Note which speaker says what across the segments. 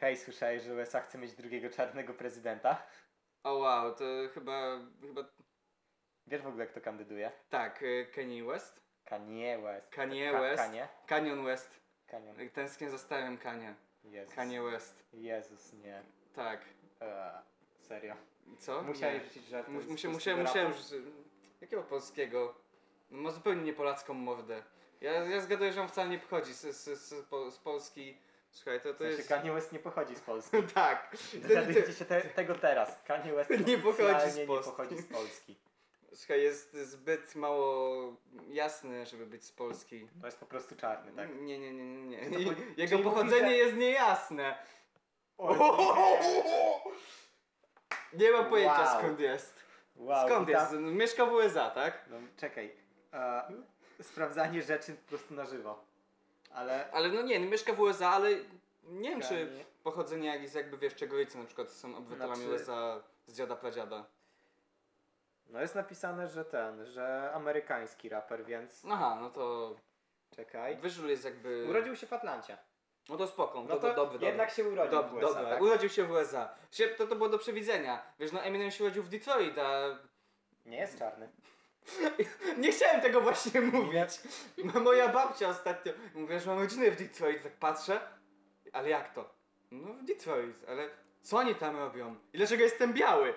Speaker 1: Hej, słyszałeś, że USA chce mieć drugiego czarnego prezydenta?
Speaker 2: O wow, to chyba, chyba
Speaker 1: Wiesz w ogóle, kto kandyduje?
Speaker 2: tak, y, Kanye West?
Speaker 1: Kanye West.
Speaker 2: Kanye
Speaker 1: Ka-
Speaker 2: West?
Speaker 1: Kanye?
Speaker 2: Canyon West.
Speaker 1: Kanye.
Speaker 2: Tęsknię za starym Kanye.
Speaker 1: Jezus.
Speaker 2: Kanye West.
Speaker 1: Jezus, nie.
Speaker 2: Tak.
Speaker 1: Eee, serio.
Speaker 2: Co?
Speaker 1: Musiałeś
Speaker 2: Nie.
Speaker 1: rzucić żart.
Speaker 2: Mus, musia, musia, musiałem już... Jakiego polskiego? No, Ma zupełnie niepolacką mordę. Ja, ja zgaduję, że on wcale nie pochodzi z, z, z, po- z Polski. Słuchaj, to, to
Speaker 1: W sensie
Speaker 2: jest...
Speaker 1: Kanye West nie pochodzi z Polski.
Speaker 2: tak.
Speaker 1: Dowiadujcie się te, tego teraz. Kanye West
Speaker 2: Nie pochodzi z
Speaker 1: oficjalnie nie
Speaker 2: Polski.
Speaker 1: pochodzi z Polski.
Speaker 2: Słuchaj, jest zbyt mało jasny, żeby być z Polski.
Speaker 1: To jest po prostu czarny, tak?
Speaker 2: Nie, nie, nie, nie.
Speaker 1: To
Speaker 2: nie.
Speaker 1: po-
Speaker 2: Jego
Speaker 1: czyli
Speaker 2: pochodzenie
Speaker 1: mówisz,
Speaker 2: jest niejasne.
Speaker 1: O,
Speaker 2: Nie mam pojęcia
Speaker 1: Wow.
Speaker 2: skąd jest.
Speaker 1: wow,
Speaker 2: skąd
Speaker 1: witam.
Speaker 2: jest? Mieszka w USA, tak?
Speaker 1: No, czekaj. Eee, sprawdzanie rzeczy po prostu na żywo. Ale...
Speaker 2: Ale no nie, no mieszka w USA, ale nie wiem czy
Speaker 1: Kanie-
Speaker 2: pochodzenie jest jakby wiesz, czego ojcy na przykład są obywatelami
Speaker 1: Znaczy-
Speaker 2: USA z dziada pradziada.
Speaker 1: No jest napisane, że ten, że amerykański raper, więc...
Speaker 2: Aha, no to
Speaker 1: Czekaj.
Speaker 2: wyżul jest jakby...
Speaker 1: Urodził się w Atlancie.
Speaker 2: No to spoko, no
Speaker 1: No
Speaker 2: to,
Speaker 1: to
Speaker 2: dobry, dobry.
Speaker 1: jednak się urodził
Speaker 2: Dob-
Speaker 1: w USA,
Speaker 2: dobra,
Speaker 1: tak?
Speaker 2: urodził się w USA. Się, to, to było do przewidzenia. Wiesz, no Eminem się urodził w Detroit, a...
Speaker 1: Nie jest czarny.
Speaker 2: Nie chciałem tego właśnie mówić. No, Moja babcia ostatnio... Mówiła, że mam rodzinę w Detroit, tak patrzę. Ale jak to? No w Detroit, ale... Co oni tam robią? I dlaczego jestem biały?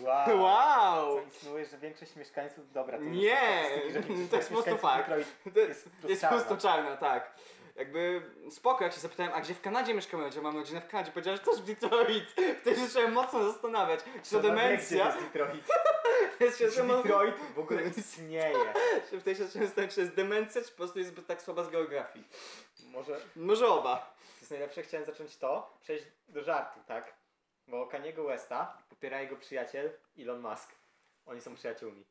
Speaker 1: Wow.
Speaker 2: Wow!
Speaker 1: Co insynuuje, że większość mieszkańców... Dobra, to już
Speaker 2: Nie,
Speaker 1: są statystyki, że większość
Speaker 2: to jest po prostu
Speaker 1: mieszkańców
Speaker 2: fakt.
Speaker 1: Detroit
Speaker 2: To
Speaker 1: Jest po prostu
Speaker 2: Jest po prostu
Speaker 1: czarna.
Speaker 2: czarna, tak. Jakby spoko, jak się zapytałem, a gdzie w Kanadzie mieszkamy? Gdzie mam rodzinę w Kanadzie? Powiedziała, że też w Detroit. Wtedy zacząłem mocno zastanawiać, czy to
Speaker 1: Trzeba wiedzieć, gdzie
Speaker 2: demencja.
Speaker 1: jest Detroit.
Speaker 2: Jest się
Speaker 1: Czy
Speaker 2: samo-
Speaker 1: Detroit w ogóle istnieje.
Speaker 2: Czy Wtedy się zacząłem zastanawiać, czy jest demencja, czy po prostu jest zbyt tak słaba z geografii.
Speaker 1: Może...
Speaker 2: Może oba.
Speaker 1: To jest najlepsze, chciałem zacząć to, przejść do żartu, tak? Bo Kaniego Westa popiera jego przyjaciel Elon Musk. Oni są przyjaciółmi,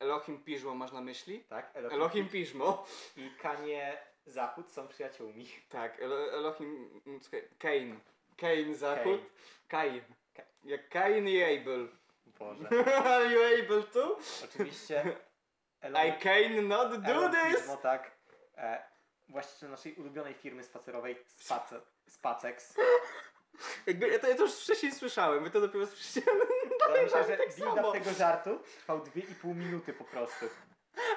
Speaker 2: Elohim Piżmo masz na myśli?
Speaker 1: tak?
Speaker 2: Elohim Piżmo.
Speaker 1: i Kanie Zachód są przyjaciółmi.
Speaker 2: Tak, Elo- Elohim... mm, czekaj, Kain. Kain Zachód. Kain.
Speaker 1: Kain.
Speaker 2: Jak Kain i Abel.
Speaker 1: Boże.
Speaker 2: Are you able to?
Speaker 1: Oczywiście Elon,
Speaker 2: I can not do
Speaker 1: Elon
Speaker 2: this!
Speaker 1: Musk, No tak. E, właściciel naszej ulubionej firmy spacerowej Space, SpaceX.
Speaker 2: Jakby, ja, to, ja to już wcześniej słyszałem, wy to dopiero słyszeliście,
Speaker 1: Wydaje mi się, że
Speaker 2: tak
Speaker 1: build-up
Speaker 2: samo.
Speaker 1: tego żartu trwał 2,5 minuty po prostu.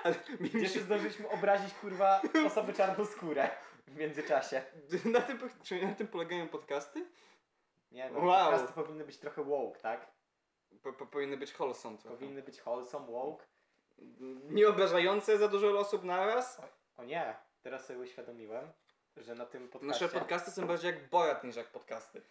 Speaker 2: ale mi mi
Speaker 1: Gdzie się
Speaker 2: się...
Speaker 1: zdążyliśmy obrazić, kurwa, osoby czarnoskórę w międzyczasie.
Speaker 2: Na tym, czy na tym polegają podcasty?
Speaker 1: Nie no,
Speaker 2: Wow.
Speaker 1: podcasty powinny być trochę woke, tak?
Speaker 2: Po, po, powinny być wholesome trochę.
Speaker 1: Powinny być wholesome, woke.
Speaker 2: Nie obrażające za dużo osób naraz?
Speaker 1: O nie, teraz sobie uświadomiłem, że na tym
Speaker 2: Nasze
Speaker 1: podcaście
Speaker 2: podcasty są bardziej jak Borat niż jak podcasty.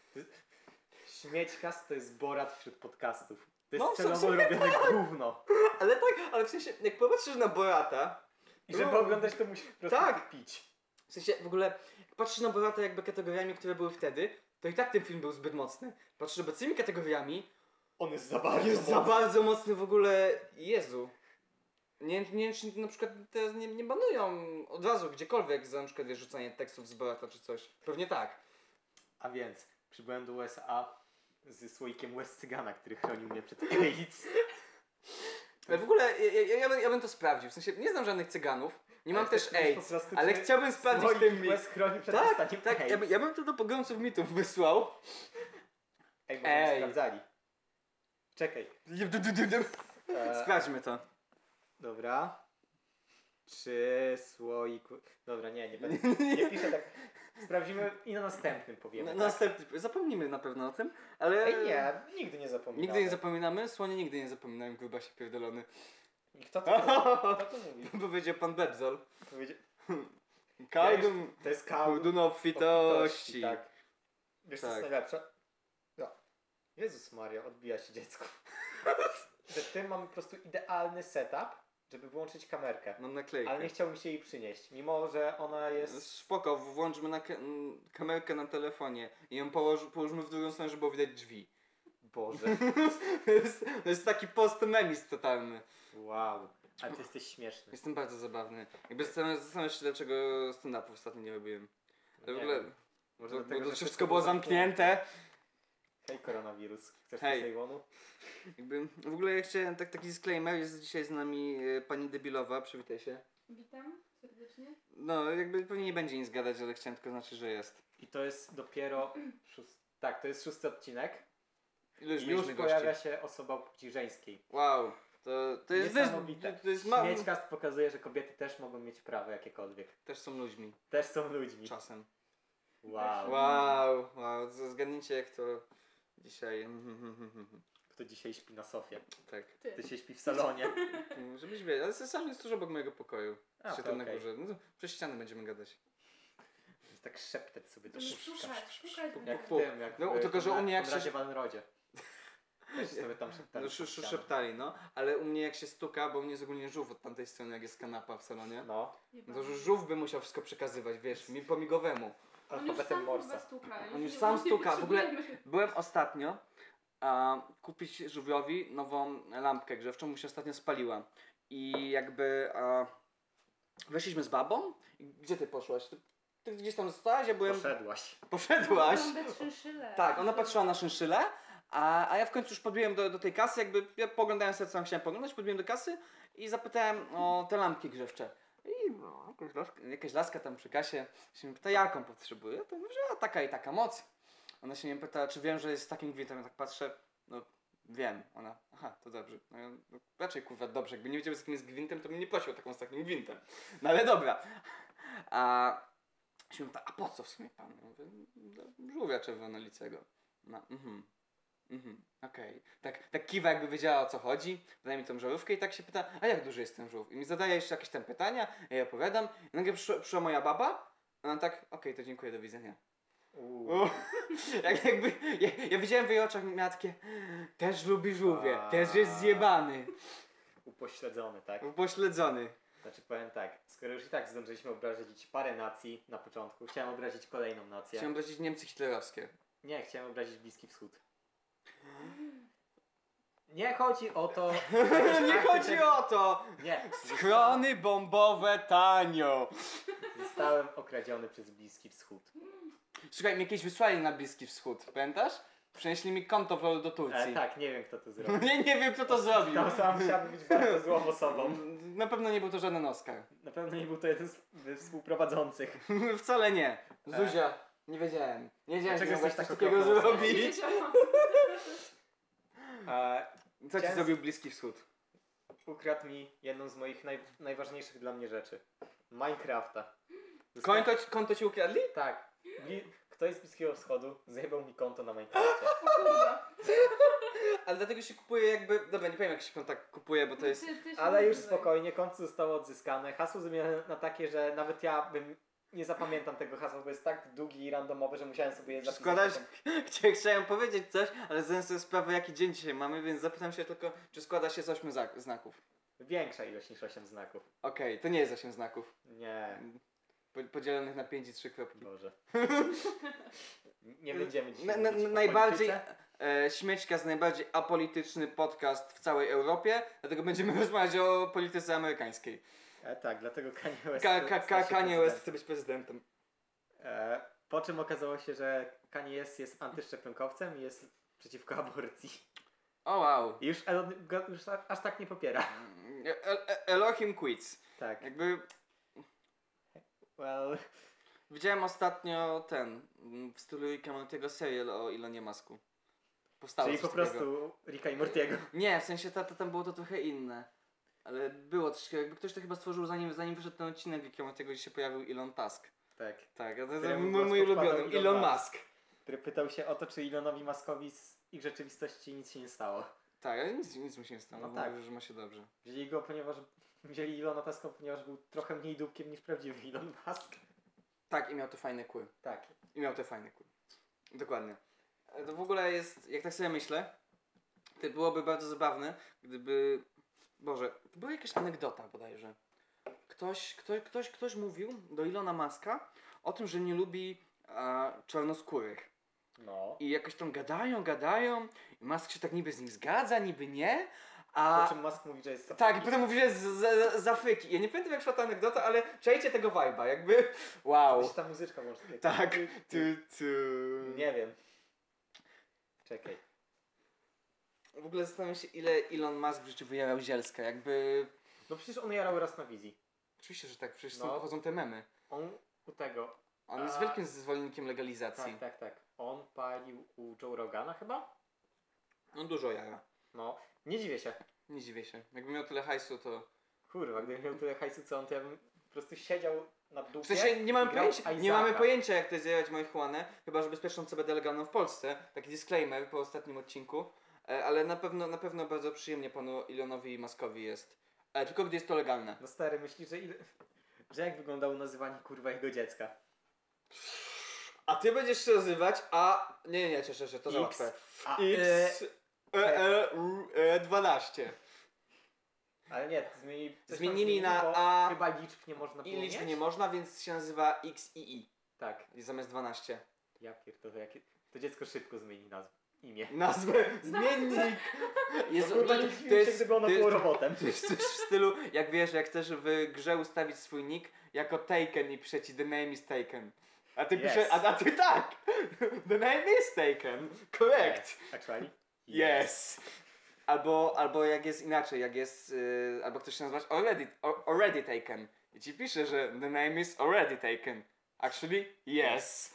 Speaker 1: śmiećkast to jest Borat wśród podcastów. To jest
Speaker 2: No, w
Speaker 1: celowo
Speaker 2: sumie
Speaker 1: robione gówno.
Speaker 2: Ale tak, ale w sensie, jak popatrzysz na Borata,
Speaker 1: I żeby
Speaker 2: No.
Speaker 1: oglądać to musisz po prostu
Speaker 2: Tak.
Speaker 1: pić.
Speaker 2: w sensie w ogóle, jak patrzysz na Borata jakby kategoriami, które były wtedy, to i tak ten film był zbyt mocny. Patrzysz obecnymi kategoriami,
Speaker 1: On jest za bardzo
Speaker 2: Jest za
Speaker 1: mocny.
Speaker 2: bardzo mocny w ogóle. Jezu. Nie, nie wiem, czy na przykład teraz nie, nie banują od razu gdziekolwiek za na przykład wiesz, rzucanie tekstów z Beata czy coś. Pewnie tak.
Speaker 1: A więc przybyłem do USA z słoikiem West Cygana, który chronił mnie przed AIDS.
Speaker 2: Ale w ogóle ja, ja, ja, bym, ja bym to sprawdził. W sensie nie znam żadnych cyganów, nie mam
Speaker 1: Ale
Speaker 2: też
Speaker 1: chcesz powiedzieć
Speaker 2: AIDS,
Speaker 1: po prostu,
Speaker 2: ale
Speaker 1: czy
Speaker 2: chciałbym sprawdzić
Speaker 1: Słoik
Speaker 2: ten mit.
Speaker 1: West chronił przed
Speaker 2: Tak,
Speaker 1: dostaniem
Speaker 2: Tak,
Speaker 1: AIDS.
Speaker 2: ja, by, ja bym to do pogromców mitów wysłał.
Speaker 1: Ej, bo Ej.
Speaker 2: Ej.
Speaker 1: sprawdzali. Czekaj. E,
Speaker 2: Sprawdźmy to.
Speaker 1: Dobra. Czy słoik... Dobra, nie, nie będę. Nie piszę tak. Sprawdzimy i na następnym powiemy.
Speaker 2: Na,
Speaker 1: tak?
Speaker 2: następny, zapomnimy na pewno o tym, ale...
Speaker 1: Ej, nie, Eee, nigdy nie zapominam.
Speaker 2: Nigdy nie zapominamy, słonie nigdy nie zapominają, gruba się pierdolony.
Speaker 1: Kto to, mówi? kto to mówi?
Speaker 2: Powiedział pan Bebzol.
Speaker 1: Powiedział-
Speaker 2: Kajdum
Speaker 1: To jest kałdun
Speaker 2: Kajdun obfitości.
Speaker 1: Tak. Wiesz, co jest
Speaker 2: Tak.
Speaker 1: najlepsze? No. Jezus Maria, odbija się dziecko. Że tym mamy po prostu idealny setup, żeby włączyć kamerkę.
Speaker 2: Mam naklejkę.
Speaker 1: Ale nie chciał mi się jej przynieść, mimo że ona jest...
Speaker 2: Spoko, włączmy na ke- m, kamerkę na telefonie i ją położ, położmy w drugą stronę, żeby było widać drzwi.
Speaker 1: Boże.
Speaker 2: To jest, to jest taki post-memis totalny.
Speaker 1: Wow. Ale ty jesteś śmieszny.
Speaker 2: Jestem bardzo zabawny. Jakby zastanawiam zastanawiam się, dlaczego stand-upów ostatnio nie robiłem. Ale w
Speaker 1: No Nie
Speaker 2: ogóle,
Speaker 1: wiem.
Speaker 2: to,
Speaker 1: Może dlatego,
Speaker 2: bo to
Speaker 1: że
Speaker 2: wszystko było zamknięte.
Speaker 1: Hej koronawirus. Chcesz
Speaker 2: Hej.
Speaker 1: Hej. Sejwonu?
Speaker 2: Jakby, w ogóle ja chciałem, tak, taki disclaimer, jest dzisiaj z nami e, pani Debilowa, przywitaj się.
Speaker 3: Witam serdecznie.
Speaker 2: No, jakby pewnie nie będzie nic gadać, ale chciałem tylko znaczyć, że jest.
Speaker 1: I to jest dopiero szósty, tak, to jest szósty odcinek.
Speaker 2: Ile już,
Speaker 1: I
Speaker 2: mieliśmy
Speaker 1: już
Speaker 2: gości?
Speaker 1: pojawia się osoba płci żeńskiej.
Speaker 2: Wow, to, to jest...
Speaker 1: Niesamowite.
Speaker 2: To jest ma...
Speaker 1: Śmiecikast pokazuje, że kobiety też mogą mieć prawo jakiekolwiek.
Speaker 2: Też są ludźmi,
Speaker 1: Też są ludźmi.
Speaker 2: czasem.
Speaker 1: Wow.
Speaker 2: Wow, wow, z- zgadnijcie jak to dzisiaj...
Speaker 1: Kto dzisiaj śpi na sofie?
Speaker 2: Tak.
Speaker 3: Ty.
Speaker 1: Ty się śpi w salonie.
Speaker 2: Mm, Żebyś wiedział, ale sam jest tuż obok mojego pokoju.
Speaker 1: A,
Speaker 2: Czy
Speaker 1: to
Speaker 2: tam na
Speaker 1: okej.
Speaker 2: górze. No to przez ścianę będziemy gadać.
Speaker 1: Tak szeptać sobie do
Speaker 3: Będziesz
Speaker 1: szybka.
Speaker 3: szukać, szukać.
Speaker 1: Jak w
Speaker 2: Puk.
Speaker 1: tym, jak
Speaker 2: No,
Speaker 1: w
Speaker 2: tylko, że u mnie jak się-
Speaker 1: się... Van Rodzie. Też sobie tam szeptali.
Speaker 2: No sz, sz, szeptali, no. Ale u mnie jak się stuka, bo u mnie jest ogólnie żółw od tamtej strony, jak jest kanapa w salonie.
Speaker 1: No,
Speaker 2: No to już żółw by musiał wszystko przekazywać, wiesz, mi pomigowemu.
Speaker 3: On już sam
Speaker 1: alfabetem
Speaker 3: kurwa
Speaker 1: Morsa.
Speaker 3: stuka.
Speaker 2: On już
Speaker 3: nie-
Speaker 2: sam
Speaker 3: nie
Speaker 2: stuka, w ogóle-
Speaker 3: potrzebujemy.
Speaker 2: Byłem ostatnio a, kupić żółwiowi nową lampkę grzewczą, mu się ostatnio spaliła. I jakby a, weszliśmy z babą. I Gdzie ty poszłaś? Ty, ty gdzieś tam zostałaś, ja byłem...
Speaker 1: Poszedłaś.
Speaker 2: Poszedłaś.
Speaker 3: Wygląda szynszyle.
Speaker 2: Tak, ona patrzyła na szynszylę, a, a ja w końcu już podbiłem do, do tej kasy, jakby ja poglądałem sobie, co tam chciałem poglądać, podbiłem do kasy i zapytałem o te lampki grzewcze. I no, jakaś, laska, jakaś laska tam przy kasie się mnie pyta, jaką potrzebuję? Ja to mówię, że a taka i taka moc. Ona się mnie pyta, czy wiem, że jest z takim gwintem. Ja tak patrzę, no wiem. Ona, aha, to dobrze. No, ja, no, raczej kurwa dobrze, jakby nie wiedział z jakim jest gwintem, to mnie nie prosił o taką z takim gwintem. No ale dobra. A się pyta, a po co w sumie pan? Ja mówię, do żółwia czerwonolicego. No, mhm. Mhm, okej. Tak, tak kiwa jakby wiedziała o co chodzi, daje mi tą żarówkę i tak się pyta, a jak duży jest ten żółw? I mi zadaje jeszcze jakieś tam pytania, ja jej opowiadam. I nagle przyszła, przyszła moja baba, a ona tak, okej, to dziękuję, do widzenia.
Speaker 1: Uuu.
Speaker 2: O, jak, jakby, ja, ja widziałem w jej oczach, miała takie, też lubi żółwie, też jest zjebany,
Speaker 1: Upośledzony, tak?
Speaker 2: pośledzony.
Speaker 1: Znaczy powiem tak, skoro już i tak zdążyliśmy obrazić parę nacji na początku, chciałem obrazić kolejną nację.
Speaker 2: Chciałem powiedzieć Niemcy hitlerowskie.
Speaker 1: Nie, chciałem obrazić Bliski Wschód. Nie chodzi o to...
Speaker 2: Nie chodzi o to!
Speaker 1: Nie,
Speaker 2: Schrony bombowe tanio!
Speaker 1: zostałem okradziony przez Bliski Wschód.
Speaker 2: Słuchaj, mnie kiedyś wysłali na Bliski Wschód, pamiętasz? Przenieśli mi konto w LOL do Turcji.
Speaker 1: E, tak, nie wiem kto to zrobił.
Speaker 2: Nie, nie wiem, kto to zrobił.
Speaker 1: Tam sam chciałbym być bardzo złą osobą.
Speaker 2: Na pewno nie był to żaden Oscar.
Speaker 1: Na pewno nie był to jeden z ze współprowadzących.
Speaker 2: Wcale nie. Zuzia, nie wiedziałem. Nie wiedziałem, że
Speaker 1: Dlaczego
Speaker 2: mogłaś coś
Speaker 1: jesteś tak
Speaker 2: takiego
Speaker 1: okropna?
Speaker 3: Nie
Speaker 2: zrobić.
Speaker 3: wiedziałam.
Speaker 1: E,
Speaker 2: Co ci
Speaker 1: Chciałem-
Speaker 2: zrobił Bliski Wschód?
Speaker 1: ukradł mi jedną z moich naj, najważniejszych dla mnie rzeczy. Minecrafta. Zostaw-
Speaker 2: Konto, konto ci ukradli?
Speaker 1: Tak. Bli... Ktoś z Bliskiego Wschodu zajebał mi konto na Minecrafcie.
Speaker 3: Kurwa.
Speaker 2: Ale dlatego się kupuje jakby... Dobra, nie powiem jak się konta kupuje, bo to jest...
Speaker 3: Ty- ty się
Speaker 1: Ale
Speaker 3: nie
Speaker 1: już
Speaker 3: nazywaj.
Speaker 1: spokojnie, konto zostało odzyskane. Hasło zmienione na takie, że nawet ja bym nie zapamiętam tego hasła, bo jest tak długi i randomowe, że musiałem sobie je zapisać.
Speaker 2: Składałeś... Chcia- Chciałem powiedzieć coś, ale zdałem sobie sprawę jaki dzień dzisiaj mamy, więc zapytam się tylko, czy składa się z ośmiu zak- znaków.
Speaker 1: Większa ilość niż 8 znaków.
Speaker 2: Okej, to nie jest osiem znaków.
Speaker 1: Nie,
Speaker 2: Po- podzielonych na pięć i trzy kropki.
Speaker 1: Boże. Nie będziemy dzisiaj
Speaker 2: Na, na,
Speaker 1: mówić o
Speaker 2: najbardziej
Speaker 1: polityce.
Speaker 2: e, śmieczka z najbardziej apolityczny podcast w całej Europie, dlatego będziemy rozmawiać o polityce amerykańskiej.
Speaker 1: E, tak, dlatego Kanye West...
Speaker 2: Ka, ka,
Speaker 1: stał
Speaker 2: ka,
Speaker 1: się
Speaker 2: Kanye West
Speaker 1: prezydentem.
Speaker 2: chce być prezydentem.
Speaker 1: E, po czym okazało się, że Kanye West jest antyszczepionkowcem i jest przeciwko aborcji.
Speaker 2: O wow.
Speaker 1: I już Elon go już a- aż tak nie popiera.
Speaker 2: E, e, Elohim quits.
Speaker 1: Tak.
Speaker 2: Jakby
Speaker 1: Well,
Speaker 2: widziałem ostatnio ten mm, w stylu Ricka Mortiego serial o Ilonie Masku. Powstało
Speaker 1: czyli
Speaker 2: coś
Speaker 1: po
Speaker 2: takiego.
Speaker 1: prostu Rika i Mortiego.
Speaker 2: Nie, w sensie ta, ta, tam było to trochę inne. Ale było troszkę, jakby ktoś to chyba stworzył zanim, zanim wyszedł ten odcinek Ricka Mortiego, gdzie się pojawił Elon Tusk.
Speaker 1: Tak.
Speaker 2: Tak, a to jest
Speaker 1: Któremu
Speaker 2: mój, mój
Speaker 1: głos podpadał
Speaker 2: ulubiony,
Speaker 1: Elon
Speaker 2: Elon
Speaker 1: Musk.
Speaker 2: Musk.
Speaker 1: Który pytał się o to, czy Elonowi Maskowi z ich rzeczywistości nic się nie stało.
Speaker 2: Tak, ale nic, nic mu się nie stało.
Speaker 1: No
Speaker 2: No
Speaker 1: tak.
Speaker 2: Mówił, że ma się dobrze.
Speaker 1: Wzięli go, ponieważ... Wzięli Ilona Tuska, ponieważ był trochę mniej dupkiem niż prawdziwy Elon Musk.
Speaker 2: Tak, i miał te fajne kły.
Speaker 1: Tak.
Speaker 2: I miał te fajne kły. Dokładnie. E, To w ogóle jest, jak tak sobie myślę, to byłoby bardzo zabawne, gdyby... Boże, to była jakaś anegdota bodajże. Ktoś, ktoś, ktoś, ktoś mówił do Ilona Maska o tym, że nie lubi a, czarnoskórych.
Speaker 1: No.
Speaker 2: I jakoś tam gadają, gadają. I Musk się tak niby z nim zgadza, niby nie.
Speaker 1: Po
Speaker 2: A,
Speaker 1: czym Musk mówi, że jest...
Speaker 2: Tak, i
Speaker 1: sofistą.
Speaker 2: potem mówi, że z, z, z Afryki. Ja nie pamiętam jak szła ta anegdota, ale czajcie tego vibe'a, jakby wow.
Speaker 1: Gdzieś ta muzyczka może... tutaj-
Speaker 2: Tak. Tu, tu.
Speaker 1: Nie wiem. Czekaj.
Speaker 2: W ogóle zastanawiam się, ile Elon Musk w życiu wyjarał zielska, jakby...
Speaker 1: No przecież on jarał raz na wizji.
Speaker 2: Oczywiście, że tak, przecież
Speaker 1: No.
Speaker 2: są, pochodzą te memy.
Speaker 1: On u tego.
Speaker 2: On jest
Speaker 1: A-
Speaker 2: wielkim zwolennikiem legalizacji.
Speaker 1: Tak, tak, tak. On palił u Joe Rogana chyba?
Speaker 2: On dużo jaja.
Speaker 1: No. Nie dziwię się.
Speaker 2: Nie dziwię się. Jakby miał tyle hajsu, to...
Speaker 1: Kurwa, gdybym miał tyle hajsu co on, to ja bym po prostu siedział na dupie.
Speaker 2: W sensie nie mamy,
Speaker 1: grał w
Speaker 2: pojęcia, nie
Speaker 1: Isaaca.
Speaker 2: mamy pojęcia, jak to jest zjadać marihuanę, chyba że bezpieczną CBD legalną w Polsce. Taki disclaimer po ostatnim odcinku. E, Ale na pewno, na pewno bardzo przyjemnie panu Ilonowi Maskowi jest. E, Tylko gdy jest to legalne.
Speaker 1: No stary, myślisz, że, ile... że jak wyglądało nazywanie kurwa jego dziecka?
Speaker 2: A ty będziesz się nazywać, a... Nie, nie, nie, cieszę się, to za
Speaker 1: X.
Speaker 2: łatwe.
Speaker 1: A,
Speaker 2: X...
Speaker 1: e,
Speaker 2: E, e, U, e, 12.
Speaker 1: ale nie, zmienili, coś tam
Speaker 2: Zmienili na
Speaker 1: bo
Speaker 2: A.
Speaker 1: Chyba liczb nie można było
Speaker 2: I liczby
Speaker 1: mieć?
Speaker 2: nie można, więc się nazywa XII.
Speaker 1: Tak,
Speaker 2: I zamiast 12.
Speaker 1: ja pierdolę, jakie... to dziecko szybko zmieni nazwę, imię. No
Speaker 2: Nazwę zmiennik! Jezu,
Speaker 1: Kurwa,
Speaker 2: to-
Speaker 1: nie
Speaker 2: no to
Speaker 1: dziwię się,
Speaker 2: jest-
Speaker 1: gdyby ono
Speaker 2: to jest-
Speaker 1: było robotem.
Speaker 2: To jest coś w stylu, jak wiesz, jak chcesz w grze ustawić swój nick jako Taken i pisze ci The name is Taken. A ty
Speaker 1: Yes.
Speaker 2: pisze, a, a ty tak! The name is Taken! Correct!
Speaker 1: Actually?
Speaker 2: Yes! Albo, albo jak jest inaczej, jak jest, y, albo ktoś się nazywa already, o- already Taken. I ci pisze, że The name is already Taken. Actually, yes!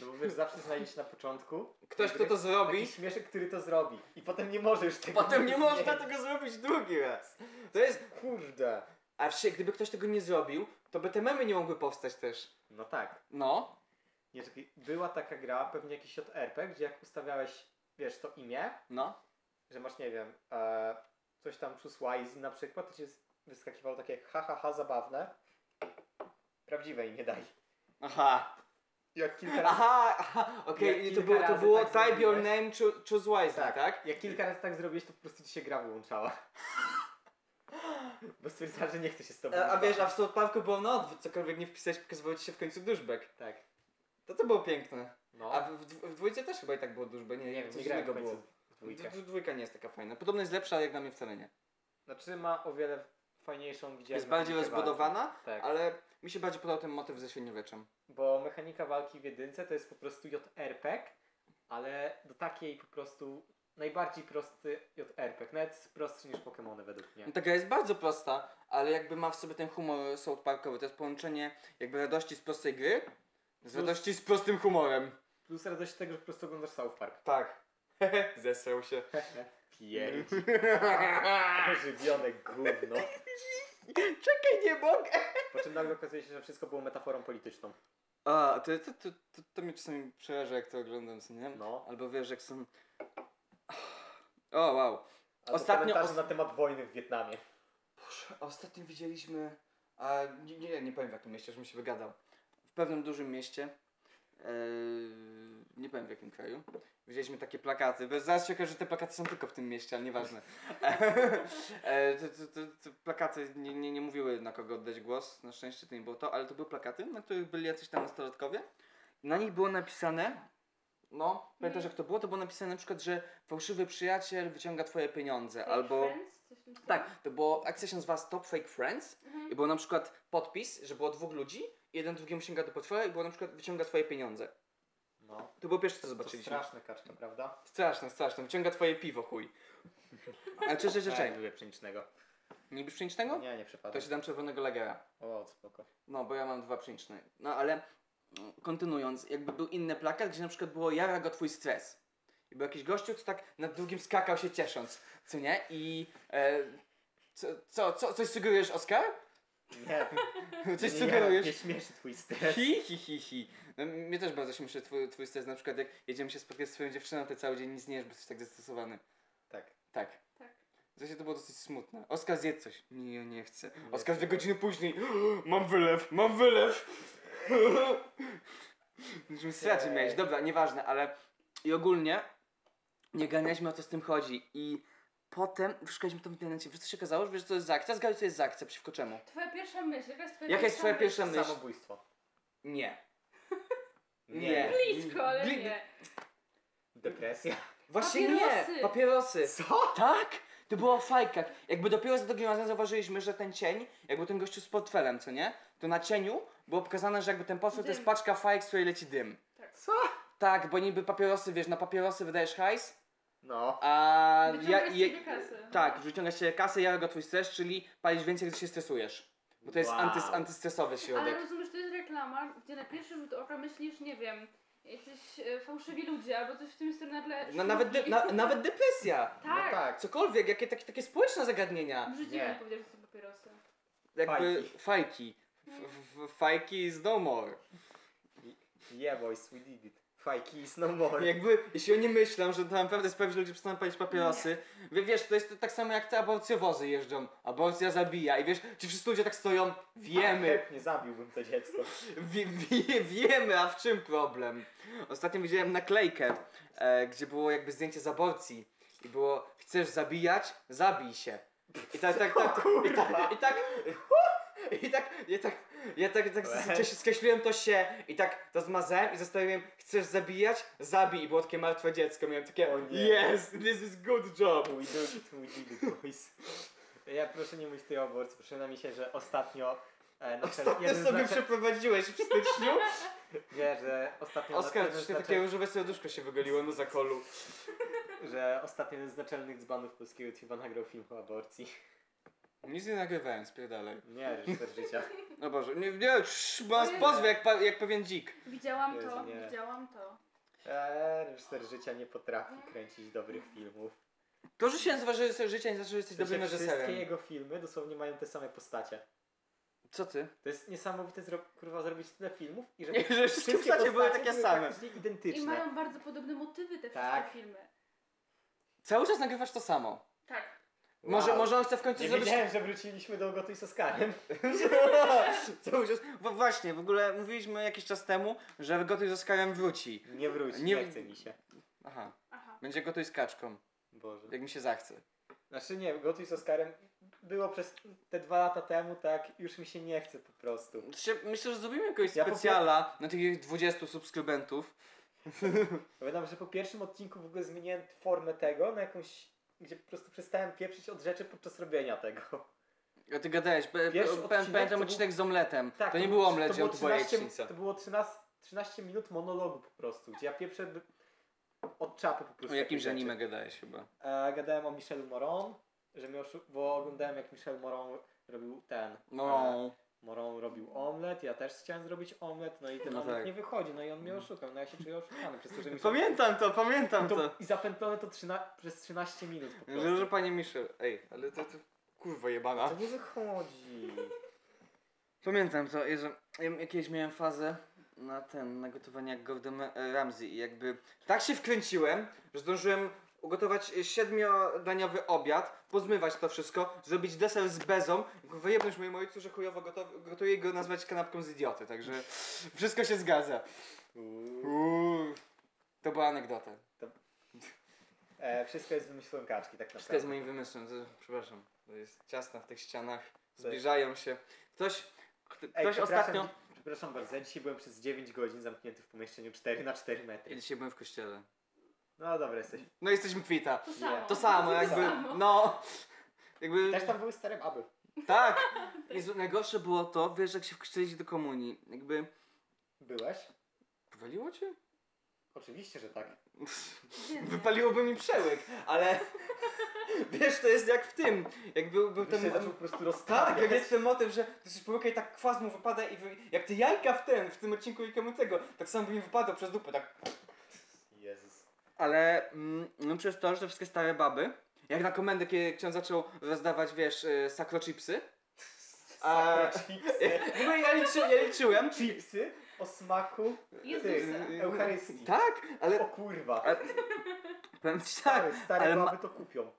Speaker 1: No bo wiesz, zawsze znajdziesz na początku
Speaker 2: Ktoś, kto to zrobi,
Speaker 1: taki śmieszek, który to zrobi. I potem nie może już tego
Speaker 2: potem nie można
Speaker 1: zmienić.
Speaker 2: tego zrobić drugi raz. To jest,
Speaker 1: Kurde.
Speaker 2: a wsi, gdyby ktoś tego nie zrobił, to by te memy nie mogły powstać też.
Speaker 1: No tak.
Speaker 2: No,
Speaker 1: Nie, czekaj, była taka gra, pewnie jakiś od RPG, gdzie jak ustawiałeś, wiesz, to imię,
Speaker 2: No.
Speaker 1: że masz, nie wiem, e, coś tam Chuswise na przykład, to ci z- wyskakiwało takie ha, ha, ha, zabawne. Prawdziwe imię daj.
Speaker 2: Aha.
Speaker 1: Jak kilka razy,
Speaker 2: Aha, aha.
Speaker 1: Ja
Speaker 2: okej, to
Speaker 1: kilka
Speaker 2: było, to
Speaker 1: razy
Speaker 2: było
Speaker 1: tak
Speaker 2: type your
Speaker 1: zrobiłeś.
Speaker 2: name, choo- choose wisely, tak?
Speaker 1: Tak. jak kilka razy tak zrobiłeś, to po prostu ci się gra wyłączała. Bo stwierdzała, że nie chce się z tobą.
Speaker 2: E, A wiesz, a w
Speaker 1: bawić.
Speaker 2: South Parku było na odwrót, cokolwiek nie wpisać, pokazywało ci się w końcu duszbek.
Speaker 1: Tak.
Speaker 2: To to było piękne.
Speaker 1: No,
Speaker 2: A w, w, w dwójce też chyba i tak było duszbek, nie,
Speaker 1: nie,
Speaker 2: nie
Speaker 1: wiem,
Speaker 2: coś
Speaker 1: nie grałem
Speaker 2: innego
Speaker 1: w końcu
Speaker 2: było.
Speaker 1: w dwójkę.
Speaker 2: D- d- Dwójka nie jest taka fajna. Podobno jest lepsza, ale jak na mnie wcale nie.
Speaker 1: Znaczy ma o wiele fajniejszą, widziałem.
Speaker 2: Jest bardziej
Speaker 1: mechanikę
Speaker 2: rozbudowana,
Speaker 1: walki. Tak.
Speaker 2: ale mi się bardziej podobał ten motyw ze średniowieczem.
Speaker 1: Bo mechanika walki w jedynce to jest po prostu JRPG, ale do takiej po prostu najbardziej prosty JRPG. Nawet prostszy niż Pokémony według mnie.
Speaker 2: No, ta gra jest bardzo prosta, ale jakby ma w sobie ten humor South Parkowy. To jest połączenie jakby radości z prostej gry z
Speaker 1: Plus-
Speaker 2: radości z prostym humorem.
Speaker 1: Plus radość tego, że po prostu oglądasz South Park.
Speaker 2: Tak. Zesrał się.
Speaker 1: Pierdzi.
Speaker 2: Mm.
Speaker 1: Ożywione gówno.
Speaker 2: Czekaj, nie mogę!
Speaker 1: Po czym nagle okazuje się, że wszystko było metaforą polityczną.
Speaker 2: A, to, to, to, to, to mnie czasami przeraża, jak to oglądam, co nie?
Speaker 1: No.
Speaker 2: Albo wiesz, jak są... O, wow.
Speaker 1: Albo
Speaker 2: Ostatnio
Speaker 1: komentarze
Speaker 2: os-
Speaker 1: na temat wojny w Wietnamie.
Speaker 2: Boże, ostatnio widzieliśmy... A, nie, nie, nie powiem w jakim mieście, żebym się wygadał. W pewnym dużym mieście, e, nie powiem w jakim kraju, widzieliśmy takie plakaty. Bo zaraz się okaże, że te plakaty są tylko w tym mieście, ale nieważne. E, to, to, to, to plakaty nie, nie, nie mówiły na kogo oddać głos, na szczęście to nie było to, ale to były plakaty, na których byli jacyś tam nastolatkowie. Na nich było napisane, no, pamiętasz jak to było? To było napisane na przykład, że fałszywy przyjaciel wyciąga twoje pieniądze,
Speaker 3: Fake
Speaker 2: albo...
Speaker 3: Friends? Coś w tym stylu?
Speaker 2: Tak, to było, akcja się nazywa Stop Fake Friends
Speaker 3: Mhm.
Speaker 2: i było na przykład podpis, że było dwóch ludzi, jeden drugiemu sięga do portfela i było na przykład wyciąga twoje pieniądze.
Speaker 1: No.
Speaker 2: To było pierwsze co
Speaker 1: To
Speaker 2: zobaczyliśmy.
Speaker 1: straszne kaczka, prawda?
Speaker 2: Straszne, straszne, wyciąga twoje piwo, chuj. Ale czy, czy, czy,
Speaker 1: Tak,
Speaker 2: czy,
Speaker 1: lubię pszenicznego.
Speaker 2: nie lubisz pszenicznego?
Speaker 1: Nie, nie przepadam.
Speaker 2: To się dam czerwonego lagera.
Speaker 1: O, spoko.
Speaker 2: No, bo ja mam dwa przyczne. No, ale mm, kontynuując, jakby był inny plakat, gdzie na przykład było Jara go twój stres. I był jakiś gościu, co tak nad drugim skakał się ciesząc, co nie? I e, co, co, co, coś sugerujesz, Oskar?
Speaker 1: Nie,
Speaker 2: Coś
Speaker 1: nie, nie, nie,
Speaker 2: sugerujesz?
Speaker 1: nie śmieszy twój stres.
Speaker 2: Hi, hi, hi, hi. No, mnie też bardzo śmieszy twój, twój stres, na przykład jak jedziemy się spotkać z swoją dziewczyną, to cały dzień nic nie jesz, bo jesteś tak zestresowany.
Speaker 1: Tak.
Speaker 2: Tak.
Speaker 3: Tak.
Speaker 2: W sensie to było dosyć smutne. Oskar zjedz coś. Nie, ja nie chcę.
Speaker 1: Nie
Speaker 2: Oskar
Speaker 1: chcę.
Speaker 2: dwie godziny później. Mam wylew, mam wylew. Musimy stracić
Speaker 1: Ej.
Speaker 2: mieć. Dobra, nieważne, ale i ogólnie nie ganialiśmy o co z tym chodzi i potem szukaliśmy to w internecie. Wiesz co się okazało? Wiesz co jest za akcja? Zgadza co jest za akcja, przeciwko czemu?
Speaker 3: Twoja pierwsza myśl. Jaka jest twoja
Speaker 2: Jaka jest twoja pierwsza myśl?
Speaker 1: Samobójstwo.
Speaker 2: Nie.
Speaker 1: Nie.
Speaker 3: Blisko, ale
Speaker 2: Bli-
Speaker 3: nie.
Speaker 1: Depresja.
Speaker 2: Właśnie nie!
Speaker 3: Papierosy.
Speaker 2: Papierosy!
Speaker 1: Co?
Speaker 2: Tak! To było w fajkach. Jakby dopiero za drugim razem zauważyliśmy, że ten cień, jakby ten gościu z portfelem, co nie? To na cieniu było pokazane, że jakby ten portfel to jest
Speaker 3: Dym.
Speaker 2: paczka fajek, z której leci dym.
Speaker 3: Tak.
Speaker 1: Co?
Speaker 2: Tak, bo niby papierosy, wiesz, na papierosy wydajesz hajs,
Speaker 1: No.
Speaker 2: a...
Speaker 3: Wyciągasz z siebie kasę.
Speaker 2: Tak, wyciągasz się kasę, ja go twój stres, czyli palisz więcej, gdy się stresujesz. Bo to jest
Speaker 1: Wow.
Speaker 2: antys, antystresowy
Speaker 3: Ale
Speaker 2: środek.
Speaker 3: rozumiesz, to jest reklama, gdzie na pierwszy rzut oka myślisz, nie wiem, jacyś e, fałszywi ludzie albo coś w tym stylu nagle...
Speaker 2: No, nawet, de, na, nawet depresja.
Speaker 1: No
Speaker 3: Tak,
Speaker 1: tak.
Speaker 2: Cokolwiek, jakie takie, takie społeczne zagadnienia.
Speaker 3: w życiu nie
Speaker 1: Nie.
Speaker 3: powiedział, że są papierosy.
Speaker 2: Jakby
Speaker 1: Fajki.
Speaker 2: fajki. F- f- Fajki is no more.
Speaker 1: Yeah boys, we did it. Fajki is no more.
Speaker 2: Jakby, jeśli oni myślą, że to naprawdę sprawi, że ludzie przestaną palić papierosy, wie- wiesz, to jest to tak samo jak te aborcjowozy jeżdżą. Aborcja zabija i wiesz, ci wszyscy ludzie tak stoją, wiemy,
Speaker 1: Nie zabiłbym to dziecko.
Speaker 2: wie, wie, wiemy, a w czym problem? Ostatnio widziałem naklejkę, e, gdzie było jakby zdjęcie z aborcji i było, chcesz zabijać? Zabij się. I tak, tak, tak, i tak, i tak, i tak, ja tak, ja tak, tak skreś- skreśliłem to się i tak to zmazałem i zastanawiałem, chcesz zabijać? Zabij. I było takie martwe dziecko, miałem takie,
Speaker 1: O nie.
Speaker 2: yes, this is good job.
Speaker 1: We do it, we did it boys. Ja proszę nie mówić tej o aborcji, przypomina mi się, że ostatnio... E, na czele-
Speaker 2: Ostatnio
Speaker 1: jeden z
Speaker 2: sobie
Speaker 1: nacze-
Speaker 2: przeprowadziłeś w styczniu.
Speaker 1: Nie, że ostatnio...
Speaker 2: Oskar,
Speaker 1: jeden
Speaker 2: czy
Speaker 1: z
Speaker 2: się
Speaker 1: nacze-
Speaker 2: takie różowe serduszko się wygoliło na zakolu.
Speaker 1: Że ostatnio jeden z naczelnych dzbanów polskiego YouTube'a nagrał film o aborcji.
Speaker 2: Nic nie nagrywałem, spierdalaj.
Speaker 1: Nie, reżyser życia.
Speaker 2: No Boże, nie, nie, cz, bo nas pozwie jak, pa- jak pewien dzik.
Speaker 3: Widziałam
Speaker 1: Jezu,
Speaker 3: to,
Speaker 1: nie.
Speaker 3: widziałam to.
Speaker 1: E, reżyser życia nie potrafi kręcić dobrych filmów.
Speaker 2: To, że się nazywa reżyser życia, nie znaczy, że jesteś
Speaker 1: W sensie
Speaker 2: dobrym
Speaker 1: Wszystkie
Speaker 2: reżyserem.
Speaker 1: jego filmy dosłownie mają te same postacie.
Speaker 2: Co ty?
Speaker 1: To jest niesamowite, zro- kurwa, zrobić tyle filmów i żeby
Speaker 2: Nie, że wszystkie postacie były takie same.
Speaker 1: praktycznie identyczne.
Speaker 3: I mają bardzo podobne motywy te
Speaker 1: Tak.
Speaker 3: wszystkie filmy.
Speaker 2: Cały czas nagrywasz to samo.
Speaker 3: Tak.
Speaker 1: Wow.
Speaker 2: Może, może on chce w końcu
Speaker 1: Nie
Speaker 2: zrobić...
Speaker 1: wiedziałem, że wróciliśmy do Gotuj z Oskarem.
Speaker 2: Cały czas... Bo właśnie, w ogóle mówiliśmy jakiś czas temu, że Gotuj z Oskarem wróci.
Speaker 1: Nie wróci,
Speaker 2: Nie-
Speaker 1: nie, chce mi się.
Speaker 2: Aha,
Speaker 3: Aha.
Speaker 2: będzie Gotuj z kaczką,
Speaker 1: Boże.
Speaker 2: jak mi się zachce.
Speaker 1: Znaczy nie, Gotuj z Oskarem było przez te dwa lata temu, tak, już mi się nie chce po prostu.
Speaker 2: Się- Myślę, że zrobimy jakoś
Speaker 1: Ja po-
Speaker 2: specjala na tych 20 subskrybentów.
Speaker 1: Pamiętam, że po pierwszym odcinku w ogóle zmieniłem formę tego na jakąś, gdzie po prostu przestałem pieprzyć od rzeczy podczas robienia tego.
Speaker 2: A ty gadałeś, p- p-
Speaker 1: Pierwszy
Speaker 2: p-
Speaker 1: odcinek to
Speaker 2: pamiętam
Speaker 1: był-
Speaker 2: odcinek z omletem.
Speaker 1: Tak,
Speaker 2: to nie
Speaker 1: był-
Speaker 2: był omlet,
Speaker 1: to było
Speaker 2: to była
Speaker 1: 13,
Speaker 2: jajecznica.
Speaker 1: To było 13, 13 minut monologu po prostu, gdzie ja pieprzę by- od czapy po prostu.
Speaker 2: O jakimś
Speaker 1: takie rzeczy.
Speaker 2: anime gadałeś chyba.
Speaker 1: E, gadałem o Michelu Moron, że mnie oszu- bo oglądałem jak Michel Moron robił ten.
Speaker 2: No.
Speaker 1: E, Moron robił omlet, ja też chciałem zrobić omlet, no i ten
Speaker 2: No
Speaker 1: omlet
Speaker 2: tak.
Speaker 1: nie wychodzi, no i on mnie oszukał, no ja się czuję oszukany przez to, że Michel...
Speaker 2: Pamiętam to, pamiętam E, No to.
Speaker 1: to, I zapętlone to trzyna- przez 13 minut po
Speaker 2: Że, że
Speaker 1: prostu.
Speaker 2: panie Michel, ej, ale to, to kurwa jebana.
Speaker 1: To nie wychodzi.
Speaker 2: Pamiętam to, Jezu, ja kiedyś miałem fazę na ten, na gotowanie jak Gordon Ramsay e, i jakby tak się wkręciłem, że zdążyłem ugotować siedmiodaniowy obiad, pozmywać to wszystko, zrobić deser z bezą, wyjebnąć mojemu ojcu, że chujowo gotow- gotuje i go nazwać kanapką z idioty, także wszystko się zgadza.
Speaker 1: Uuu.
Speaker 2: Uuu, to była anegdota.
Speaker 1: E, wszystko jest wymyślą kaczki, tak
Speaker 2: Wszystko jest
Speaker 1: naprawdę.
Speaker 2: moim wymysłem, to, przepraszam, to jest ciasno w tych ścianach, zbliżają się. Ktoś, kto-
Speaker 1: Ej,
Speaker 2: ktoś
Speaker 1: przepraszam,
Speaker 2: ostatnio...
Speaker 1: dzi- Przepraszam bardzo, ja dzisiaj byłem przez 9 godzin zamknięty w pomieszczeniu 4 na 4 metry.
Speaker 2: Dzisiaj byłem w kościele.
Speaker 1: No dobra, jesteś.
Speaker 2: No jesteśmy kwita.
Speaker 3: To samo.
Speaker 2: No, To samo, jakby.
Speaker 3: samo.
Speaker 2: No. Jakby.
Speaker 1: Też tam były stare baby.
Speaker 2: Tak. Jezu, najgorsze było to, wiesz, jak się wkrzyczyliście do komunii. Jakby.
Speaker 1: Byłeś?
Speaker 2: Powaliło cię?
Speaker 1: Oczywiście, że tak.
Speaker 3: Więc-
Speaker 2: Wypaliłoby mi przełyk, ale. Wiesz, to jest jak w tym. Jak był, był
Speaker 1: Ten
Speaker 2: ten.
Speaker 1: się zaczął po prostu
Speaker 2: Tak, jak
Speaker 1: rozstawiać.
Speaker 2: jest ten motyw, że ty coś połyka i tak kwas mu wypada i wy... jak ty jajka w ten, w tym odcinku i komu tego, tak samo by mi wypadło przez dupę, tak.
Speaker 1: Jezus.
Speaker 2: Ale mm, no przez to, że te wszystkie stare baby, jak na komendę, kiedy ksiądz zaczął rozdawać, wiesz, y, sakro chipsy, A-
Speaker 1: Sakra, chipsy.
Speaker 2: No ja, liczy, ja liczyłem. Y,
Speaker 1: Chipsy o smaku
Speaker 3: Jezusa.
Speaker 1: tych, Eucharystii.
Speaker 2: Tak,
Speaker 1: O
Speaker 2: ale
Speaker 1: kurwa.
Speaker 2: Ale- powiem ci tak.
Speaker 1: Stare, stare
Speaker 2: ale ma-
Speaker 1: baby to kupią.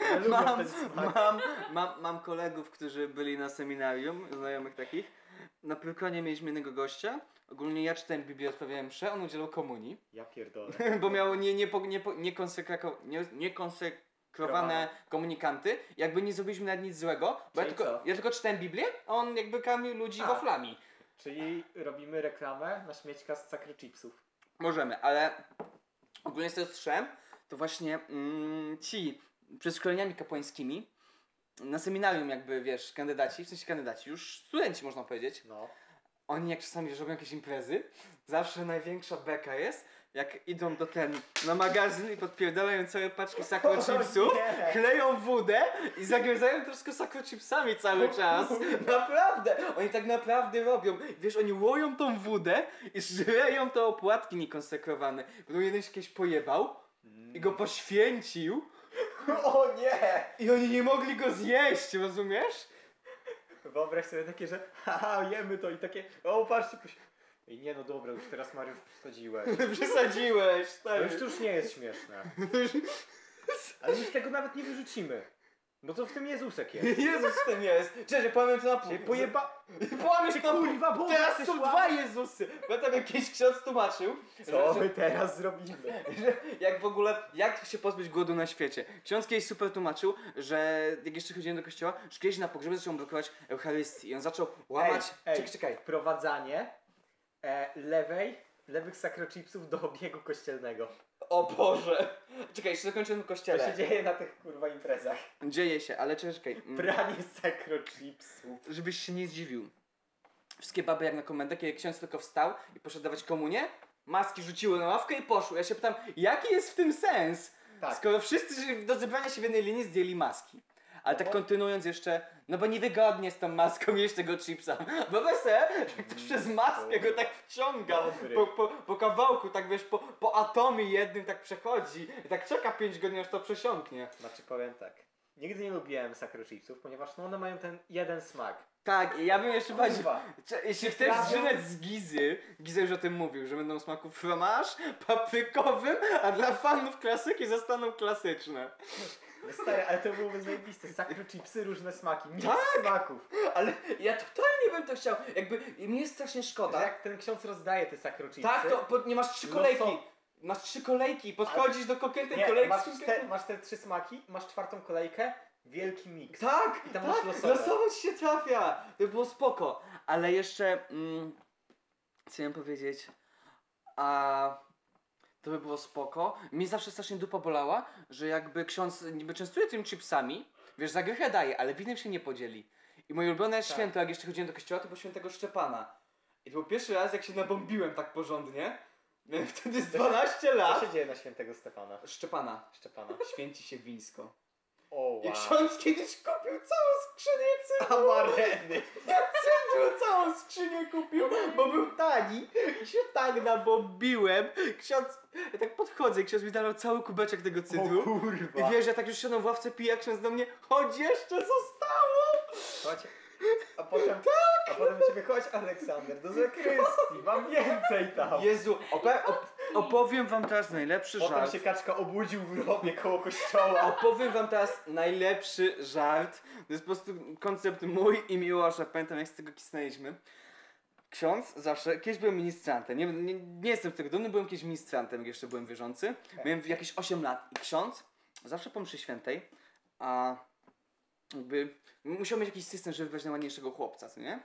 Speaker 1: Ale lubią
Speaker 2: Mam,
Speaker 1: ten smak.
Speaker 2: mam, mam, mam kolegów, którzy byli na seminarium, znajomych takich. Na Pyrkonie mieliśmy innego gościa. Ogólnie ja czytałem Biblię, odprawiałem mszę, on udzielał komunii,
Speaker 1: Ja pierdolę.
Speaker 2: bo miał nie, nie, po- nie, po- niekonsekrako- nie, niekonsekrowane komunikanty. Jakby nie zrobiliśmy nawet nic złego, bo ja
Speaker 1: Czyli
Speaker 2: tylko,
Speaker 1: co?
Speaker 2: ja tylko czytałem Biblię, a on jakby kamił ludzi
Speaker 1: A.
Speaker 2: waflami.
Speaker 1: Czyli robimy reklamę na śmiećka z sakry chipsów.
Speaker 2: Możemy, ale ogólnie z tego strzem, to właśnie mm, ci przed szkoleniami kapłańskimi na seminarium jakby, wiesz, kandydaci, w sensie kandydaci, już studenci można powiedzieć,
Speaker 1: No.
Speaker 2: oni jak czasami robią jakieś imprezy, zawsze największa beka jest, jak idą do ten, na magazyn i podpierdalają całe paczki sakro chipsów, kleją wódę i zagryzają troszkę sakro chipsami cały czas. Naprawdę! Oni tak naprawdę robią. Wiesz, oni łoją tą wódę i żreją te opłatki niekonsekrowane. Bo jeden się kiedyś pojebał i go poświęcił
Speaker 1: Mm. O nie!
Speaker 2: i oni nie mogli go zjeść, rozumiesz?
Speaker 1: Wyobraź sobie takie, że haha, jemy to i takie, o patrzcie, poś... I nie no dobra, już teraz Mariusz przesadziłeś.
Speaker 2: Przesadziłeś,
Speaker 1: To
Speaker 2: tak.
Speaker 1: już, to już nie jest śmieszne. Ale już tego nawet nie wyrzucimy. Bo to w tym Jezusek jest.
Speaker 2: Jezus w tym jest! Cześć, pamięć na pół.
Speaker 1: Czyli pojeba...
Speaker 2: Płamiesz na pół.
Speaker 1: Kurwa, bo
Speaker 2: Teraz są dwa Jezusy! Bo tam jakiś ksiądz tłumaczył,
Speaker 1: Co
Speaker 2: że,
Speaker 1: my teraz zrobimy?
Speaker 2: że jak w ogóle, jak się pozbyć głodu na świecie. Ksiądz kiedyś super tłumaczył, że jak jeszcze chodziłem do kościoła, że kiedyś na pogrzebie zaczął blokować Eucharystię i on zaczął łamać...
Speaker 1: ej.
Speaker 2: Czekaj, czekaj.
Speaker 1: Wprowadzanie e, lewej, lewych sakrochipsów do obiegu kościelnego.
Speaker 2: O Boże! Czekaj, jeszcze zakończę na
Speaker 1: To
Speaker 2: kościele.
Speaker 1: się dzieje na tych kurwa imprezach.
Speaker 2: Dzieje się, ale czekaj, czekaj. Mm.
Speaker 1: Pranie sakrochipsów.
Speaker 2: żebyś się nie zdziwił. Wszystkie baby jak na komendę, kiedy ksiądz tylko wstał i poszedł dawać komunię, maski rzuciły na ławkę i poszły. Ja się pytam, jaki jest w tym sens?
Speaker 1: Tak.
Speaker 2: Skoro wszyscy się- do zebrania się w jednej linii zdjęli maski. Ale
Speaker 1: No
Speaker 2: tak
Speaker 1: bo-
Speaker 2: kontynuując jeszcze, no bo niewygodnie z tą maską jeść tego chipsa. Bo se, że ktoś przez maskę go tak wciąga,
Speaker 1: Dobry.
Speaker 2: po, po, po kawałku, tak wiesz, po, po atomie jednym tak przechodzi i tak czeka 5 godzin, aż to przesiąknie.
Speaker 1: Znaczy powiem tak. Nigdy nie lubiłem sakrochipsów, ponieważ no one mają ten jeden smak.
Speaker 2: Tak, i ja bym jeszcze bardziej...
Speaker 1: Kurwa.
Speaker 2: Cze- Jeśli chcesz
Speaker 1: Trawią-
Speaker 2: zżynać z Gizy, Giza już o tym mówił, że będą smaku fromage, paprykowym, a dla fanów klasyki zostaną klasyczne.
Speaker 1: No Stary, ale to byłoby zajebiste. Sakro chipsy, różne smaki. Miks
Speaker 2: Tak?
Speaker 1: smaków.
Speaker 2: Ale ja totalnie bym to chciał, jakby, mi jest strasznie
Speaker 1: Że
Speaker 2: szkoda.
Speaker 1: jak ten ksiądz rozdaje te sakro chipsy.
Speaker 2: Tak, to po, nie masz trzy
Speaker 1: No
Speaker 2: kolejki,
Speaker 1: są.
Speaker 2: masz trzy kolejki, podchodzisz do konkretnej
Speaker 1: nie,
Speaker 2: kolejki.
Speaker 1: masz,
Speaker 2: z-
Speaker 1: te, masz te trzy smaki, masz czwartą kolejkę, wielki miks.
Speaker 2: Tak,
Speaker 1: I tam
Speaker 2: tak,
Speaker 1: masz losowe.
Speaker 2: losowo ci się trafia, to było spoko. Ale jeszcze, mm, co miałem powiedzieć, a to by było spoko. Mnie zawsze strasznie dupa bolała, że jakby ksiądz niby częstuje tymi chipsami, wiesz, za grychę daje, ale winem się nie podzieli. I moje ulubione
Speaker 1: Tak.
Speaker 2: święto, jak jeszcze chodziłem do kościoła, to było świętego Szczepana. I to był pierwszy raz, jak się nabombiłem tak porządnie. Miałem wtedy z 12
Speaker 1: Co
Speaker 2: lat.
Speaker 1: się dzieje na świętego Stefana?
Speaker 2: Szczepana.
Speaker 1: Szczepana.
Speaker 2: Święci się wińsko.
Speaker 1: O, wow.
Speaker 2: I ksiądz kiedyś kupił całą skrzynię
Speaker 1: Amareny.
Speaker 2: Cydru całą skrzynię kupił, bo był tani i się tak nabobiłem. Ksiądz, ja tak podchodzę i ksiądz mi dał cały kubeczek tego
Speaker 1: O
Speaker 2: cydru.
Speaker 1: kurwa.
Speaker 2: I wiesz, ja tak już siadam w ławce, piję, a ksiądz do mnie, chodź jeszcze zostało!
Speaker 1: Chodź. A potem, a potem ciebie chodź Aleksander do zakrystii, mam więcej tam.
Speaker 2: Jezu, opa- op- opowiem wam teraz najlepszy
Speaker 1: Potem
Speaker 2: żart.
Speaker 1: się kaczka obudził w robie koło kościoła.
Speaker 2: Opowiem wam teraz najlepszy żart. To jest po prostu koncept mój i Miłosza. Pamiętam jak z tego kisnęliśmy. Ksiądz zawsze, kiedyś byłem ministrantem, nie, nie, nie jestem z tego dumny, byłem kiedyś ministrantem, jak jeszcze byłem wierzący. Miałem jakieś 8 lat i ksiądz zawsze po mszy świętej, a jakby musiał mieć jakiś system, żeby wybrać najładniejszego chłopca, co nie?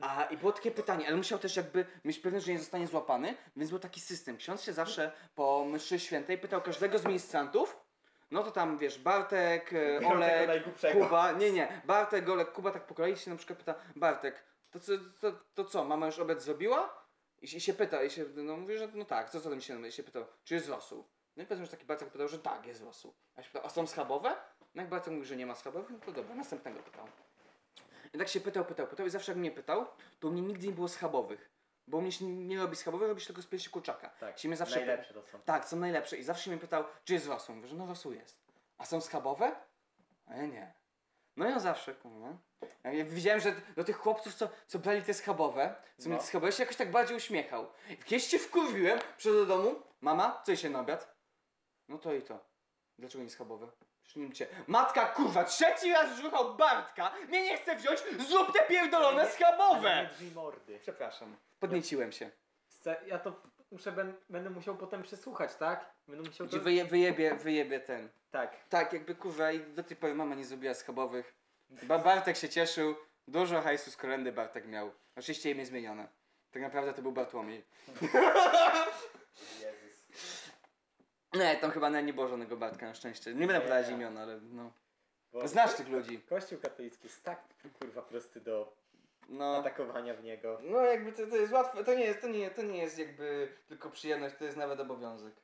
Speaker 2: A i było takie pytanie, ale musiał też jakby mieć pewność, że nie zostanie złapany, więc był taki system. Ksiądz się zawsze po mszy świętej pytał każdego z ministrantów, no to tam wiesz, Bartek, e,
Speaker 1: Biorą tego
Speaker 2: Olek,
Speaker 1: najgłupszego.
Speaker 2: Kuba, nie, nie, Bartek, Olek, Kuba tak po kolei się na przykład pyta, Bartek, to co, to, to co mama już obiad zrobiła? I, się- I się pyta, i się, no mówi, że no tak, co co tam się robi? I się pytał, czy jest rosół? No i potem już taki Bartek pytał, że tak, jest rosół. A się pytał, a są schabowe? No jak Bartek mówi, że nie ma schabowych, no to dobra, następnego pytał. I tak się pytał, pytał, pytał i zawsze jak mnie pytał, to u mnie nigdy nie było schabowych. Bo u mnie się nie robi schabowych, robi się tylko z piersi kurczaka.
Speaker 1: Tak,
Speaker 2: się mnie zawsze pyta-
Speaker 1: najlepsze to są.
Speaker 2: tak, są najlepsze. I zawsze mnie pytał, czy jest rosół. Mówię, że no rosół jest. A są schabowe? A ja nie. No ja zawsze, kurwa. Ja ja widziałem, że do tych chłopców, co, co brali te schabowe, co mieli
Speaker 1: No.
Speaker 2: te schabowe, się jakoś tak bardziej uśmiechał. I Kiedyś się wkurwiłem, przyszedł do domu, mama, co się na obiad? No to i to. Dlaczego nie schabowe? Przecież nie cię. Matka, kurwa, trzeci raz rzuchał Bartka, mnie nie chce wziąć, zrób te pierdolone
Speaker 1: Ale nie- Ale nie
Speaker 2: schabowe!
Speaker 1: drzwi mordy.
Speaker 2: Przepraszam. Podnieciłem się.
Speaker 1: Chcę- Ja to muszę, ben- będę musiał potem przesłuchać, tak? Będę musiał to...
Speaker 2: Gdzie wyje, wyjebie, wyjebie ten.
Speaker 1: Tak.
Speaker 2: Tak, jakby kurwa i do tej pory mama nie zrobiła schabowych. Ba Bartek się cieszył, dużo hajsu z kolendy Bartek miał. Oczywiście imię zmienione. Tak naprawdę to był Bartłomiej.
Speaker 1: Jezus.
Speaker 2: Nie, tam chyba nawet nie było żadnego Bartka na szczęście. Nie będę podawać imion, ale no.
Speaker 1: Bo
Speaker 2: Znasz tych ludzi.
Speaker 1: Kościół katolicki jest tak, kurwa, prosty do
Speaker 2: No,
Speaker 1: atakowania w niego.
Speaker 2: no jakby to, to jest łatwe, to nie jest, to nie, to nie jest jakby tylko przyjemność, to jest nawet obowiązek.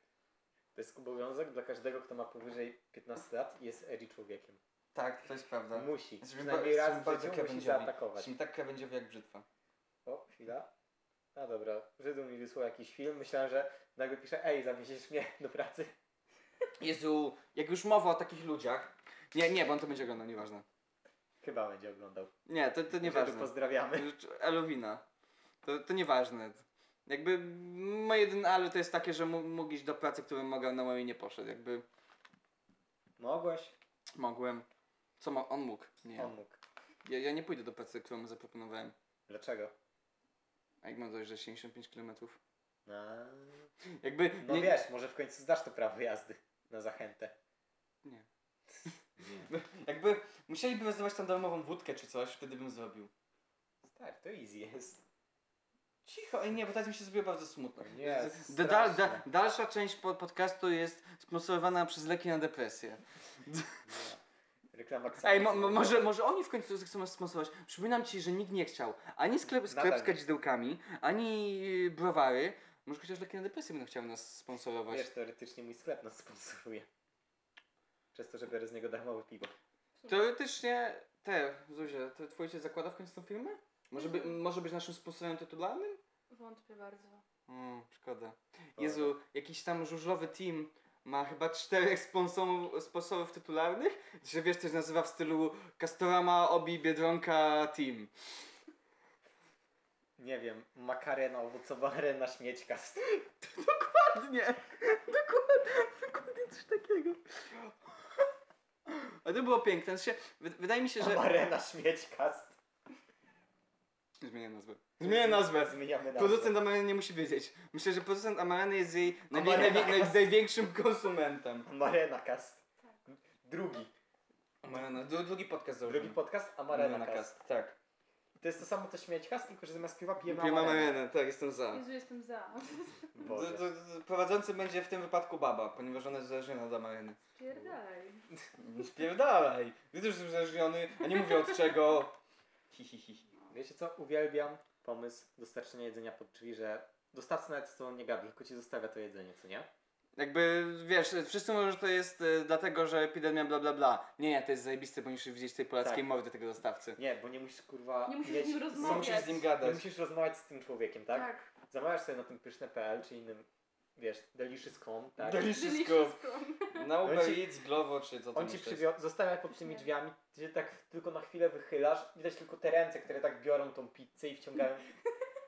Speaker 1: To jest obowiązek dla każdego, kto ma powyżej 15 lat i jest edgy człowiekiem.
Speaker 2: Tak, to jest prawda.
Speaker 1: Musi.
Speaker 2: Jesteśmy
Speaker 1: Przynajmniej
Speaker 2: ba-
Speaker 1: raz
Speaker 2: jesteśmy
Speaker 1: w życiu musi
Speaker 2: krawędziowi.
Speaker 1: zaatakować.
Speaker 2: Jesteśmy tak krawędziowi jak brzytwa.
Speaker 1: O, chwila. No dobra, Żydu mi wysłał jakiś film. Myślałem, że nagle pisze, ej, zawieziesz mnie do pracy.
Speaker 2: Jezu, jak już mowa o takich ludziach. Nie, nie, bo on to będzie oglądał, nieważne.
Speaker 1: Chyba będzie oglądał.
Speaker 2: Nie, to, to
Speaker 1: Żydu,
Speaker 2: nieważne.
Speaker 1: Pozdrawiamy.
Speaker 2: Elowina. To, to nieważne. Jakby moje jedyne ale to jest takie, że mu- mógł iść do pracy, którym mogłem, na mojej nie poszedł. Jakby
Speaker 1: Mogłeś?
Speaker 2: mogłem. Co mo- on mógł? Nie.
Speaker 1: On mógł.
Speaker 2: Ja, ja nie pójdę do pracy, którą mu zaproponowałem.
Speaker 1: Dlaczego?
Speaker 2: A jak mam dojeżdżać 75 km?
Speaker 1: A...
Speaker 2: Jakby.
Speaker 1: No
Speaker 2: nie,
Speaker 1: wiesz, może w końcu zdasz to prawo jazdy na zachętę.
Speaker 2: Nie. No, Jakby musieliby wyzywać tam darmową wódkę czy coś, wtedy bym zrobił. Tak,
Speaker 1: Stary, to easy jest.
Speaker 2: Cicho, ej nie, bo teraz mi się zrobiło bardzo smutno.
Speaker 1: Nie,
Speaker 2: Da, da, da,
Speaker 1: straszne.
Speaker 2: dalsza część po, podcastu jest sponsorowana przez leki na depresję.
Speaker 1: Nie. Reklama
Speaker 2: Ej, mo, mo, może, może oni w końcu chcą nas sponsorować. Przypominam ci, że nikt nie chciał. Ani sklep, sklep
Speaker 1: Nadal
Speaker 2: z
Speaker 1: nie.
Speaker 2: kadzidełkami, ani yy, browary. Może chociaż leki na depresję będą chciały nas sponsorować.
Speaker 1: Wiesz, teoretycznie mój sklep nas sponsoruje. Przez to, że biorę z niego darmowe piwo.
Speaker 2: Teoretycznie, te, Zuzia, to twój się zakłada w końcu tą firmę? Może, by,
Speaker 3: Mhm.
Speaker 2: może być naszym sponsorem tytularnym?
Speaker 3: Wątpię bardzo.
Speaker 2: Mm, szkoda. Jezu, jakiś tam żużlowy team ma chyba czterech sponsorów, sponsorów tytularnych, że wiesz, coś nazywa w stylu Castorama, Obi, Biedronka, Team.
Speaker 1: Nie wiem, makarena owocowa, arena śmiećka.
Speaker 2: Dokładnie, dokładnie, dokładnie coś takiego. A to było piękne, znaczy, wy- wydaje mi się, że...
Speaker 1: Arena śmiećka.
Speaker 2: Zmienię nazwę. Zmienię nazwę.
Speaker 1: Zmieniamy nazwę.
Speaker 2: Producent Amarany nie musi wiedzieć. Myślę, że producent Amarany jest jej najwie,
Speaker 1: Amarena
Speaker 2: najwie, naj,
Speaker 1: Cast.
Speaker 2: największym konsumentem.
Speaker 1: Amarena Cast. Drugi.
Speaker 2: Amarena, dru, drugi podcast
Speaker 1: Drugi podcast Amarena Cast.
Speaker 2: tak.
Speaker 1: To jest to samo co śmiećkas, tylko że zamiast piwa pijemy
Speaker 2: Pijemy
Speaker 1: Amarenę.
Speaker 2: Amarenę, tak, jestem za.
Speaker 3: Jezu, jestem za.
Speaker 1: Boże.
Speaker 2: D- d- d- Prowadzący będzie w tym wypadku baba, ponieważ ona jest zależna od Amareny.
Speaker 3: Pierdalaj.
Speaker 2: No Spierdalaj! Widzę, że jestem uzależniony, a nie mówię od czego. Hi, hi, hi.
Speaker 1: Wiecie co? Uwielbiam pomysł dostarczenia jedzenia pod drzwi, że dostawca nawet z tobą nie gada, tylko ci zostawia to jedzenie, co nie?
Speaker 2: Jakby, wiesz, wszyscy mówią, że to jest y, dlatego, że epidemia bla bla bla. Nie, nie, to jest zajebiste, bo musisz widzieć tej polackiej
Speaker 1: Tak.
Speaker 2: mordy tego dostawcy.
Speaker 1: Nie, bo nie musisz kurwa...
Speaker 3: Nie musisz
Speaker 1: mieć-
Speaker 3: z nim
Speaker 2: Co
Speaker 3: rozmawiać.
Speaker 2: musisz z nim
Speaker 1: Nie
Speaker 2: gadać?
Speaker 1: musisz rozmawiać z tym człowiekiem, tak?
Speaker 3: Tak.
Speaker 1: Zamawiasz sobie na tym pyszne.pl czy innym, wiesz, delicious.com, tak?
Speaker 2: Deli- Wszystko. Na
Speaker 1: On
Speaker 2: Uber
Speaker 1: ci-
Speaker 2: Eats, Glovo czy co tam
Speaker 1: On ci
Speaker 2: jeszcze
Speaker 1: przywio- zostawia pod tymi
Speaker 3: Nie.
Speaker 1: drzwiami, ty się tak tylko na chwilę wychylasz, widać tylko te ręce, które tak biorą tą pizzę i wciągają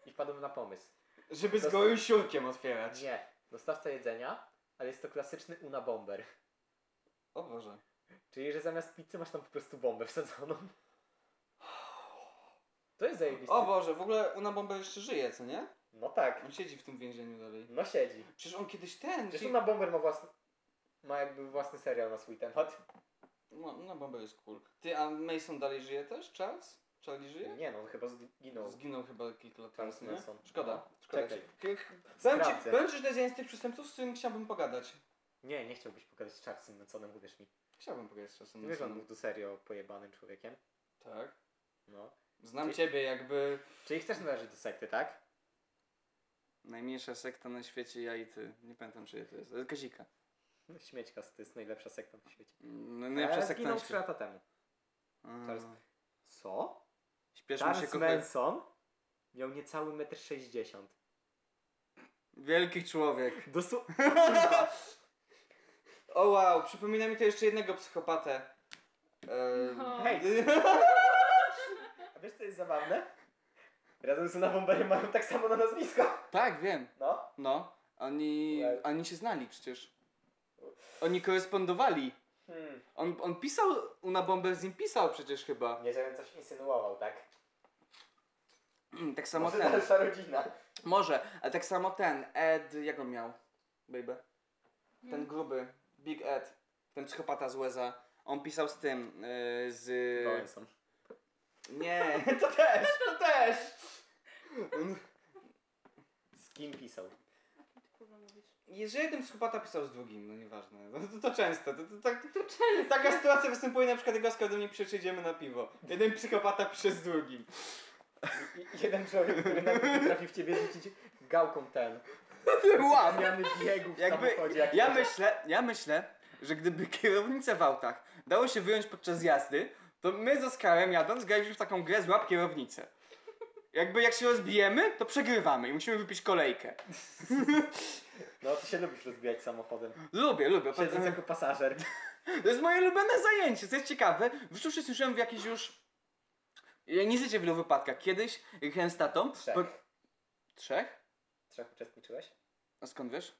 Speaker 1: i wpadłem na pomysł.
Speaker 2: jest? Żeby z
Speaker 1: Dosta-
Speaker 2: gołym siurkiem otwierać.
Speaker 1: Nie, dostawca jedzenia, ale jest to klasyczny Una Bomber.
Speaker 2: O Boże.
Speaker 1: Czyli, że zamiast pizzy masz tam po prostu bombę wsadzoną. To jest zajebiste.
Speaker 2: O Boże, w ogóle Una Bomba jeszcze żyje, co nie?
Speaker 1: No tak,
Speaker 2: On siedzi w tym więzieniu dalej.
Speaker 1: no siedzi.
Speaker 2: Przecież on kiedyś ten...
Speaker 1: Przecież Una Bomber ma własny, ma jakby własny serial na swój temat.
Speaker 2: No, no bomba jest cool. Ty, a Mason dalej żyje też? Charles? Charlie żyje?
Speaker 1: Nie no, on chyba zginął.
Speaker 2: Zginął chyba kilka lat
Speaker 1: Charles
Speaker 2: temu, nie?
Speaker 1: Manson. No.
Speaker 2: Szkoda. Szkoda.
Speaker 1: Czekaj.
Speaker 2: Powiem ci- Powiem ci,
Speaker 1: Sprawdzę.
Speaker 2: powiem ci, że to jest jeden z tych przestępców, z którym chciałbym pogadać.
Speaker 1: Nie, nie chciałbyś pokazać Charlesem Mansonem, uwierz mi.
Speaker 2: Chciałbym pogadać z czasem.
Speaker 1: Ty wiesz, że on był tu serio pojebanym człowiekiem.
Speaker 2: Tak.
Speaker 1: No.
Speaker 2: Znam
Speaker 1: Ty-
Speaker 2: ciebie jakby...
Speaker 1: Czyli chcesz należeć do sekty, tak?
Speaker 2: Najmniejsza sekta na świecie, ja i ty. Nie pamiętam, czy to jest. Kazika.
Speaker 1: No, Śmiećka, to jest najlepsza sekta na świecie.
Speaker 2: No,
Speaker 1: Ale zginął 3 lata temu. Charles- Co?
Speaker 2: Śpieszmy się
Speaker 1: Charles
Speaker 2: kochać.
Speaker 1: Manson miał niecały 1,60 m.
Speaker 2: Wielki człowiek.
Speaker 1: Dosu...
Speaker 2: O wow, przypomina mi to jeszcze jednego psychopatę. Ehm,
Speaker 3: No.
Speaker 1: Hej. A wiesz, co jest zabawne? Razem z Bombery mają tak samo na nazwisko.
Speaker 2: tak, wiem.
Speaker 1: No.
Speaker 2: No, oni,
Speaker 1: Wow.
Speaker 2: oni się znali przecież. Oni korespondowali.
Speaker 1: Hmm.
Speaker 2: On, on pisał, Una Bomber z nim pisał przecież chyba.
Speaker 1: Nie, żebym coś insynuował, tak?
Speaker 2: Mm, Tak samo
Speaker 1: Może
Speaker 2: ten.
Speaker 1: dalsza rodzina.
Speaker 2: Może, ale tak samo ten. Ed, jak on miał? Baby. Ten
Speaker 3: Ten...
Speaker 2: gruby. Big Ed. Ten psychopata z Łeza. On pisał z tym, yy, z...
Speaker 1: Manson.
Speaker 2: Nie, to też, to też!
Speaker 1: Z kim pisał?
Speaker 2: Jeżeli jeden psychopata pisał z drugim, no nieważne. To, to, to często, to, to, tak,
Speaker 3: To często.
Speaker 2: Taka sytuacja występuje na przykład, jak Oskar do mnie przyjdzie, idziemy na piwo. Jeden psychopata przez drugim.
Speaker 1: I- Jeden człowiek, który nawet potrafi w ciebie rzucić gałką ten.
Speaker 2: Łam!
Speaker 1: Zmiany biegów w
Speaker 2: Jakby,
Speaker 1: samochodzie. Jak
Speaker 2: ja, myślę, ja myślę, że gdyby kierownicę w autach dało się wyjąć podczas jazdy, to my z Oskarem jadąc graliśmy w taką grę złap kierownicę. Jakby jak się rozbijemy, to przegrywamy i musimy wypić kolejkę.
Speaker 1: No ty się lubisz rozbijać samochodem.
Speaker 2: Lubię, lubię.
Speaker 1: Siedząc jako pasażer.
Speaker 2: To jest moje ulubione zajęcie, co jest ciekawe. W życiu uczestniczyłem w jakiejś już... Ja nie życie w wielu wypadkach. Kiedyś jechałem z tatą...
Speaker 1: Trzech.
Speaker 2: po- Trzech?
Speaker 1: Trzech uczestniczyłeś?
Speaker 2: A skąd wiesz?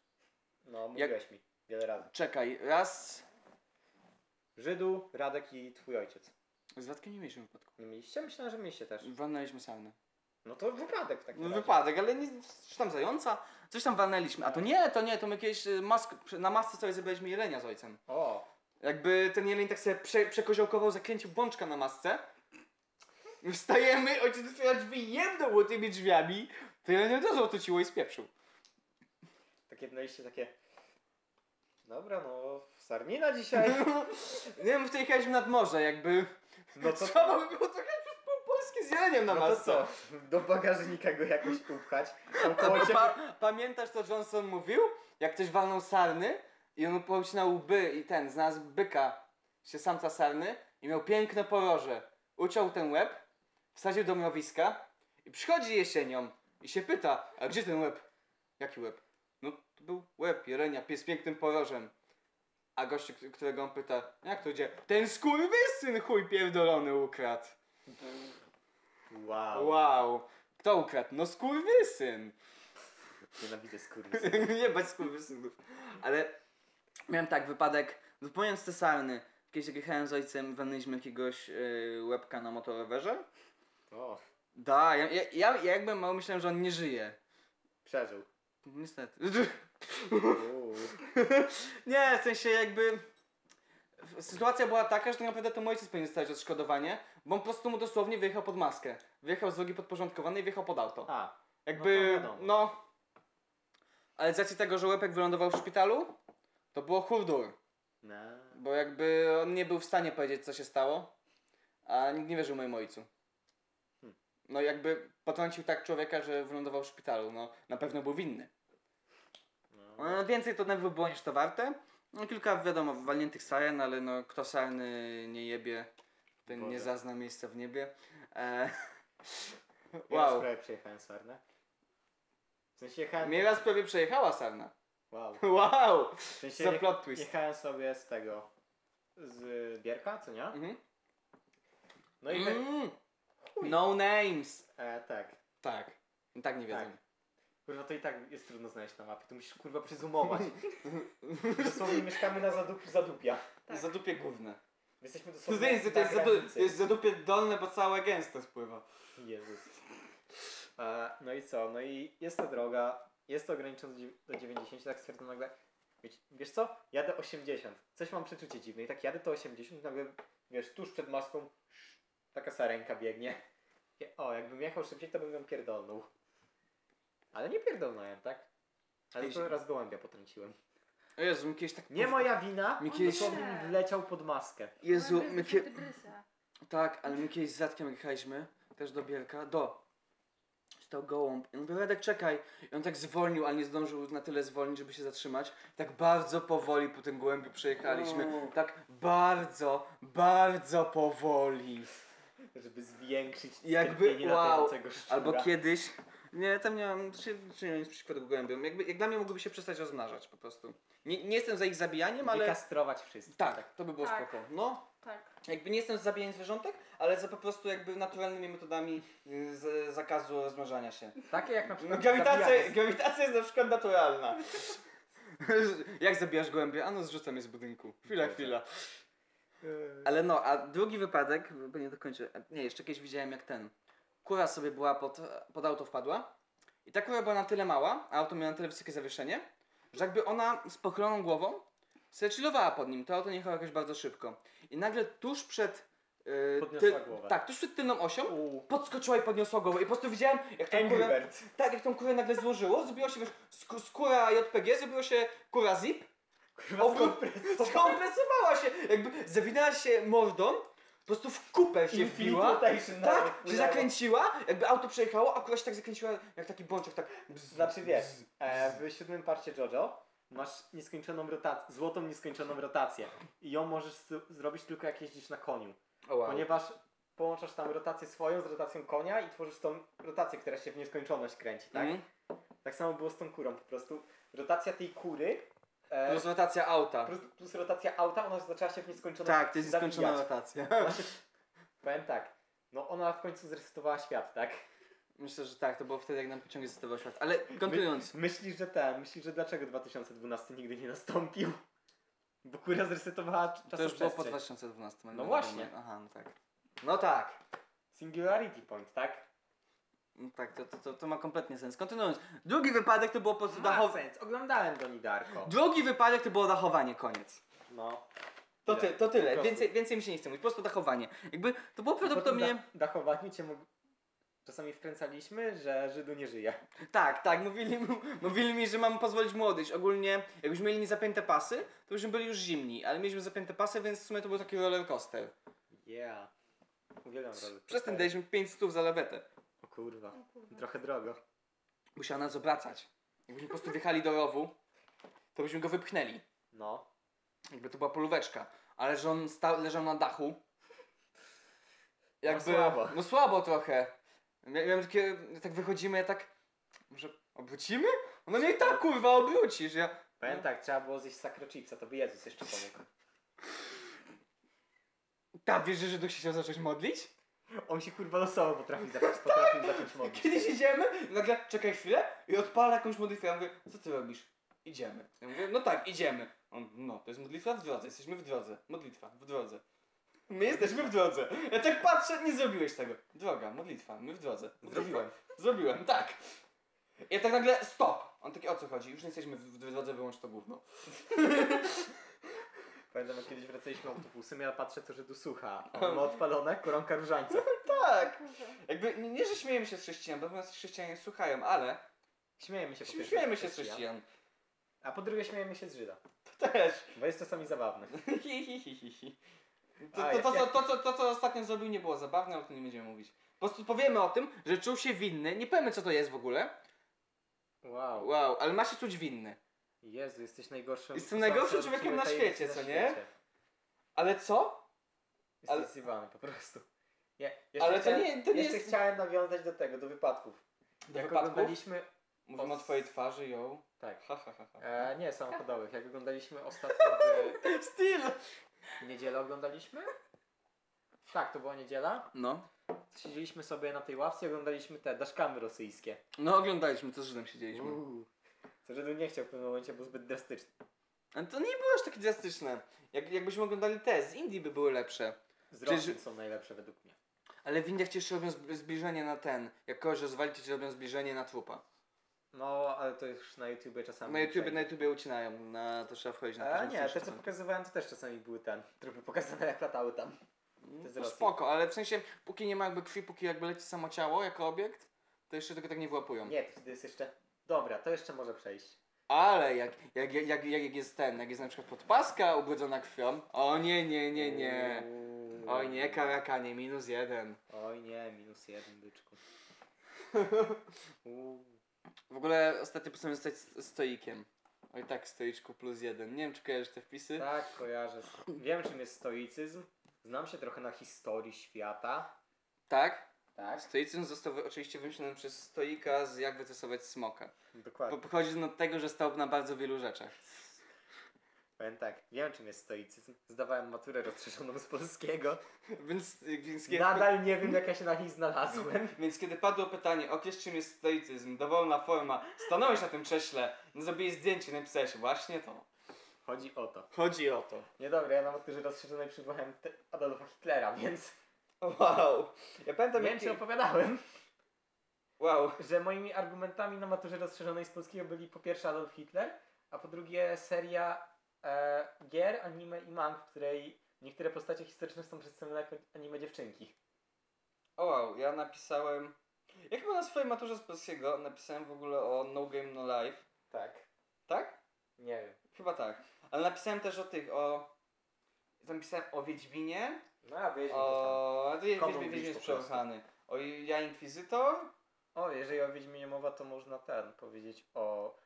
Speaker 1: No, mówiłeś mi wiele razy.
Speaker 2: Czekaj, raz...
Speaker 1: Żydu, Radek i twój ojciec.
Speaker 2: Z Radkiem nie mieliśmy wypadku.
Speaker 1: Nie mieliście? Myślałem, że mieliście też.
Speaker 2: Walnęliśmy saunę.
Speaker 1: No to wypadek w takim
Speaker 2: No,
Speaker 1: razie.
Speaker 2: wypadek, ale nie, coś tam zająca, coś tam walnęliśmy. A to nie, to nie, to my kiedyś y, mask, przy- na masce sobie zebraliśmy jelenia z ojcem.
Speaker 1: O,
Speaker 2: Jakby ten jeleń tak sobie prze, przekoziołkował, zakręcił bączka na masce. I Wstajemy, ojciec otwiera drzwi, jedną tymi drzwiami, to jelenie od razu otuciło i spieprzył.
Speaker 1: takie mieliście takie... Dobra, no sarmina dzisiaj.
Speaker 2: nie wiem, wtedy jechaliśmy nad morze, jakby...
Speaker 1: No to,
Speaker 2: Co Trzeba by było trochę przez pół Polski z jeleniem na
Speaker 1: no to
Speaker 2: masce.
Speaker 1: co? Do bagażnika go jakoś upchać. Tą
Speaker 2: A
Speaker 1: kocie...
Speaker 2: pa, pamiętasz co Johnson mówił? Jak ktoś walnął sarny i on połcinał łby i ten, znalazł byka, się samca sarny i miał piękne poroże. Uciął ten łeb, wsadził do mrowiska i przychodzi jesienią i się pyta, a gdzie ten łeb? Jaki łeb? No to był łeb jelenia, pies pięknym porożem. A gościu, k- którego on pyta, jak to idzie? Ten skurwysyn chuj pierdolony ukradł.
Speaker 1: Wow.
Speaker 2: Wow. Kto ukradł? No skurwysyn.
Speaker 1: Nienawidzę skurwysy.
Speaker 2: nie bać skurwysynów. Ale miałem tak wypadek, zupełnie cesarny. Kiedyś jechałem z ojcem, walnęliśmy jakiegoś yy, łebka na motorowerze.
Speaker 1: O,
Speaker 2: Da, ja, ja, ja, ja jakbym mało myślałem, że on nie żyje.
Speaker 1: przeżył.
Speaker 2: Niestety.
Speaker 1: Uuu.
Speaker 2: nie, w sensie jakby... w- Sytuacja była taka, że tak naprawdę to mój ojciec powinien dostać odszkodowanie, bo on po prostu mu dosłownie wyjechał pod maskę. Wyjechał z drogi podporządkowanej i wjechał pod auto.
Speaker 1: A,
Speaker 2: Jakby,
Speaker 1: No Tak, to
Speaker 2: no,
Speaker 1: wiadomo.
Speaker 2: Ale z racji tego, że łepek wylądował w szpitalu, to było hurdur.
Speaker 1: no.
Speaker 2: Bo jakby on nie był w stanie powiedzieć, co się stało, a nikt nie wierzył mojemu ojcu.
Speaker 1: Hmm.
Speaker 2: No jakby potrącił tak człowieka, że wylądował w szpitalu, no na pewno był winny.
Speaker 1: no.
Speaker 2: No, więcej to nerwów było niż to warte. No kilka wiadomo, walniętych saren, ale no kto sarny nie jebie, ten nie
Speaker 1: Boże.
Speaker 2: zazna miejsca w niebie. E...
Speaker 1: Ja wow.
Speaker 2: Wow.
Speaker 1: prawie przejechałem sarnę. W sensie jechałem...
Speaker 2: Mnie raz prawie przejechała sarna.
Speaker 1: Wow.
Speaker 2: Wow!
Speaker 1: W sensie
Speaker 2: Co
Speaker 1: jechałem...
Speaker 2: plot twist.
Speaker 1: Jechałem sobie z tego. Z Bierka, co nie?
Speaker 2: Mhm.
Speaker 1: No i my,
Speaker 2: Mm. No names!
Speaker 1: e, tak.
Speaker 2: Tak. Tak nie wiedzą.
Speaker 1: Tak. Kurwa, to i tak jest trudno znaleźć na mapie. Tu musisz kurwa przyzumować. Dosłownie mieszkamy na zadup zadupia.
Speaker 3: Tak.
Speaker 2: Zadupie główne.
Speaker 1: Jesteśmy dosłownie
Speaker 2: To jest, to, jest
Speaker 1: na
Speaker 2: zadu,
Speaker 1: granicy.
Speaker 2: to jest zadupie dolne, bo całe gęsto spływa.
Speaker 1: Jezus. E, no i co? No i jest to droga. Jest to ograniczone do dziew- do 90, tak stwierdzam nagle. Wiesz, wiesz co? Jadę 80. Coś mam przeczucie dziwne. I tak jadę to 80, nagle wiesz, tuż przed maską taka sarenka biegnie. I- O, jakbym jechał szybciej, to bym ją pierdolnął. Ale nie pierdolnąłem, tak? Ale
Speaker 2: Jeśli-
Speaker 1: to raz gołębia potrąciłem.
Speaker 2: O Jezu, mi kiedyś tak...
Speaker 1: Nie moja wina,
Speaker 2: Mi
Speaker 1: mi
Speaker 2: kiedyś-
Speaker 1: kiedyś... mi wleciał pod maskę.
Speaker 2: Jezu,
Speaker 3: Byłam
Speaker 2: my
Speaker 3: bez
Speaker 2: kie...
Speaker 3: Tybrysa.
Speaker 2: Tak, ale my kiedyś z Radkiem jechaliśmy, też do Bielka, do... Stał gołąb. I on mówił, Radek, czekaj. I on tak zwolnił, ale nie zdążył na tyle zwolnić, żeby się zatrzymać. Tak bardzo powoli po tym gołębiu przejechaliśmy.
Speaker 1: Uuu.
Speaker 2: Tak bardzo, bardzo powoli.
Speaker 1: Żeby zwiększyć
Speaker 2: Jakby,
Speaker 1: cierpienie
Speaker 2: wow.
Speaker 1: latającego szczura.
Speaker 2: Albo kiedyś. Nie, tam nie mam, czy, czy nie mam nic przeciwko tego gołębiom. Jakby, jak dla mnie mogłyby się przestać rozmnażać po prostu. Nie, nie jestem za ich zabijaniem, ale...
Speaker 1: Wykastrować wszystko.
Speaker 2: Tak, to by było
Speaker 3: Tak.
Speaker 2: spoko. No,
Speaker 3: Tak.
Speaker 2: jakby nie jestem za zabijaniem zwierzątek, ale za po prostu jakby naturalnymi metodami y, z, zakazu rozmnażania się.
Speaker 1: Takie jak na
Speaker 2: No,
Speaker 1: przykład
Speaker 2: grawitacja,
Speaker 1: zabijanie
Speaker 2: grawitacja jest na przykład naturalna. jak zabijasz gołębie? A no, zrzucam je z budynku. Chwila,
Speaker 1: Boże.
Speaker 2: chwila.
Speaker 1: Yy,
Speaker 2: Ale no, a drugi wypadek, bo nie dokończę. Nie, jeszcze kiedyś widziałem jak ten. Kura sobie była pod, pod auto wpadła. I ta kura była na tyle mała, a auto miało na tyle wysokie zawieszenie, że jakby ona z pochyloną głową sobie chillowała pod nim. To auto nie jechało jakoś bardzo szybko. I nagle tuż przed. Yy,
Speaker 1: Podniosła głowę.
Speaker 2: Tak, tuż przed tylną osią.
Speaker 1: U,
Speaker 2: Podskoczyła i podniosła głowę. I po prostu widziałem, jak tą
Speaker 1: Angry
Speaker 2: kurę,
Speaker 1: Birds.
Speaker 2: tak, jak tą kurę nagle złożyło. Zrobiła się wiesz, sk- skóra JPG, zrobiła się kura zip.
Speaker 1: Kurwa,
Speaker 2: Obrót-
Speaker 1: skompresowa-
Speaker 2: Skompresowała się, jakby zawinęła się mordą po prostu w kupę się
Speaker 1: Infinite
Speaker 2: wbiła.
Speaker 1: Rotation nawet
Speaker 2: Tak, się
Speaker 1: wpłynęło.
Speaker 2: zakręciła, jakby auto przejechało, a kogoś tak zakręciła jak taki bączek, tak bzz,
Speaker 1: Znaczy wiesz,
Speaker 2: bzz,
Speaker 1: e, w siódmym parcie JoJo masz nieskończoną rotację, złotą nieskończoną rotację i ją możesz z- zrobić tylko jak jeździsz na koniu,
Speaker 2: O, wow.
Speaker 1: ponieważ połączasz tam rotację swoją z rotacją konia i tworzysz tą rotację, która się w nieskończoność kręci, tak?
Speaker 2: Mhm.
Speaker 1: Tak samo było z tą kurą, po prostu rotacja tej kury e,
Speaker 2: Plus rotacja auta.
Speaker 1: plus, plus rotacja auta, ona zaczęła się w nieskończoność
Speaker 2: Tak, to jest
Speaker 1: zawijać.
Speaker 2: nieskończona rotacja. Znaczy,
Speaker 1: Ona się, powiem tak, no ona w końcu zresetowała świat, tak?
Speaker 2: Myślę, że tak, to było wtedy jak nam pociąg zestawał świat. Ale kontynuując.
Speaker 1: Myślisz, że ten, myślisz, że dlaczego 2012 nigdy nie nastąpił? Bo kura zresetowała cz- czas
Speaker 2: To już było po 2012.
Speaker 1: No
Speaker 2: mamy
Speaker 1: właśnie.
Speaker 2: wiadomo. Aha, no tak. No tak.
Speaker 1: Singularity Point, tak?
Speaker 2: No tak, to, to- to, to ma kompletnie sens. Kontynuując. Drugi wypadek to było po prostu
Speaker 1: Ma
Speaker 2: dachowanie.
Speaker 1: sens, oglądałem Doni Darko.
Speaker 2: Drugi wypadek to było dachowanie, koniec.
Speaker 1: No.
Speaker 2: To,
Speaker 1: Ile?
Speaker 2: ty, to
Speaker 1: Po
Speaker 2: tyle,
Speaker 1: prostu.
Speaker 2: więcej, więcej mi się nie chce mówić, po prostu dachowanie. Jakby to było prawdopodobnie...
Speaker 1: Po tym da- dachowaniu cię mógł... czasami wkręcaliśmy, że Żydu nie żyje.
Speaker 2: Tak, tak, mówili, mu- mówili mi, że mam pozwolić mu odejść. Ogólnie, jakbyśmy mieli niezapięte pasy, to byśmy byli już zimni, ale mieliśmy zapięte pasy, więc w sumie to był taki roller coaster.
Speaker 1: Yeah. Uwielbiam roller
Speaker 2: Przez ten
Speaker 1: coastery.
Speaker 2: daliśmy 5 stów za lawetę.
Speaker 1: O kurwa,
Speaker 3: O kurwa.
Speaker 1: trochę drogo.
Speaker 2: Musiała nas obracać. Jakbyśmy po prostu wjechali do rowu, to byśmy go wypchnęli.
Speaker 1: No.
Speaker 2: Jakby to była polóweczka. Ale że on stał, leżał na dachu. Jakby,
Speaker 1: słabo.
Speaker 2: No słabo trochę. Mia- Miałem takie, tak wychodzimy, ja tak, może obrócimy? No nie tak kurwa, obrócisz. Ja,
Speaker 1: Powiem tak, trzeba było zjeść sakro chipsa, to by Jezus jeszcze pomógł.
Speaker 2: Ta, wiesz, że Żydów się chciał zacząć modlić?
Speaker 1: On się kurwa losowo potrafi zacząć, potrafił zacząć modlić.
Speaker 2: Kiedyś idziemy, i nagle czekaj chwilę i odpala jakąś modlitwę. Ja mówię, co ty robisz? Idziemy. Ja mówię, no tak, idziemy. On, no, to jest modlitwa w drodze, jesteśmy w drodze. Modlitwa, w drodze. My jesteśmy w drodze. Ja tak patrzę, nie zrobiłeś tego. Droga, modlitwa, my w drodze. Modlitwa.
Speaker 1: Zrobiłem.
Speaker 2: Zrobiłem, tak. Ja tak nagle, stop. On taki, o co chodzi? Już nie jesteśmy w, w drodze, wyłącz to gówno.
Speaker 1: Pamiętam, jak kiedyś wracaliśmy autobusem, ja patrzę, co Żydu słucha. On ma odpalone koronka różańca.
Speaker 2: Tak. Jakby, nie, nie że śmiejemy się z chrześcijan, bo nas chrześcijanie słuchają, ale
Speaker 1: Śmiejemy się po pierwsze
Speaker 2: śmiejemy się z
Speaker 1: chrześcijan,
Speaker 2: chrześcijan.
Speaker 1: A po drugie śmiejemy się z Żyda.
Speaker 2: To też.
Speaker 1: Bo jest czasami zabawne.
Speaker 2: Hi, hi, hi, hi, hi. To,
Speaker 1: A,
Speaker 2: to, to, co-
Speaker 1: jak-
Speaker 2: to, co- to, co ostatnio zrobił, nie było zabawne, o tym nie będziemy mówić. Po prostu powiemy o tym, że czuł się winny. Nie powiemy, co to jest w ogóle.
Speaker 1: Wow.
Speaker 2: Wow, ale ma się czuć winny.
Speaker 1: Jezu, jesteś najgorszym...
Speaker 2: Jestem najgorszym
Speaker 1: są- są
Speaker 2: człowiekiem na
Speaker 1: tajemnicy
Speaker 2: świecie,
Speaker 1: na
Speaker 2: co nie?
Speaker 1: świecie.
Speaker 2: Ale co?
Speaker 1: Jesteś
Speaker 2: Ale-
Speaker 1: zjebany po prostu. Nie,
Speaker 2: Ale to
Speaker 1: chciałem,
Speaker 2: nie, to nie
Speaker 1: jeszcze
Speaker 2: jest...
Speaker 1: chciałem nawiązać do tego, do wypadków.
Speaker 2: Do
Speaker 1: jak
Speaker 2: wypadków?
Speaker 1: oglądaliśmy...
Speaker 2: Mówimy o twojej twarzy, ją.
Speaker 1: Tak.
Speaker 2: Ha, ha, ha, ha.
Speaker 1: E, nie, samochodowych. Jak oglądaliśmy ostatnio
Speaker 2: Styl!
Speaker 1: w niedzielę oglądaliśmy? Tak, to była niedziela.
Speaker 2: No.
Speaker 1: Siedzieliśmy sobie na tej ławce i oglądaliśmy te daszkamy rosyjskie.
Speaker 2: No oglądaliśmy, co z Żydem siedzieliśmy.
Speaker 1: Uuu. Co Żydu nie chciał w tym momencie, był zbyt drastyczny.
Speaker 2: Ale to nie było aż takie drastyczne. Jak, jakbyśmy oglądali te, z Indii by były lepsze.
Speaker 1: Z
Speaker 2: Czy-
Speaker 1: Rosjan są najlepsze według mnie.
Speaker 2: Ale w Indiach jeszcze robią zb- zbliżenie na ten. Jak kogoś rozwalicie, to robią zbliżenie na trupa.
Speaker 1: No, ale to już na YouTubie czasami.
Speaker 2: Na YouTubie,
Speaker 1: tak.
Speaker 2: na YouTubie ucinają, na to trzeba wchodzić na
Speaker 1: A
Speaker 2: każdym
Speaker 1: nie, te co
Speaker 2: screenshot'em.
Speaker 1: pokazywałem to też czasami były ten. Trupy pokazane jak latały tam.
Speaker 2: No
Speaker 1: z Rosji.
Speaker 2: Spoko, ale w sensie póki nie ma jakby krwi, póki jakby leci samo ciało jako obiekt, to jeszcze tego tak nie wyłapują.
Speaker 1: Nie, to wtedy jest jeszcze. Dobra, to jeszcze może przejść.
Speaker 2: Ale jak, jak, jak, jak, jak jest ten, jak jest na przykład podpaska ubrudzona krwią, o nie, nie, nie, nie.
Speaker 1: Uuu.
Speaker 2: Oj nie, karakanie, minus jeden.
Speaker 1: Oj nie, minus jeden byczku. Uuu.
Speaker 2: W ogóle ostatnio postanowiłem zostać st- stoikiem. Oj tak, stoiczku plus jeden. Nie wiem, czy kojarzysz te wpisy.
Speaker 1: Tak, kojarzę. Wiem czym jest stoicyzm. Znam się trochę na historii świata.
Speaker 2: Tak?
Speaker 1: Tak,
Speaker 2: Stoicyzm został wy- oczywiście wymyślony przez stoika z jak wytresować smoka.
Speaker 1: dokładnie.
Speaker 2: Bo pochodzi on od tego, że stał na bardzo wielu rzeczach.
Speaker 1: Powiem tak, wiem czym jest stoicyzm. Zdawałem maturę rozszerzoną z polskiego.
Speaker 2: Więc, y, więc, kiedy,
Speaker 1: Nadal nie wiem jak ja się na niej znalazłem.
Speaker 2: więc kiedy padło pytanie, określ czym jest stoicyzm, dowolna forma, stanąłeś na tym krześle, no zrobiłeś zdjęcie, napisałeś właśnie to.
Speaker 1: Chodzi o to.
Speaker 2: Chodzi o to.
Speaker 1: Nie dobra, ja na maturze rozszerzonej przywołałem te- Adolfa Hitlera, więc
Speaker 2: Wow. Ja
Speaker 1: to
Speaker 2: pamiętam,
Speaker 1: wiem, ci
Speaker 2: jak...
Speaker 1: opowiadałem,
Speaker 2: Wow.
Speaker 1: że moimi argumentami na maturze rozszerzonej z polskiego byli po pierwsze Adolf Hitler, a po drugie seria e, gier, anime i mang, w której niektóre postacie historyczne są przedstawione jako anime dziewczynki.
Speaker 2: O wow, ja napisałem... Jak chyba na swojej maturze z polskiego napisałem w ogóle o No Game No Life,
Speaker 1: Tak.
Speaker 2: tak?
Speaker 1: Nie wiem.
Speaker 2: Chyba tak. Ale napisałem też o tych, o... Tam pisałem o Wiedźminie
Speaker 1: No a Wiedźmin to
Speaker 2: O, a ty
Speaker 1: Komu
Speaker 2: Wiedźmin,
Speaker 1: mówisz
Speaker 2: Wiedźmin jest
Speaker 1: po prostu?
Speaker 2: przekochany. O, ja Inkwizytor?
Speaker 1: tam. O, jeżeli o Wiedźminie mowa, to można ten powiedzieć o...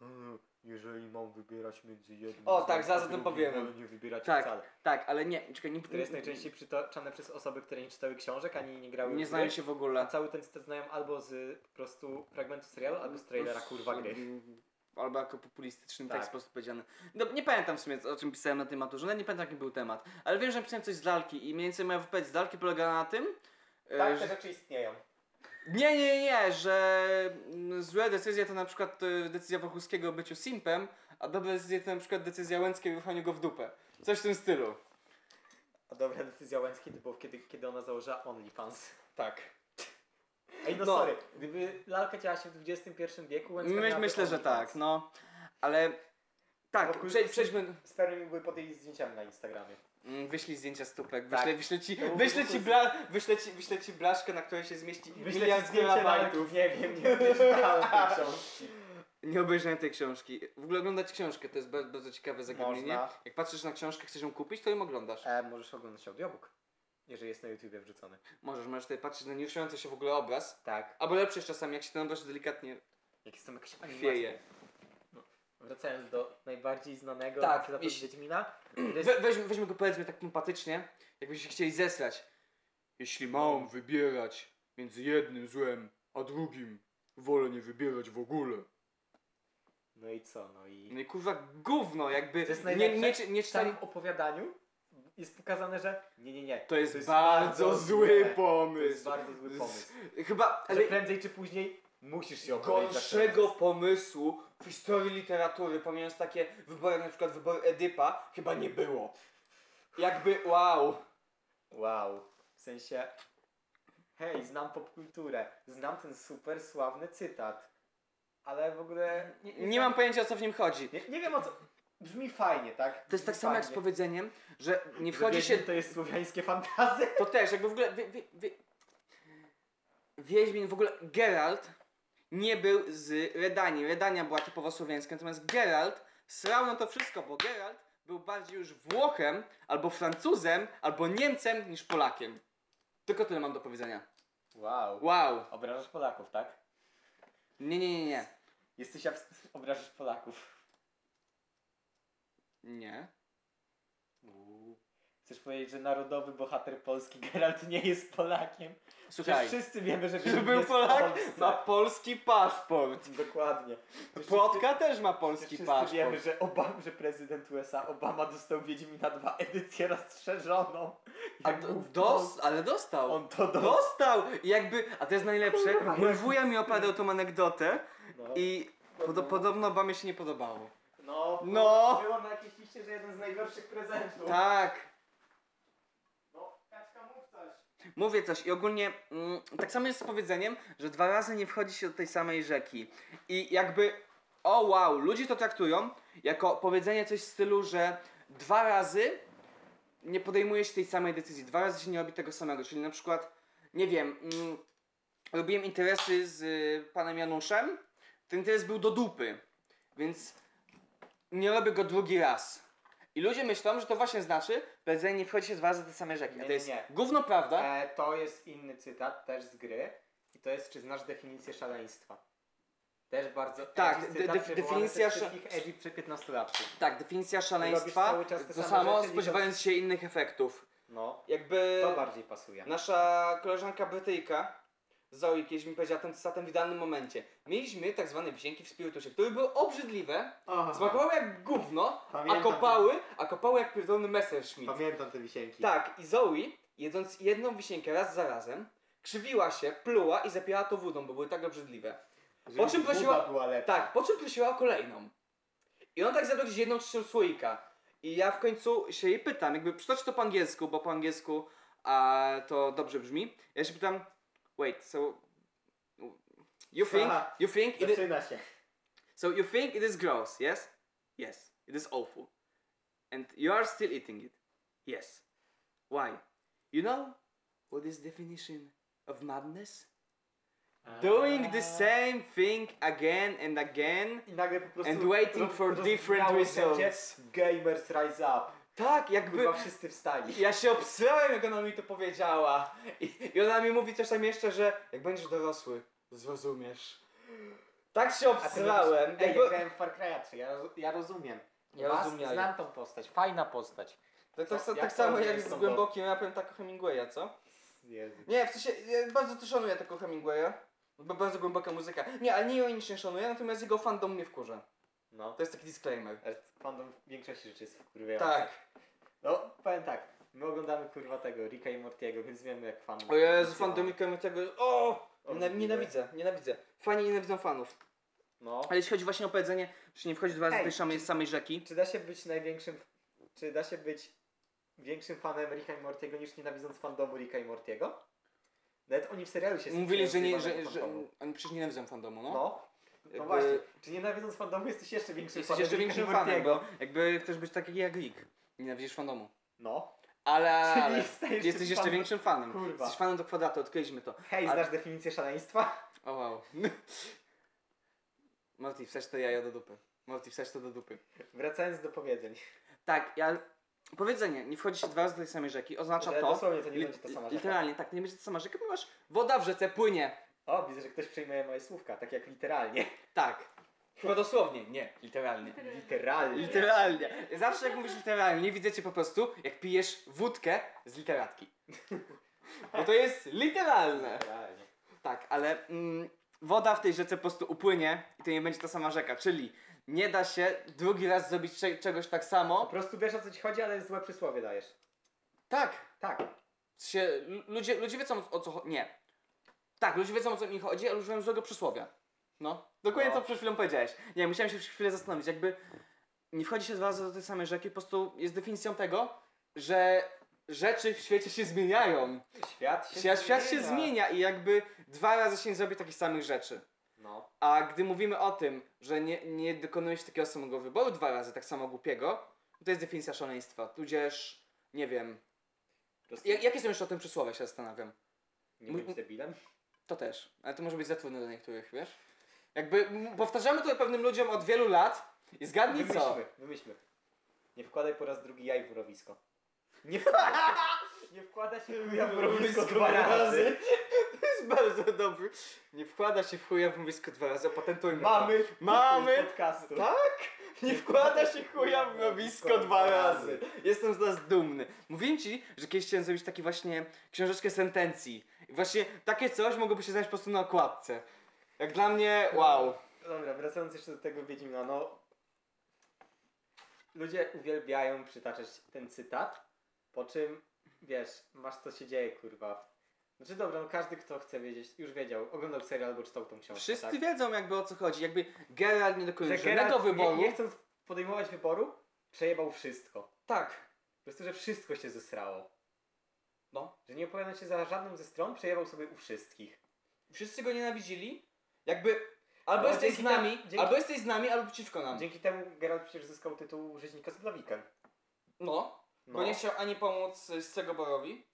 Speaker 1: "Mm, Jeżeli mam wybierać między jednym...
Speaker 2: O,
Speaker 1: złem
Speaker 2: tak, zaraz
Speaker 1: a
Speaker 2: o tym
Speaker 1: drugim,
Speaker 2: powiemy.
Speaker 1: Wolę nie wybierać
Speaker 2: Tak.
Speaker 1: wcale.
Speaker 2: Tak, ale nie, czekaj, nie...
Speaker 1: Które jest najczęściej przytaczane przez osoby, które nie czytały książek, ani nie grały
Speaker 2: Nie
Speaker 1: w
Speaker 2: znają
Speaker 1: gry,
Speaker 2: się w
Speaker 1: A
Speaker 2: ogóle.
Speaker 1: cały ten stres znają albo z po prostu fragmentu serialu, albo z trailera, kurwa, gry.
Speaker 2: Albo jako populistyczny
Speaker 1: Tak.
Speaker 2: tak. sposób powiedziany. No, nie pamiętam w sumie o czym pisałem na tej maturze, nawet nie pamiętam jaki był temat. Ale wiem, że napisałem coś z lalki i mniej więcej moja wypowiedź z lalki polegała na tym, e,
Speaker 1: Tak,
Speaker 2: że...
Speaker 1: te rzeczy istnieją.
Speaker 2: Nie, nie, nie, że mm, złe decyzje to na przykład e, decyzja Wokulskiego o byciu simpem, a dobre decyzje to na przykład decyzja Łęckiej o wychowaniu go w dupę. Coś w tym stylu.
Speaker 1: A dobra decyzja Łęckiej to było kiedy, kiedy ona założyła OnlyFans.
Speaker 2: Tak.
Speaker 1: Ej, no,
Speaker 2: No.
Speaker 1: sorry, gdyby lalka działa się w XXI wieku, Łęcka
Speaker 2: My,
Speaker 1: miałaby
Speaker 2: myślę, że
Speaker 1: OnlyFans.
Speaker 2: tak, no. Ale tak,
Speaker 1: Wokulski-
Speaker 2: przejdź, przejdźmy...
Speaker 1: Spermy były pod jej zdjęciami na Instagramie.
Speaker 2: Mm, Wyślij zdjęcia stópek,
Speaker 1: Tak.
Speaker 2: wyślę, wyślę, ci,
Speaker 1: To był
Speaker 2: wyślę,
Speaker 1: Wokulski.
Speaker 2: ci bla, wyślę, ci, wyślę ci blaszkę, na której się zmieści
Speaker 1: Wyślę ci
Speaker 2: miliard
Speaker 1: zdjęcie lalki,
Speaker 2: terabajtów.
Speaker 1: nie wiem, nie czytałem tej
Speaker 2: tak.
Speaker 1: książki.
Speaker 2: Nie obejrzałem tej książki. W ogóle oglądać książkę to jest bardzo, bardzo ciekawe zagadnienie.
Speaker 1: Można.
Speaker 2: Jak patrzysz na książkę, chcesz ją kupić, to ją oglądasz.
Speaker 1: E, możesz oglądać audiobook, jeżeli jest na YouTubie wrzucony.
Speaker 2: Możesz, możesz tutaj patrzeć na nieruszający się w ogóle obraz.
Speaker 1: Tak.
Speaker 2: Albo lepsze jest czasami, jak się ten obraz delikatnie
Speaker 1: Jak jest tam jakaś
Speaker 2: chwieje.
Speaker 1: Wracając do najbardziej znanego
Speaker 2: Tak,
Speaker 1: tak,
Speaker 2: jeśli-
Speaker 1: Wiedźmina, który jest
Speaker 2: We, weźmy, weźmy go powiedzmy tak empatycznie, jakbyśmy się chcieli zesrać. Jeśli mam wybierać między jednym złem, a drugim, wolę nie wybierać w ogóle.
Speaker 1: No i co? No i
Speaker 2: No i kurwa gówno, jakby
Speaker 1: To jest
Speaker 2: nie, nie,
Speaker 1: najlepsze.
Speaker 2: nie, czy- nie
Speaker 1: w
Speaker 2: czytali...
Speaker 1: samym opowiadaniu jest pokazane, że nie, nie, nie.
Speaker 2: To jest, bardzo, zły
Speaker 1: To jest
Speaker 2: pomysł.
Speaker 1: bardzo zły pomysł.
Speaker 2: Chyba
Speaker 1: Ale...
Speaker 2: ale
Speaker 1: Że prędzej czy później musisz się opowiedzieć. za
Speaker 2: gorszego
Speaker 1: koniec.
Speaker 2: pomysłu w historii literatury, pomijając takie wybory, jak na przykład wybór Edypa, chyba nie było. Jakby wow.
Speaker 1: Wow. W sensie... Hej, znam popkulturę. Znam ten super sławny cytat. Ale w ogóle... Nie, nie
Speaker 2: Nie
Speaker 1: znam-
Speaker 2: mam pojęcia o co w nim chodzi.
Speaker 1: Nie, nie wiem o co... Brzmi fajnie, tak?
Speaker 2: To jest tak samo jak z powiedzeniem, że nie wchodzi się...
Speaker 1: To jest słowiańskie fantazy.
Speaker 2: To też, jakby w ogóle... Wie, wie, wie... Wiedźmin, w ogóle Geralt nie był z Redanii. Redania była typowo słowiańska, natomiast Geralt srał na to wszystko, bo Geralt był bardziej już Włochem, albo Francuzem, albo Niemcem niż Polakiem. Tylko tyle mam do powiedzenia.
Speaker 1: Wow.
Speaker 2: Wow.
Speaker 1: Obrażasz Polaków, tak?
Speaker 2: Nie, nie, nie, nie.
Speaker 1: Jesteś abs- obrażasz Polaków.
Speaker 2: Nie.
Speaker 1: Chcesz powiedzieć, że narodowy bohater polski Geralt nie jest Polakiem? Przecież
Speaker 2: Słuchaj,
Speaker 1: wszyscy wiemy, że,
Speaker 2: że
Speaker 1: Wiedźmin
Speaker 2: był
Speaker 1: jest w
Speaker 2: Polak,
Speaker 1: Polsce.
Speaker 2: ma polski paszport.
Speaker 1: Dokładnie. Przecież wszyscy-
Speaker 2: Płotka też ma
Speaker 1: przecież
Speaker 2: polski
Speaker 1: wszyscy
Speaker 2: paszport.
Speaker 1: wiemy, że, Obam, że prezydent USA Obama dostał Wiedźmina dwa edycję rozszerzoną.
Speaker 2: A
Speaker 1: Jak
Speaker 2: do,
Speaker 1: był w
Speaker 2: dos, ale dostał.
Speaker 1: On to dostał.
Speaker 2: Dostał! I Jakby, a to jest najlepsze,
Speaker 1: Kurwa,
Speaker 2: mój wuja mi opowiadał tą anegdotę
Speaker 1: No.
Speaker 2: i podo- podobno babie się nie podobało.
Speaker 1: No,
Speaker 2: No.
Speaker 1: Było na jakiejś liście, że jeden z najgorszych prezentów.
Speaker 2: Tak,
Speaker 1: No, kaczka mów coś.
Speaker 2: mówię coś i ogólnie mm, tak samo jest z powiedzeniem, że dwa razy nie wchodzi się do tej samej rzeki. I jakby, o wow, ludzie to traktują jako powiedzenie coś w stylu, że dwa razy nie podejmuje się tej samej decyzji, dwa razy się nie robi tego samego, czyli na przykład, nie wiem, mm, robiłem interesy z y, panem Januszem, ten interes był do dupy, więc nie robię go drugi raz. I ludzie myślą, że to właśnie znaczy, powiedzenie nie wchodzi się dwa razy do tej samej rzeki.
Speaker 1: Nie,
Speaker 2: A to
Speaker 1: nie,
Speaker 2: jest
Speaker 1: nie.
Speaker 2: gówno prawda,
Speaker 1: E, to jest inny cytat, też z gry. I to jest, czy znasz definicję szaleństwa? Też bardzo.
Speaker 2: Tak,
Speaker 1: jakiś
Speaker 2: de-
Speaker 1: cytat
Speaker 2: de-
Speaker 1: przywołany
Speaker 2: definicja
Speaker 1: przez
Speaker 2: sz-
Speaker 1: wszystkich Edip przed 15 lat.
Speaker 2: Tak, definicja
Speaker 1: cały
Speaker 2: szaleństwa
Speaker 1: czas te
Speaker 2: to
Speaker 1: same
Speaker 2: samo,
Speaker 1: rzeczy,
Speaker 2: spodziewając się innych efektów.
Speaker 1: No,
Speaker 2: Jakby
Speaker 1: to bardziej pasuje.
Speaker 2: nasza koleżanka Brytyjka, Zoe, kiedyś mi powiedziała ten cytat w idealnym momencie. Mieliśmy tak zwane wisienki w spirytusie, które były obrzydliwe, smakowały jak gówno, a
Speaker 1: Pamiętam.
Speaker 2: kopały, a kopały jak pierdolony Messerschmitt.
Speaker 1: Pamiętam te wisienki.
Speaker 2: Tak, i Zoe, jedząc jedną wisienkę raz za razem, krzywiła się, pluła i zapijała to wodą, bo były tak obrzydliwe.
Speaker 1: Żeby
Speaker 2: po czym
Speaker 1: buba
Speaker 2: prosiła-
Speaker 1: Była lepsza.
Speaker 2: Tak, po czym prosiła o kolejną. I on tak zadał gdzieś jedną trzecią słoika. I ja w końcu się jej pytam, jakby przytocz to po angielsku, bo po angielsku a, to dobrze brzmi. Ja się pytam, wait, so you think,
Speaker 1: Aha. Znaczy-
Speaker 2: you think, it,
Speaker 1: Zaczyna się.
Speaker 2: so you think it is gross, yes? Yes, it is awful. And you are still eating it? Yes. Why? You know what is definition of madness? Doing
Speaker 1: Ah.
Speaker 2: the same thing again and again
Speaker 1: I nagle po prostu
Speaker 2: And waiting for
Speaker 1: roz-
Speaker 2: different
Speaker 1: rozbrzmiało wszędzie
Speaker 2: results.
Speaker 1: Gamers rise up.
Speaker 2: Tak, jakby...
Speaker 1: Chyba wszyscy wstali.
Speaker 2: Ja się obsyłem, jak ona mi to powiedziała. I, I ona mi mówi coś tam jeszcze, że jak będziesz dorosły, zrozumiesz. Tak się obsyrałem.
Speaker 1: Ej, ja
Speaker 2: jakby-
Speaker 1: grałem w Far Cry'a 3, ja, roz- ja rozumiem.
Speaker 2: Ja
Speaker 1: Was
Speaker 2: rozumiem.
Speaker 1: Znam tą postać, fajna postać.
Speaker 2: To, tak
Speaker 1: Co?
Speaker 2: sa-
Speaker 1: Jak
Speaker 2: tak
Speaker 1: to
Speaker 2: samo
Speaker 1: rozumiesz
Speaker 2: jak z
Speaker 1: tą
Speaker 2: głębokim rapem tak Hemingwaya, co?
Speaker 1: Jezu.
Speaker 2: Nie, w sensie ja bardzo to szanuję taką Hemingwaya. Bo bardzo głęboka muzyka. Nie, ale nie ją nic nie szanuję, natomiast jego fandom mnie wkurza.
Speaker 1: No.
Speaker 2: To jest taki disclaimer.
Speaker 1: Ale fandom w większości rzeczy jest wkurwiający.
Speaker 2: Tak.
Speaker 1: No, powiem tak. My oglądamy kurwa tego Ricka i Mortiego, więc wiemy jak fan.
Speaker 2: O Jezu, fandomikami tego... O!
Speaker 1: Obrzydliwe.
Speaker 2: Nienawidzę, nienawidzę. Fani nienawidzą fanów.
Speaker 1: No.
Speaker 2: Ale jeśli chodzi właśnie o powiedzenie, że nie wchodzi dwa razy
Speaker 1: Ej,
Speaker 2: do tej samej, samej rzeki.
Speaker 1: Czy da się być największym. Czy da się być większym fanem Ricka i Mortiego niż nienawidząc fandomu Ricka i Mortiego? Nawet oni w serialu się skupiają
Speaker 2: Mówili, że nie,
Speaker 1: z jebanego
Speaker 2: że, że
Speaker 1: fandomu.
Speaker 2: oni przecież nienawidzą fandomu, no.
Speaker 1: No. No
Speaker 2: Jakby-
Speaker 1: właśnie. Czy nienawidząc fandomu jesteś jeszcze większym
Speaker 2: Jesteś
Speaker 1: fanem
Speaker 2: jeszcze
Speaker 1: Ricka i
Speaker 2: większym fanem,
Speaker 1: Mortiego?
Speaker 2: bo jakby chcesz być taki jak Rick. Nienawidzisz fandomu.
Speaker 1: No.
Speaker 2: Ale, ale
Speaker 1: Czyli stajesz
Speaker 2: jesteś jeszcze
Speaker 1: fanem-
Speaker 2: większym fanem.
Speaker 1: Kurwa.
Speaker 2: Jesteś fanem do kwadratu, odkryliśmy to.
Speaker 1: Hej, znasz definicję szaleństwa?
Speaker 2: O wow. Morty, wsadź to jajo do dupy. Morty, wsadź to do dupy.
Speaker 1: Wracając do powiedzeń.
Speaker 2: Tak, ja... Powiedzenie, nie wchodzi się dwa razy do tej samej rzeki, oznacza
Speaker 1: Że
Speaker 2: to...
Speaker 1: Dosłownie to nie
Speaker 2: li-
Speaker 1: będzie ta sama rzeka.
Speaker 2: literalnie, tak, nie będzie to sama rzeka, ponieważ woda w rzece płynie.
Speaker 1: O, widzę, że ktoś przejmuje moje słówka, tak jak literalnie.
Speaker 2: Tak. Chyba dosłownie, nie, literalnie.
Speaker 1: Literalnie.
Speaker 2: Literalnie. Zawsze jak mówisz literalnie, widzę cię po prostu, jak pijesz wódkę z literatki. Bo to jest literalne.
Speaker 1: Literalnie.
Speaker 2: Tak, ale mm, woda w tej rzece po prostu upłynie i to nie będzie ta sama rzeka, czyli nie da się drugi raz zrobić cze- czegoś tak
Speaker 1: Po
Speaker 2: samo.
Speaker 1: prostu wiesz o co ci chodzi, ale złe przysłowie dajesz.
Speaker 2: Tak.
Speaker 1: Tak.
Speaker 2: Się, lu- ludzie, ludzie wiedzą o co chodzi. Nie. Tak, ludzie wiedzą o co mi chodzi, ale użyłem złego przysłowia. No. Dokładnie
Speaker 1: No.
Speaker 2: to przed chwilą powiedziałeś. Nie, musiałem się przez chwilę zastanowić. Jakby nie wchodzi się dwa razy do tej samej rzeki, po prostu jest definicją tego, że rzeczy w świecie się zmieniają.
Speaker 1: Świat się
Speaker 2: Świat, świat się zmienia i jakby dwa razy się nie zrobi takich samych rzeczy.
Speaker 1: No.
Speaker 2: A gdy mówimy o tym, że nie, nie dokonuje się takiego samego wyboru dwa razy, tak samo głupiego, to jest definicja szaleństwa. Tudzież, nie wiem.
Speaker 1: Po prostu
Speaker 2: Ja, jakie są jeszcze o tym przysłowie, się zastanawiam.
Speaker 1: nie bądź debilem.
Speaker 2: To też. Ale to może być za trudne dla niektórych, wiesz? Jakby m- powtarzamy to pewnym ludziom od wielu lat i zgadnij co.
Speaker 1: Wymyślmy, wymyślmy. Nie wkładaj po raz drugi jaj w mrowisko. Nie, nie wkłada się ja w mrowisko dwa razy.
Speaker 2: To jest bardzo dobry. Nie wkłada się w chuja w mrowisko dwa razy, opatentujmy to.
Speaker 1: Mamy.
Speaker 2: Mamy.
Speaker 1: tytuł Podcastu.
Speaker 2: Tak? Nie wkłada się chuja w mrowisko dwa razy. Jestem z nas dumny. Mówiłem ci, że kiedyś chciałem zrobić taki właśnie książeczkę sentencji. I właśnie takie coś mogłoby się znaleźć po prostu na okładce. Jak dla mnie, wow.
Speaker 1: Dobra, wracając jeszcze do tego Wiedźmina, no... Ludzie uwielbiają przytaczać ten cytat, po czym, wiesz, masz co się dzieje, kurwa. Znaczy dobra, no każdy, kto chce wiedzieć, już wiedział, oglądał serial albo czytał tą książkę,
Speaker 2: Wszyscy
Speaker 1: tak?
Speaker 2: wiedzą jakby o co chodzi. Jakby Geralt nie dokonuje
Speaker 1: Że
Speaker 2: żadnego
Speaker 1: Geralt,
Speaker 2: wyboru.
Speaker 1: Nie, nie chcąc podejmować wyboru, przejebał wszystko.
Speaker 2: Tak.
Speaker 1: Po prostu, że wszystko się zesrało.
Speaker 2: No.
Speaker 1: Że nie opowiadał się za żadną ze stron, przejebał sobie u wszystkich.
Speaker 2: Wszyscy go nienawidzili. Jakby albo
Speaker 1: No,
Speaker 2: jesteś z
Speaker 1: dzięki te-
Speaker 2: nami,
Speaker 1: dzięki-
Speaker 2: albo jesteś z nami, albo przeciwko nam.
Speaker 1: Dzięki temu Geralt przecież zyskał tytuł rzeźnika z Blawikiem.
Speaker 2: No,
Speaker 1: No.
Speaker 2: Bo nie chciał ani pomóc y, Scegoborowi,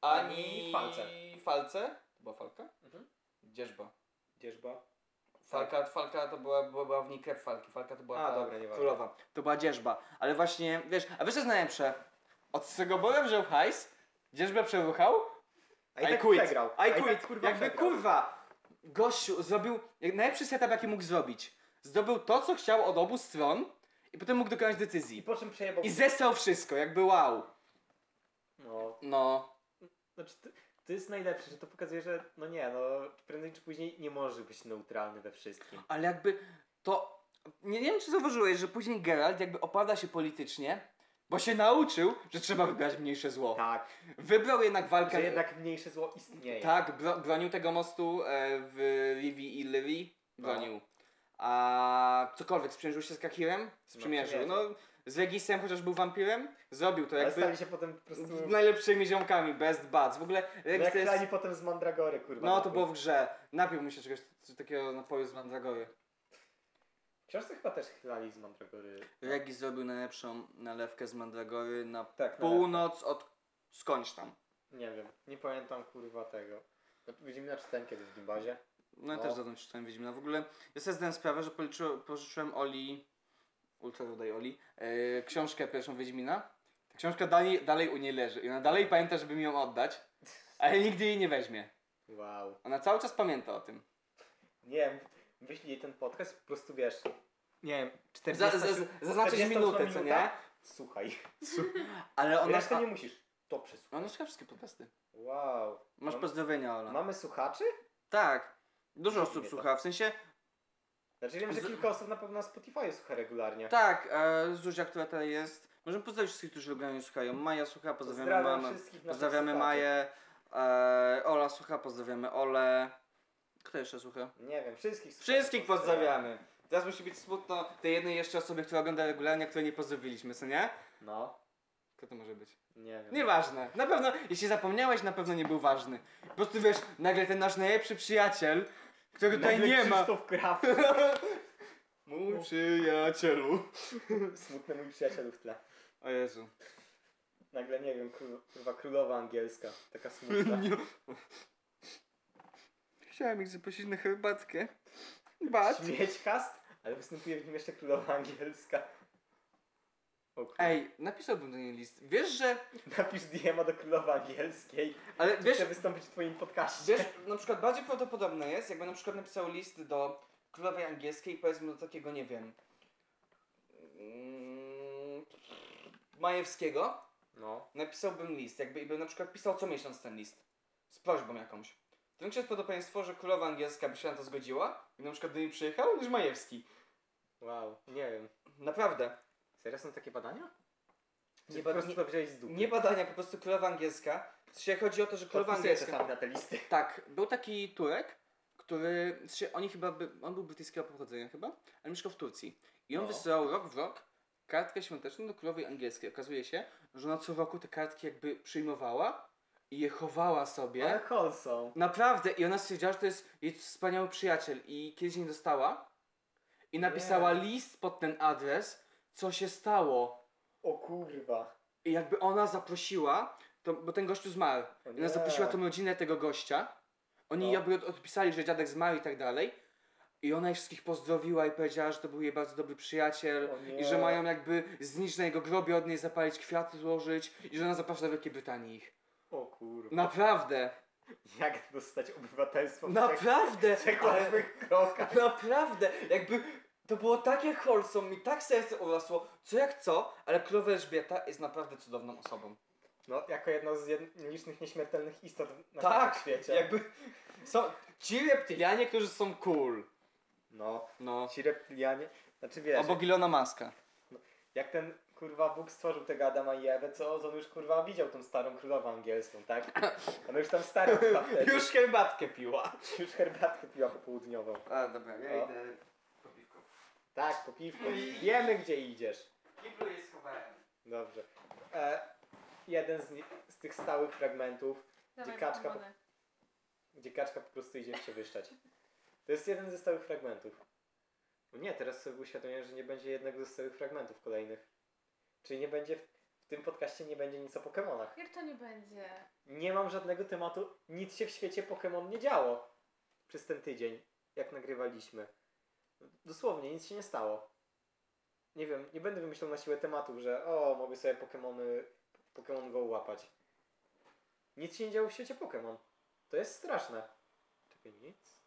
Speaker 2: ani
Speaker 1: Ani Falce.
Speaker 2: Falce. To była Falka?
Speaker 1: Mhm.
Speaker 2: Dzierżba.
Speaker 1: Dzierżba.
Speaker 2: Falka, falka to była, była, była w niej krew Falki. Falka to była
Speaker 1: A,
Speaker 2: ta
Speaker 1: dobra, nieważne.
Speaker 2: królowa. To była dzierżba. Ale właśnie, wiesz, a wiesz co jest najlepsze? Od Scegobora wziął hajs, dzierżbę przeruchał,
Speaker 1: A i tak przegrał. A
Speaker 2: I
Speaker 1: i tak,
Speaker 2: quit.
Speaker 1: kurwa,
Speaker 2: Jakby
Speaker 1: przegrał.
Speaker 2: kurwa, gościu zrobił jak najlepszy setup, jaki mógł zrobić. Zdobył to, co chciał od obu stron i potem mógł dokonać
Speaker 1: I
Speaker 2: decyzji.
Speaker 1: po czym przejebał...
Speaker 2: I zesłał wszystko, jakby wow.
Speaker 1: No.
Speaker 2: No,
Speaker 1: Znaczy, to, to jest najlepsze, że to pokazuje, że no nie, no prędzej czy później nie może być neutralny we wszystkim.
Speaker 2: ale jakby to... Nie, nie wiem, czy zauważyłeś, że później Geralt jakby opada się politycznie, bo się nauczył, że trzeba wybrać mniejsze zło.
Speaker 1: Tak.
Speaker 2: Wybrał jednak walkę...
Speaker 1: Że jednak mniejsze zło istnieje.
Speaker 2: Tak, bro, bronił tego mostu e, w Livi i Livi.
Speaker 1: No.
Speaker 2: Bronił. A cokolwiek, sprzężył się z Kakirem? Sprzymierzył. No,
Speaker 1: sprzymierzył.
Speaker 2: z Legisem, chociaż był wampirem, zrobił to
Speaker 1: Ale
Speaker 2: jakby
Speaker 1: stali się potem po prostu...
Speaker 2: z najlepszymi ziomkami, best buds. W ogóle
Speaker 1: No
Speaker 2: Regis
Speaker 1: jak
Speaker 2: to jest...
Speaker 1: stali potem z Mandragory, kurwa.
Speaker 2: No,
Speaker 1: na
Speaker 2: to
Speaker 1: pół.
Speaker 2: było w grze. Napił mi się czegoś coś takiego napoju z Mandragory.
Speaker 1: W książce chyba też chlali z Mandragory.
Speaker 2: Regis zrobił najlepszą nalewkę z Mandragory na
Speaker 1: Tak, na
Speaker 2: północ od skądś tam.
Speaker 1: Nie wiem, nie pamiętam kurwa tego. Widzimy na czytałem kiedyś w gimbazie.
Speaker 2: No, ja
Speaker 1: No.
Speaker 2: też za tym czytałem Wiedźmina. W ogóle ja sobie zdałem sprawę, że policzyłem, pożyczyłem Oli Ultra Rudej Oli, e, książkę pierwszą Wiedźmina. Ta książka dalej, dalej u niej leży i ona dalej pamięta, żeby mi ją oddać, ale nigdy jej nie weźmie.
Speaker 1: Wow.
Speaker 2: Ona cały czas pamięta o tym.
Speaker 1: Nie wiem, wyślij ten podcast, po prostu wiesz. Nie wiem,
Speaker 2: Za,
Speaker 1: 40.
Speaker 2: za, zaznaczyć
Speaker 1: 48
Speaker 2: minutę, co nie?
Speaker 1: minuta? Słuchaj.
Speaker 2: Su-
Speaker 1: Ona
Speaker 2: Ale ona...
Speaker 1: Reszty
Speaker 2: a-
Speaker 1: nie musisz. To przesłuchaj.
Speaker 2: Ona słucha wszystkie podcasty.
Speaker 1: Wow.
Speaker 2: Masz
Speaker 1: Mam-
Speaker 2: pozdrowienia, Ola.
Speaker 1: Mamy słuchaczy?
Speaker 2: Tak. Dużo
Speaker 1: Nie
Speaker 2: osób
Speaker 1: No. to.
Speaker 2: słucha, w sensie
Speaker 1: Znaczy wiem, że
Speaker 2: Z-
Speaker 1: kilka osób na pewno na Spotify słucha regularnie.
Speaker 2: Tak, e, Zuzia, która tutaj jest. Możemy pozdrowić wszystkich, którzy oglądają i słuchają. Maja słucha, pozdrawiamy
Speaker 1: Pozdrawiam
Speaker 2: mamę.
Speaker 1: wszystkich naszych
Speaker 2: Pozdrawiamy
Speaker 1: słuchaczy.
Speaker 2: Maję. E, Ola słucha, pozdrawiamy Ole. Kto jeszcze słucha?
Speaker 1: Nie wiem, wszystkich słuchaczy
Speaker 2: Wszystkich pozdrawiamy. Teraz musi być smutno tej jednej jeszcze osoby, która ogląda regularnie, a której nie pozdrowiliśmy, co nie?
Speaker 1: No,
Speaker 2: Kto to może być?
Speaker 1: nie wiem.
Speaker 2: Nieważne. Na pewno, jeśli zapomniałeś, na pewno nie był ważny. Po prostu wiesz, nagle ten nasz najlepszy przyjaciel, którego tutaj
Speaker 1: Nagle
Speaker 2: nie ma.
Speaker 1: Krzysztof Kraft.
Speaker 2: Mój przyjacielu.
Speaker 1: Smutny mój przyjacielu w tle.
Speaker 2: O Jezu.
Speaker 1: Nagle nie wiem, król, kurwa królowa angielska. Taka smutna.
Speaker 2: Chciałem ich zaprosić na herbatkę. Bat.
Speaker 1: Śmieć cast, ale występuje w nim jeszcze królowa angielska. O, kur-
Speaker 2: Ej, napisałbym do niej list. Wiesz, że...
Speaker 1: Napisz DM-a do królowa angielskiej.
Speaker 2: Ale
Speaker 1: Wiesz,
Speaker 2: wiesz,
Speaker 1: chcę wystąpić w twoim podcaście.
Speaker 2: wiesz, na przykład bardziej prawdopodobne jest, jakby na przykład napisał list do królowej angielskiej, powiedzmy do takiego, nie wiem... mm, Majewskiego.
Speaker 1: No.
Speaker 2: Napisałbym list, jakby i bym na przykład pisał co miesiąc ten list. Z prośbą jakąś. To większe jest prawdopodobieństwo, że królowa angielska by się na to zgodziła i na przykład do niej przyjechał niż Majewski.
Speaker 1: Wow, nie wiem.
Speaker 2: Naprawdę.
Speaker 1: Serio są takie badania? Czy
Speaker 2: Nie
Speaker 1: po
Speaker 2: ba-
Speaker 1: prostu
Speaker 2: nie-
Speaker 1: to wziąłeś z dupy?
Speaker 2: Nie badania, po prostu królowa angielska. W sensie chodzi o to, że królowa
Speaker 1: Podpisuję
Speaker 2: angielska.
Speaker 1: czasami na te listy.
Speaker 2: Tak, był taki Turek, który. w sensie Oni chyba. By, on był brytyjskiego pochodzenia chyba, ale mieszkał w Turcji. I on
Speaker 1: No.
Speaker 2: wysyłał rok w rok kartkę świąteczną do królowej angielskiej. Okazuje się, że ona co roku te kartki jakby przyjmowała i je chowała sobie.
Speaker 1: Ale Holson.
Speaker 2: Naprawdę, i ona stwierdziła, że to jest jej wspaniały przyjaciel i kiedyś nie dostała i napisała list pod ten adres, co się stało.
Speaker 1: O kurwa.
Speaker 2: I jakby ona zaprosiła, to, bo ten gościu zmarł.
Speaker 1: O
Speaker 2: I ona
Speaker 1: nie.
Speaker 2: zaprosiła tą rodzinę tego gościa. Oni
Speaker 1: No.
Speaker 2: jakby od- odpisali, że dziadek zmarł i tak dalej. I ona ich wszystkich pozdrowiła i powiedziała, że to był jej bardzo dobry przyjaciel.
Speaker 1: O nie.
Speaker 2: I że mają jakby zniszczyć na jego grobie, od niej zapalić kwiaty, złożyć. I że ona zaprasza do Wielkiej Brytanii ich.
Speaker 1: O kurwa.
Speaker 2: Naprawdę!
Speaker 1: Jak dostać obywatelstwo w trzech-
Speaker 2: Naprawdę!
Speaker 1: trzech
Speaker 2: ale-
Speaker 1: łatwych krokach?
Speaker 2: Naprawdę! Jakby to było takie wholesome, mi tak serce urosło, co jak co, ale królowa Elżbieta jest naprawdę cudowną osobą.
Speaker 1: No, jako jedna z jed- licznych nieśmiertelnych istot na
Speaker 2: Tak,
Speaker 1: tym świecie.
Speaker 2: Jakby są ci reptylianie, którzy są cool.
Speaker 1: No,
Speaker 2: No.
Speaker 1: ci reptilianie. Znaczy wiesz,
Speaker 2: Obok Ilona Maska.
Speaker 1: jak ten kurwa Bóg stworzył tego Adama i Ewę, co on już kurwa widział tą starą królową angielską, tak? Ona już tam stara była wtedy.
Speaker 2: Już herbatkę piła.
Speaker 1: Już herbatkę piła popołudniową.
Speaker 2: A, dobra,
Speaker 1: ja
Speaker 2: idę
Speaker 1: Tak, po piwku. Wiemy gdzie idziesz.
Speaker 2: Kiblu jest schowałem.
Speaker 1: Dobrze. E, jeden z, ni- z tych stałych fragmentów,
Speaker 3: Dawaj,
Speaker 1: kaczka
Speaker 3: wodę.
Speaker 1: gdzie kaczka po prostu idzie przewyższać. To jest jeden ze stałych fragmentów. No Nie, teraz sobie uświadomiłem, że nie będzie jednego ze stałych fragmentów kolejnych. Czyli nie będzie, w, w tym podcaście nie będzie nic o Pokemonach.
Speaker 3: Jak to nie będzie?
Speaker 1: Nie mam żadnego tematu, nic się w świecie Pokemon nie działo przez ten tydzień, jak nagrywaliśmy. Dosłownie, nic się nie stało. Nie wiem, nie będę wymyślał na siłę tematów, że o, mogę sobie Pokemony, Pokemon Go łapać. Nic się nie działo w świecie Pokemon. To jest straszne. Czekaj, nic?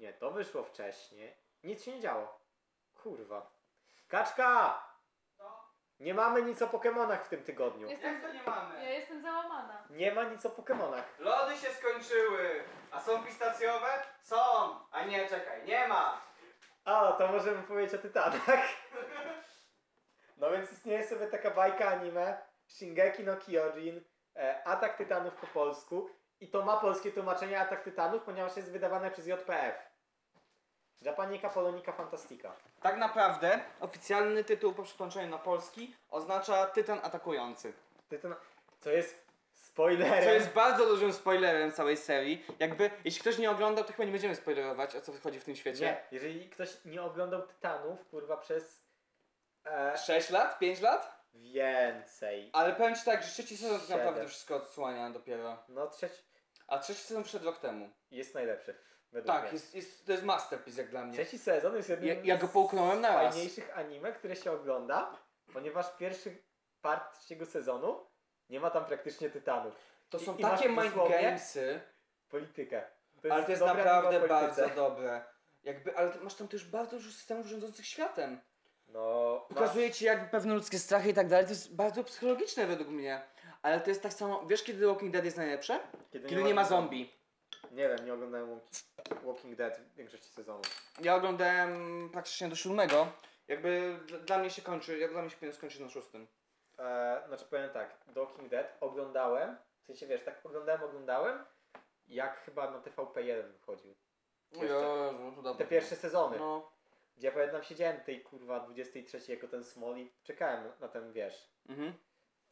Speaker 1: Nie, to wyszło wcześniej. Nic się nie działo. Kurwa. Kaczka! Nie mamy nic o Pokemonach w tym tygodniu.
Speaker 3: Jestem,
Speaker 2: No, nie
Speaker 3: ja
Speaker 2: mamy?
Speaker 3: jestem załamana.
Speaker 1: Nie ma nic o Pokemonach.
Speaker 2: Lody się skończyły. A są pistacjowe? Są. A nie, czekaj, nie ma.
Speaker 1: A, to możemy powiedzieć o Tytanach. No więc istnieje sobie taka bajka anime Shingeki no Kyojin e, Atak Tytanów po polsku i to ma polskie tłumaczenie Atak Tytanów, ponieważ jest wydawane przez JPF. Japanika Polonika Fantastika.
Speaker 2: Tak naprawdę oficjalny tytuł po przetłumaczeniu na polski oznacza Tytan atakujący.
Speaker 1: Tytan... Co jest spoilerem.
Speaker 2: Co jest bardzo dużym spoilerem całej serii. Jakby, jeśli ktoś nie oglądał, to chyba nie będziemy spoilerować, o co chodzi w tym świecie.
Speaker 1: Nie, jeżeli ktoś nie oglądał Tytanów, kurwa, przez... E,
Speaker 2: 6 lat? 5 lat?
Speaker 1: więcej.
Speaker 2: Ale powiem ci tak, że trzeci sezon tak
Speaker 1: Siedem.
Speaker 2: naprawdę wszystko odsłania dopiero.
Speaker 1: No trzeci
Speaker 2: A trzeci sezon wszedł rok temu.
Speaker 1: jest najlepszy. Według
Speaker 2: Tak,
Speaker 1: mnie.
Speaker 2: jest, jest, to jest masterpiece jak dla mnie.
Speaker 1: Trzeci sezon jest jednym
Speaker 2: Ja- ja go połknąłem
Speaker 1: z
Speaker 2: na raz.
Speaker 1: fajniejszych anime, które się ogląda, ponieważ pierwszy part trzeciego sezonu nie ma tam praktycznie tytanów.
Speaker 2: To
Speaker 1: I-
Speaker 2: są
Speaker 1: i masz
Speaker 2: takie mind
Speaker 1: dosłownie-
Speaker 2: gamesy,
Speaker 1: Politykę.
Speaker 2: ale to jest
Speaker 1: dobra
Speaker 2: naprawdę
Speaker 1: anime o polityce.
Speaker 2: bardzo dobre. Jakby, ale masz tam też bardzo dużo systemów rządzących światem.
Speaker 1: No,
Speaker 2: Pokazuje ci jak pewne ludzkie strachy i tak dalej, to jest bardzo psychologiczne według mnie. Ale to jest tak samo, wiesz kiedy The Walking Dead jest najlepsze?
Speaker 1: masz-
Speaker 2: Kiedy nie ma zombie.
Speaker 1: Nie wiem, nie oglądałem Walking- Walking Dead w większości sezonów.
Speaker 2: Ja oglądałem praktycznie do siódmego. Jakby dla, dla mnie się kończy, jak dla mnie się powinien skończyć na szóstym.
Speaker 1: E, znaczy powiem tak, The Walking Dead oglądałem, w sensie wiesz, tak oglądałem, oglądałem, jak chyba na TVP1 wychodził. Jeszcze.
Speaker 2: Jezu, no to dawno.
Speaker 1: Te pierwsze sezony.
Speaker 2: No.
Speaker 1: Gdzie ja pamiętam siedziałem tej kurwa 23 jako ten small i czekałem na ten, wiesz,
Speaker 2: Mhm.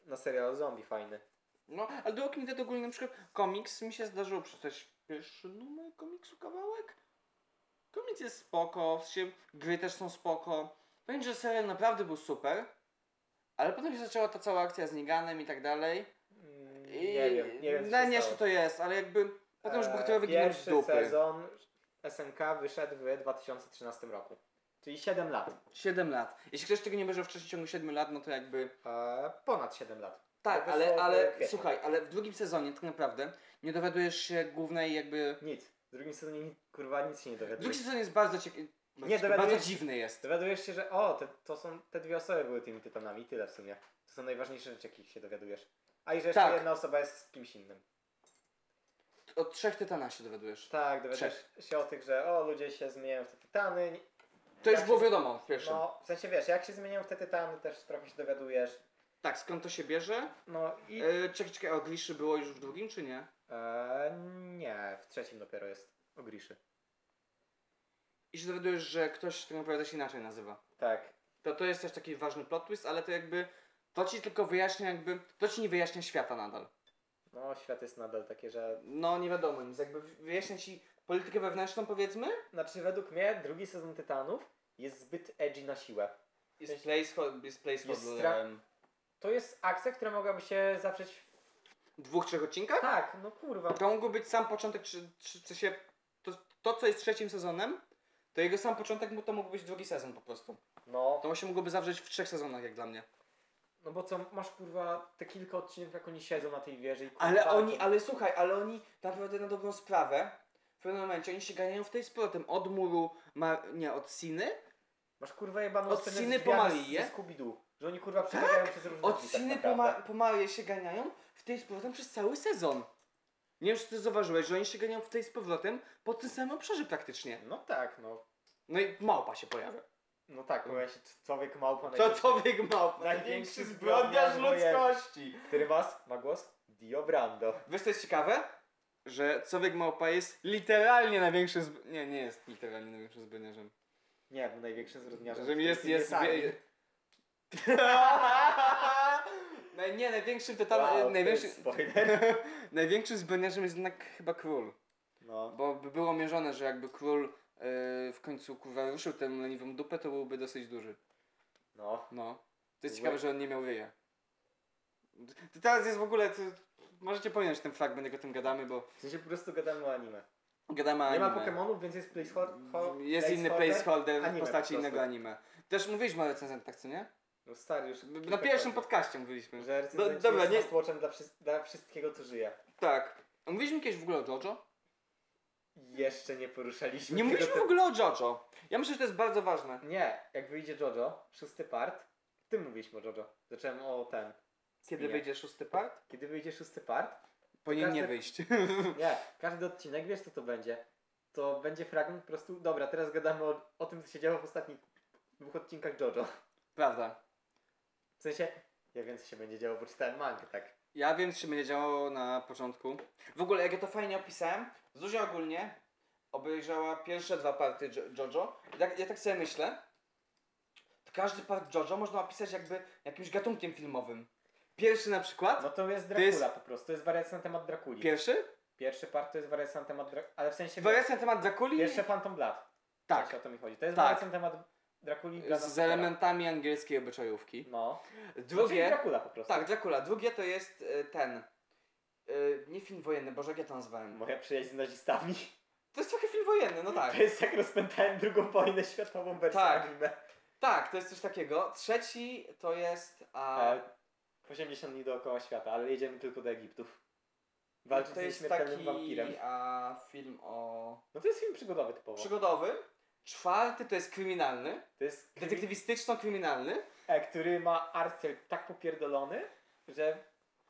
Speaker 1: na serial zombie fajny.
Speaker 2: No, ale The Walking Dead ogólnie na przykład komiks mi się zdarzyło przeczytać pierwszy numer komiksu kawałek. Komiks jest spoko, w sensie gry też są spoko. Powiem, że serial naprawdę był super, ale potem się zaczęła ta cała akcja z Niganem i tak dalej.
Speaker 1: Mm,
Speaker 2: I
Speaker 1: Nie wiem, nie wiem co
Speaker 2: No,
Speaker 1: się
Speaker 2: nie,
Speaker 1: stało.
Speaker 2: to jest, ale jakby potem już
Speaker 1: E,
Speaker 2: bohaterowie giną z
Speaker 1: Pierwszy
Speaker 2: dupy.
Speaker 1: sezon SNK wyszedł w 2013 roku, czyli 7 lat.
Speaker 2: 7 lat. Jeśli ktoś tego nie bierze w czasie ciągu 7 lat, no to jakby...
Speaker 1: E, ponad 7 lat.
Speaker 2: Tak,
Speaker 1: To
Speaker 2: ale,
Speaker 1: wyszło w
Speaker 2: ale
Speaker 1: kwietniu.
Speaker 2: słuchaj, ale w drugim sezonie tak naprawdę nie dowiadujesz się głównej jakby...
Speaker 1: Nic. W drugim sezonie ni- kurwa nic się nie
Speaker 2: Drugi
Speaker 1: dowiadujesz.
Speaker 2: sezon jest bardzo ciekawy.
Speaker 1: Nie, dowiadujesz-
Speaker 2: bardzo dziwny jest.
Speaker 1: Dowiadujesz się, że o, te, to są te dwie osoby były tymi tytanami, tyle w sumie. To są najważniejsze rzeczy, jakich się dowiadujesz. A i że jeszcze
Speaker 2: Tak.
Speaker 1: jedna osoba jest z kimś innym.
Speaker 2: Od trzech tytana się dowiadujesz.
Speaker 1: Tak, dowiadujesz się o tych, że o, ludzie się zmieniają w te tytany. nie-
Speaker 2: To
Speaker 1: jak
Speaker 2: już było
Speaker 1: się,
Speaker 2: wiadomo w pierwszym.
Speaker 1: No, w sensie wiesz, jak się zmieniają w te tytany, też trochę się dowiadujesz.
Speaker 2: Tak, skąd to się bierze?
Speaker 1: No i...
Speaker 2: E, czekaj, czekaj, o Gliszy było już w drugim, czy nie?
Speaker 1: E, nie, w trzecim dopiero jest o Griszy.
Speaker 2: I się dowiadujesz, że ktoś tak naprawdę się inaczej nazywa.
Speaker 1: Tak.
Speaker 2: To, to jest też taki ważny plot twist, ale to jakby... To ci tylko wyjaśnia jakby... To ci nie wyjaśnia świata nadal.
Speaker 1: No, świat jest nadal takie, że...
Speaker 2: No, nie wiadomo nic. Jakby wyjaśnia ci politykę wewnętrzną, powiedzmy.
Speaker 1: Znaczy, według mnie drugi sezon Tytanów jest zbyt edgy na siłę.
Speaker 2: Jest placeholder. Jest
Speaker 1: stra-
Speaker 2: placeholderem.
Speaker 1: To jest akcja, która mogłaby się zawrzeć w
Speaker 2: Dwóch, trzech odcinkach?
Speaker 1: Tak, no kurwa.
Speaker 2: To mógł być sam początek, czy, czy, czy się. To, to, co jest trzecim sezonem, to jego sam początek mu- to mógł być drugi sezon po prostu.
Speaker 1: No,
Speaker 2: To się mogłoby zawrzeć w trzech sezonach, jak dla mnie.
Speaker 1: no bo co, masz kurwa te kilka odcinków, jak oni siedzą na tej wieży i kurwa,
Speaker 2: Ale oni,
Speaker 1: to-
Speaker 2: ale słuchaj, ale oni naprawdę na dobrą sprawę w pewnym momencie oni się ganiają w tej z powrotem od muru, ma, nie, od Siny?
Speaker 1: Masz kurwa jebaną
Speaker 2: od
Speaker 1: scenę z
Speaker 2: Siny
Speaker 1: drzwiami
Speaker 2: po
Speaker 1: z-
Speaker 2: Marię?
Speaker 1: ze Scooby-Doo, że oni kurwa przebiegają przez różne
Speaker 2: Od
Speaker 1: drzwi tak
Speaker 2: Siny po,
Speaker 1: naprawdę.
Speaker 2: ma, po Marię się ganiają w tej z powrotem przez cały sezon. Nie wiem, czy ty zauważyłeś, że oni się ganiają w tej z powrotem po tym samym obszarze praktycznie.
Speaker 1: No tak, no.
Speaker 2: No i małpa się pojawia.
Speaker 1: No tak, powiem się, człowiek małpa,
Speaker 2: To
Speaker 1: największy,
Speaker 2: człowiek małpa.
Speaker 1: Największy zbrodniarz
Speaker 2: ludzkości.
Speaker 1: który was ma głos? Dio Brando.
Speaker 2: Wiesz co jest ciekawe? Że Człowiek Małpa jest literalnie największym zb... Nie, nie jest literalnie największym zbrodniarzem.
Speaker 1: Nie, bo największy zrodniarz.
Speaker 2: Że jest, jest... wie- Naj- No nie, największym tytanem...
Speaker 1: Wow,
Speaker 2: największym...
Speaker 1: największy... spoiler.
Speaker 2: największym zbrodniarzem jest jednak chyba król.
Speaker 1: No,
Speaker 2: Bo by było mierzone, że jakby król yy, w końcu kurwa ruszył tę leniwą dupę, to byłby dosyć duży.
Speaker 1: no.
Speaker 2: No. To jest
Speaker 1: Łe-
Speaker 2: ciekawe, że on nie miał ryja. To teraz jest w ogóle... To, możecie pominąć ten fragment, jak o tym gadamy, bo
Speaker 1: W sensie po prostu gadamy o anime.
Speaker 2: gadamy o
Speaker 1: Nie ma
Speaker 2: anime.
Speaker 1: Pokemonów, więc jest placeholder.
Speaker 2: Mm, Jest inny placeholder w
Speaker 1: Anime
Speaker 2: postaci
Speaker 1: po prostu.
Speaker 2: innego anime. Też mówiliśmy o recenzentach, co nie?
Speaker 1: No stary, już
Speaker 2: Na
Speaker 1: kilka
Speaker 2: pierwszym
Speaker 1: razy.
Speaker 2: podcaście mówiliśmy.
Speaker 1: Że
Speaker 2: Do-
Speaker 1: recenzenci
Speaker 2: dobra,
Speaker 1: jest
Speaker 2: nie-
Speaker 1: must-watchem dla, wszy- dla wszystkiego, co żyje.
Speaker 2: Tak. A Mówiliśmy kiedyś w ogóle o JoJo?
Speaker 1: Jeszcze nie poruszaliśmy
Speaker 2: Nie
Speaker 1: tego
Speaker 2: mówiliśmy w
Speaker 1: te-
Speaker 2: ogóle o JoJo. Ja myślę, że to jest bardzo ważne.
Speaker 1: Nie, jak wyjdzie JoJo, szósty part, ty mówiliśmy o JoJo. Zacząłem o ten.
Speaker 2: Kiedy
Speaker 1: Nie.
Speaker 2: wyjdzie szósty part?
Speaker 1: Kiedy wyjdzie szósty part?
Speaker 2: Powinien nie
Speaker 1: Każdy-
Speaker 2: wyjść.
Speaker 1: Nie, każdy odcinek, wiesz co to będzie. To będzie fragment po prostu, dobra, teraz gadamy o, o tym, co się działo w ostatnich dwóch odcinkach JoJo.
Speaker 2: Prawda.
Speaker 1: W sensie, ja wiem, co się będzie działo, bo czytałem mangę, tak.
Speaker 2: Ja wiem, co się będzie działo na początku. W ogóle, jak ja to fajnie opisałem, Zuzia ogólnie obejrzała pierwsze dwa party Jo- JoJo. Jak, ja tak sobie myślę, to każdy part JoJo można opisać jakby jakimś gatunkiem filmowym. Pierwszy na przykład.
Speaker 1: No to jest
Speaker 2: To
Speaker 1: Dracula
Speaker 2: jest-
Speaker 1: po prostu, to jest wariacja na temat Drakuli.
Speaker 2: Pierwszy?
Speaker 1: Pierwszy part to jest wariacja na temat Drakuli, ale w sensie,
Speaker 2: Wariacja na temat Drakuli?
Speaker 1: pierwszy Phantom Blood. Tak.
Speaker 2: tak.
Speaker 1: o to mi chodzi. To jest
Speaker 2: Tak.
Speaker 1: tak. na temat Drakuli. Blada
Speaker 2: Z, z
Speaker 1: Stalkera.
Speaker 2: elementami angielskiej obyczajówki.
Speaker 1: No. Drugie.
Speaker 2: Drugie.
Speaker 1: Drakula po prostu.
Speaker 2: Tak, Dracula. Drugie to jest e, y, ten. y, Nie film wojenny, Boże, jak ja to nazwałem?
Speaker 1: Moja przyjaźń z nazistami.
Speaker 2: To jest trochę film wojenny, no tak.
Speaker 1: To jest jak rozpętałem drugą wojnę światową wersję
Speaker 2: Tak.
Speaker 1: anime.
Speaker 2: Tak, to jest coś takiego. Trzeci to jest. A,
Speaker 1: E, 80 dni dookoła świata, ale jedziemy tylko do Egiptu. Walczyć
Speaker 2: No to
Speaker 1: z
Speaker 2: jest
Speaker 1: nieśmiertelnym
Speaker 2: taki
Speaker 1: wampirem.
Speaker 2: a, film o.
Speaker 1: No to jest film przygodowy typowo.
Speaker 2: przygodowy. Czwarty to jest kryminalny.
Speaker 1: to jest detektyw,
Speaker 2: Detektywistyczno-kryminalny.
Speaker 1: e, który ma artstyle tak popierdolony, że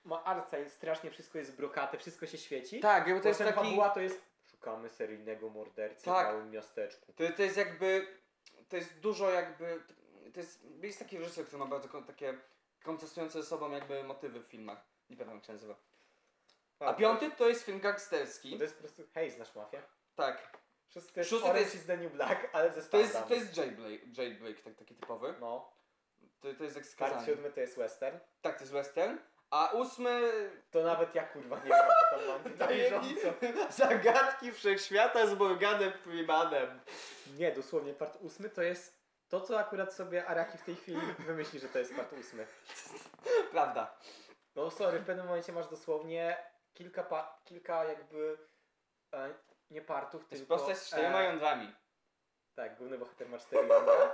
Speaker 1: ma artstyle, strasznie wszystko jest brokate, wszystko się świeci.
Speaker 2: Tak, jakby to jest
Speaker 1: Potem
Speaker 2: taki.
Speaker 1: fabuła to jest szukamy seryjnego mordercy
Speaker 2: Tak.
Speaker 1: w małym miasteczku.
Speaker 2: To, to jest jakby. To jest dużo jakby. To jest, jest taki reżyser, który ma bardzo kon- takie kontrastujące ze sobą jakby motywy w filmach. Nie pamiętam jak się nazywa. A piąty to jest film gangsterski.
Speaker 1: Tak, To jest po prostu, hej, znasz mafię?
Speaker 2: Tak.
Speaker 1: Szósty,
Speaker 2: Szósty to
Speaker 1: Orange
Speaker 2: jest-
Speaker 1: is the New Black, ale ze
Speaker 2: To jest,
Speaker 1: Stardust.
Speaker 2: to jest jailbreak, jailbreak tak, taki typowy.
Speaker 1: No,
Speaker 2: To, to jest jak
Speaker 1: part
Speaker 2: skazany.
Speaker 1: siódmy to jest western.
Speaker 2: Tak, to jest western. A ósmy...
Speaker 1: To nawet ja kurwa nie wiem, co tam mam na bieżąco.
Speaker 2: Zagadki Wszechświata z Morganem Freemanem.
Speaker 1: Nie, dosłownie part ósmy to jest to, co akurat sobie Araki w tej chwili wymyśli, że to jest part ósmy.
Speaker 2: Prawda.
Speaker 1: No sorry, w pewnym momencie masz dosłownie kilka, pa- kilka jakby e, nie partów,
Speaker 2: To jest
Speaker 1: tylko... e.
Speaker 2: postać z czterema jądrami.
Speaker 1: Tak, główny bohater ma cztery jądra.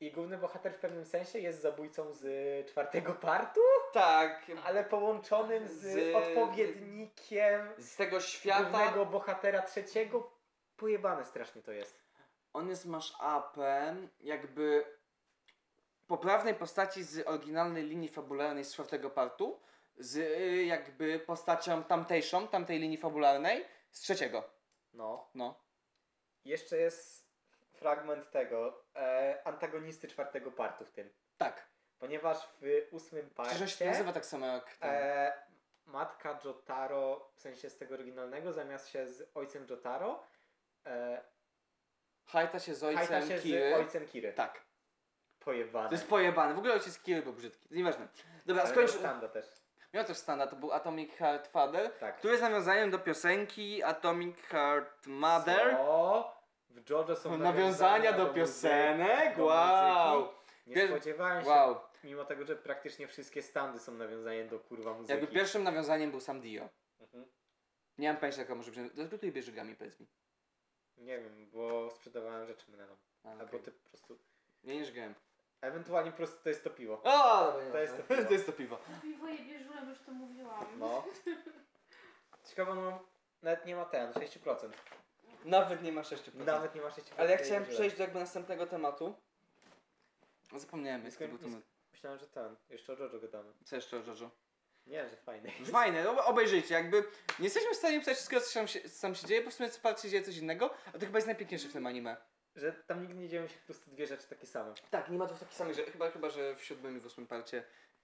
Speaker 1: I główny bohater w pewnym sensie jest zabójcą z czwartego partu,
Speaker 2: Tak.
Speaker 1: ale połączonym z,
Speaker 2: Z- tak-
Speaker 1: odpowiednikiem
Speaker 2: Z tego świata
Speaker 1: głównego bohatera trzeciego. Pojebane strasznie to jest.
Speaker 2: on jest masz-upem jakby poprawnej postaci z oryginalnej linii fabularnej z czwartego partu z y, jakby postacią tamtejszą, tamtej linii fabularnej z trzeciego.
Speaker 1: No.
Speaker 2: No.
Speaker 1: Jeszcze jest fragment tego, e, antagonisty czwartego partu w tym.
Speaker 2: Tak.
Speaker 1: Ponieważ w ósmym
Speaker 2: Przecież się
Speaker 1: parcie
Speaker 2: nazywa tak samo jak ten.
Speaker 1: e, matka Jotaro, w sensie z tego oryginalnego, zamiast się z ojcem Jotaro, e,
Speaker 2: Hajta się z
Speaker 1: hajta
Speaker 2: ojcem
Speaker 1: się
Speaker 2: Kiry.
Speaker 1: z ojcem Kiry.
Speaker 2: Tak.
Speaker 1: Pojebane.
Speaker 2: To jest pojebane. W ogóle ojciec Kiry był brzydki. Nieważne. Dobra,
Speaker 1: Ale
Speaker 2: skończ...
Speaker 1: to Standa też.
Speaker 2: Miał też standard, to był Atomic Heart Father,
Speaker 1: Tak.
Speaker 2: który jest nawiązaniem do piosenki Atomic Heart Mother.
Speaker 1: Co? W JoJo są
Speaker 2: Nawiązania do
Speaker 1: muzyki,
Speaker 2: piosenek?
Speaker 1: do
Speaker 2: Wow!
Speaker 1: muzyki. Nie
Speaker 2: Pier-
Speaker 1: spodziewałem się,
Speaker 2: Wow.
Speaker 1: mimo tego, że praktycznie wszystkie standy są nawiązaniem do kurwa muzyki.
Speaker 2: Jakby pierwszym nawiązaniem był sam Dio.
Speaker 1: Mhm.
Speaker 2: Nie mam pojęcia, jaka może być. Dlaczego tutaj bierze gami, powiedz mi.
Speaker 1: Nie wiem, bo sprzedawałem rzeczy mylną.
Speaker 2: A,
Speaker 1: Albo
Speaker 2: okej.
Speaker 1: ty po prostu...
Speaker 2: Nie niż gem.
Speaker 1: Ewentualnie po prostu to jest to piwo.
Speaker 2: O, dobra, nie
Speaker 1: To jest
Speaker 2: ma.
Speaker 1: to piwo.
Speaker 2: to jest to piwo.
Speaker 3: Piwo je bierzurem, już to mówiłam.
Speaker 1: No. Ciekawe, no... Nawet nie ma ten, 6%.
Speaker 2: Nawet nie ma 6%.
Speaker 1: Nawet nie ma 6%.
Speaker 2: No Ale ja chciałem
Speaker 1: Jeździłem.
Speaker 2: przejść do jakby następnego tematu. No, Zapomniałem, jaki to
Speaker 1: Skoń-
Speaker 2: był temat.
Speaker 1: Myślałem, że ten. Jeszcze o JoJo gadamy.
Speaker 2: Co jeszcze, Jojo?
Speaker 1: Nie, że fajny.
Speaker 2: Fajne, no obejrzyjcie, jakby nie jesteśmy w stanie pisać wszystkiego, co się, tam się- co tam się dzieje, bo w sumie co parcie dzieje coś innego, a to chyba jest najpiękniejsze w tym anime.
Speaker 1: Że tam nigdy nie dzieją się po prostu dwie rzeczy takie same.
Speaker 2: Tak, nie ma dwóch takich samych, że chyba, chyba, że w siódmym i w ósmym parcie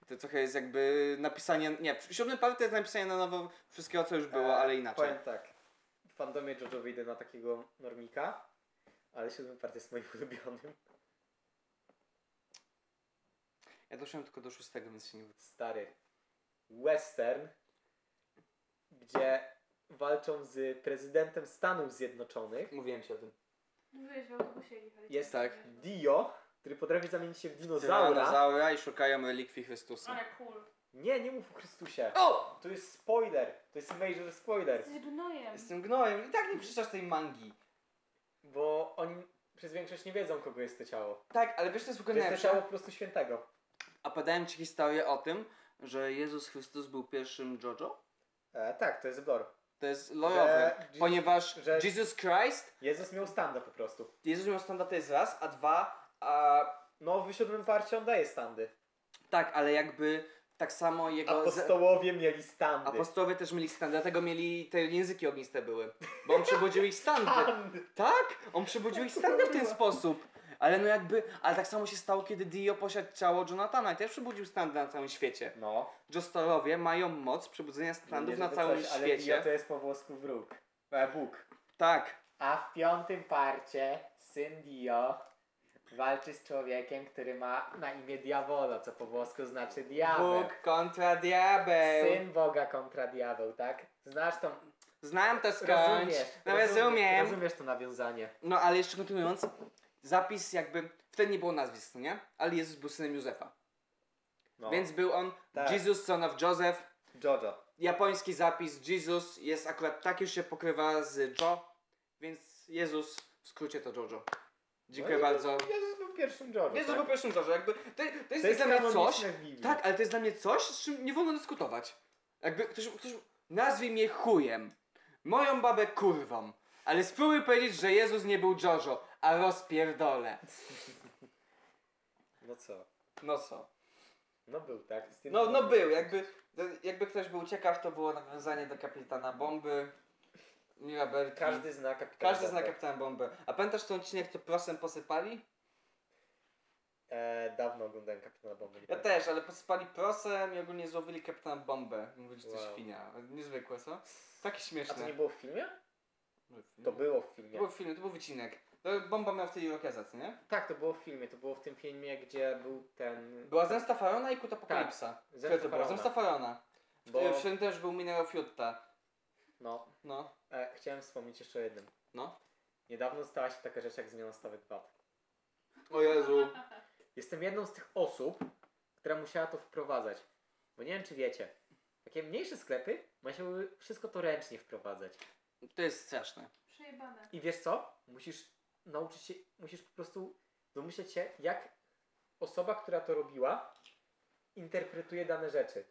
Speaker 2: to trochę jest jakby napisanie, nie, w siódmym partie jest napisanie na nowo wszystkiego, co już było,
Speaker 1: E,
Speaker 2: ale inaczej.
Speaker 1: Powiem tak. W fandomie JoJo wyjdę na takiego normika, ale siódmy part jest moim ulubionym.
Speaker 2: Ja doszedłem tylko do szóstego, więc się nie...
Speaker 1: Stary. Western, gdzie walczą z prezydentem Stanów Zjednoczonych.
Speaker 2: Mówiłem ci o tym.
Speaker 3: Mówiłeś w autobusie jechać.
Speaker 1: Jest
Speaker 2: Tak.
Speaker 1: Dio, który potrafi zamienić się w dinozaura.
Speaker 2: Zaura i szukają relikwii Chrystusa.
Speaker 3: Ale cool.
Speaker 1: Nie, nie mów o Chrystusie.
Speaker 2: O!
Speaker 1: To jest spoiler. To jest major spoiler.
Speaker 3: Jesteś gnojem.
Speaker 2: Jestem gnojem i tak nie przeczytasz tej mangi.
Speaker 1: Bo oni przez większość nie wiedzą, kogo jest to ciało.
Speaker 2: Tak, ale wiesz, to jest w
Speaker 1: To
Speaker 2: ogóle
Speaker 1: jest to ciało
Speaker 2: najlepsze.
Speaker 1: po prostu świętego.
Speaker 2: A podałem ci historię o tym, że Jezus Chrystus był pierwszym Jojo?
Speaker 1: E, tak, to jest blor.
Speaker 2: To jest lojowe,
Speaker 1: Że-
Speaker 2: ponieważ
Speaker 1: że-
Speaker 2: Jesus Christ,
Speaker 1: Jezus miał standa po prostu.
Speaker 2: Jezus miał standard to jest raz, a dwa, a
Speaker 1: No, w siódmym parcie on daje standy.
Speaker 2: Tak, ale jakby tak samo jego.
Speaker 1: Apostołowie mieli standy.
Speaker 2: Apostołowie też mieli stan, dlatego mieli te języki ogniste były. Bo on przebudził ich stan.
Speaker 1: Standy.
Speaker 2: Tak? On przebudził ich stan w ten sposób. Ale no jakby. Ale tak samo się stało, kiedy Dio posiadł ciało Jonathana i też przebudził standy na całym świecie.
Speaker 1: No.
Speaker 2: Jostorowie mają moc przebudzenia standów
Speaker 1: Nie,
Speaker 2: na
Speaker 1: żeby
Speaker 2: całym
Speaker 1: coś, Ale
Speaker 2: świecie.
Speaker 1: Dio to jest po włosku wróg. E, Bóg.
Speaker 2: Tak.
Speaker 1: A w piątym parcie syn Dio walczy z człowiekiem, który ma na imię Diavolo, co po włosku znaczy diabeł.
Speaker 2: Bóg kontra diabeł.
Speaker 1: Syn Boga kontra diabeł, tak? Znasz tą...
Speaker 2: Znam to skądś.
Speaker 1: Rozumiesz.
Speaker 2: No rozumiem.
Speaker 1: Rozumiesz to nawiązanie.
Speaker 2: No ale jeszcze kontynuując, zapis jakby. Wtedy nie było nazwisk, no nie? Ale Jezus był synem Józefa.
Speaker 1: No.
Speaker 2: Więc był on
Speaker 1: Tak.
Speaker 2: Jesus, son of Joseph.
Speaker 1: Jojo.
Speaker 2: Japoński zapis Jesus jest akurat tak już się pokrywa z Jo, Więc Jezus, w skrócie to Jojo. Dziękuję
Speaker 1: No i
Speaker 2: bardzo.
Speaker 1: Jezus był pierwszym George'em.
Speaker 2: Jezus
Speaker 1: tak?
Speaker 2: był pierwszym Jojo, jakby. To, to jest,
Speaker 1: To jest
Speaker 2: dla mnie coś.
Speaker 1: kanoniczne w Biblii.
Speaker 2: Tak, ale to jest dla mnie coś, z czym nie wolno dyskutować. Jakby ktoś, ktoś nazwie mnie chujem, moją babę kurwą, ale spróbuj powiedzieć, że Jezus nie był Jojo, a rozpierdolę.
Speaker 1: No co?
Speaker 2: No co?
Speaker 1: No był, tak? Z tym-
Speaker 2: No, no był, jakby, jakby ktoś był ciekaw, to było nawiązanie do kapitana bomby, Mirabelki.
Speaker 1: Każdy zna kapitana.
Speaker 2: Każdy zna
Speaker 1: Bombę.
Speaker 2: kapitana bombę. A pamiętasz ten odcinek, co prosem posypali?
Speaker 1: E, dawno oglądałem kapitana bomby. nie
Speaker 2: Ja
Speaker 1: pamiętam.
Speaker 2: też, ale posypali prosem i ogólnie złowili kapitana bombę. Mówili, że to
Speaker 1: Wow.
Speaker 2: świnia. Niezwykłe, co? Takie
Speaker 1: A to nie
Speaker 2: śmieszne.
Speaker 1: było w filmie?
Speaker 2: To
Speaker 1: To
Speaker 2: był,
Speaker 1: było w filmie.
Speaker 2: był film, No. to był wycinek. To bomba miała wtedy Irokeza, co nie?
Speaker 1: Tak, to było w filmie. To było w tym filmie, gdzie był ten...
Speaker 2: Była Zemsta Farona i Kut Apokalipsa.
Speaker 1: Tak, Zemsta
Speaker 2: Które to było?
Speaker 1: Farona.
Speaker 2: Zemsta Farona.
Speaker 1: Bo,
Speaker 2: W tym też był Mineral Fiutta.
Speaker 1: no,
Speaker 2: No.
Speaker 1: e, chciałem wspomnieć jeszcze o jednym.
Speaker 2: No.
Speaker 1: Niedawno stała się taka rzecz jak zmiana stawek VAT.
Speaker 2: O Jezu.
Speaker 1: Jestem jedną z tych osób, która musiała to wprowadzać. Bo nie wiem, czy wiecie. Takie mniejsze sklepy musiały wszystko to ręcznie wprowadzać.
Speaker 2: To jest straszne.
Speaker 3: Przejebane.
Speaker 1: I wiesz co? Musisz nauczyć się, musisz po prostu domyśleć się, jak osoba, która to robiła, interpretuje dane rzeczy.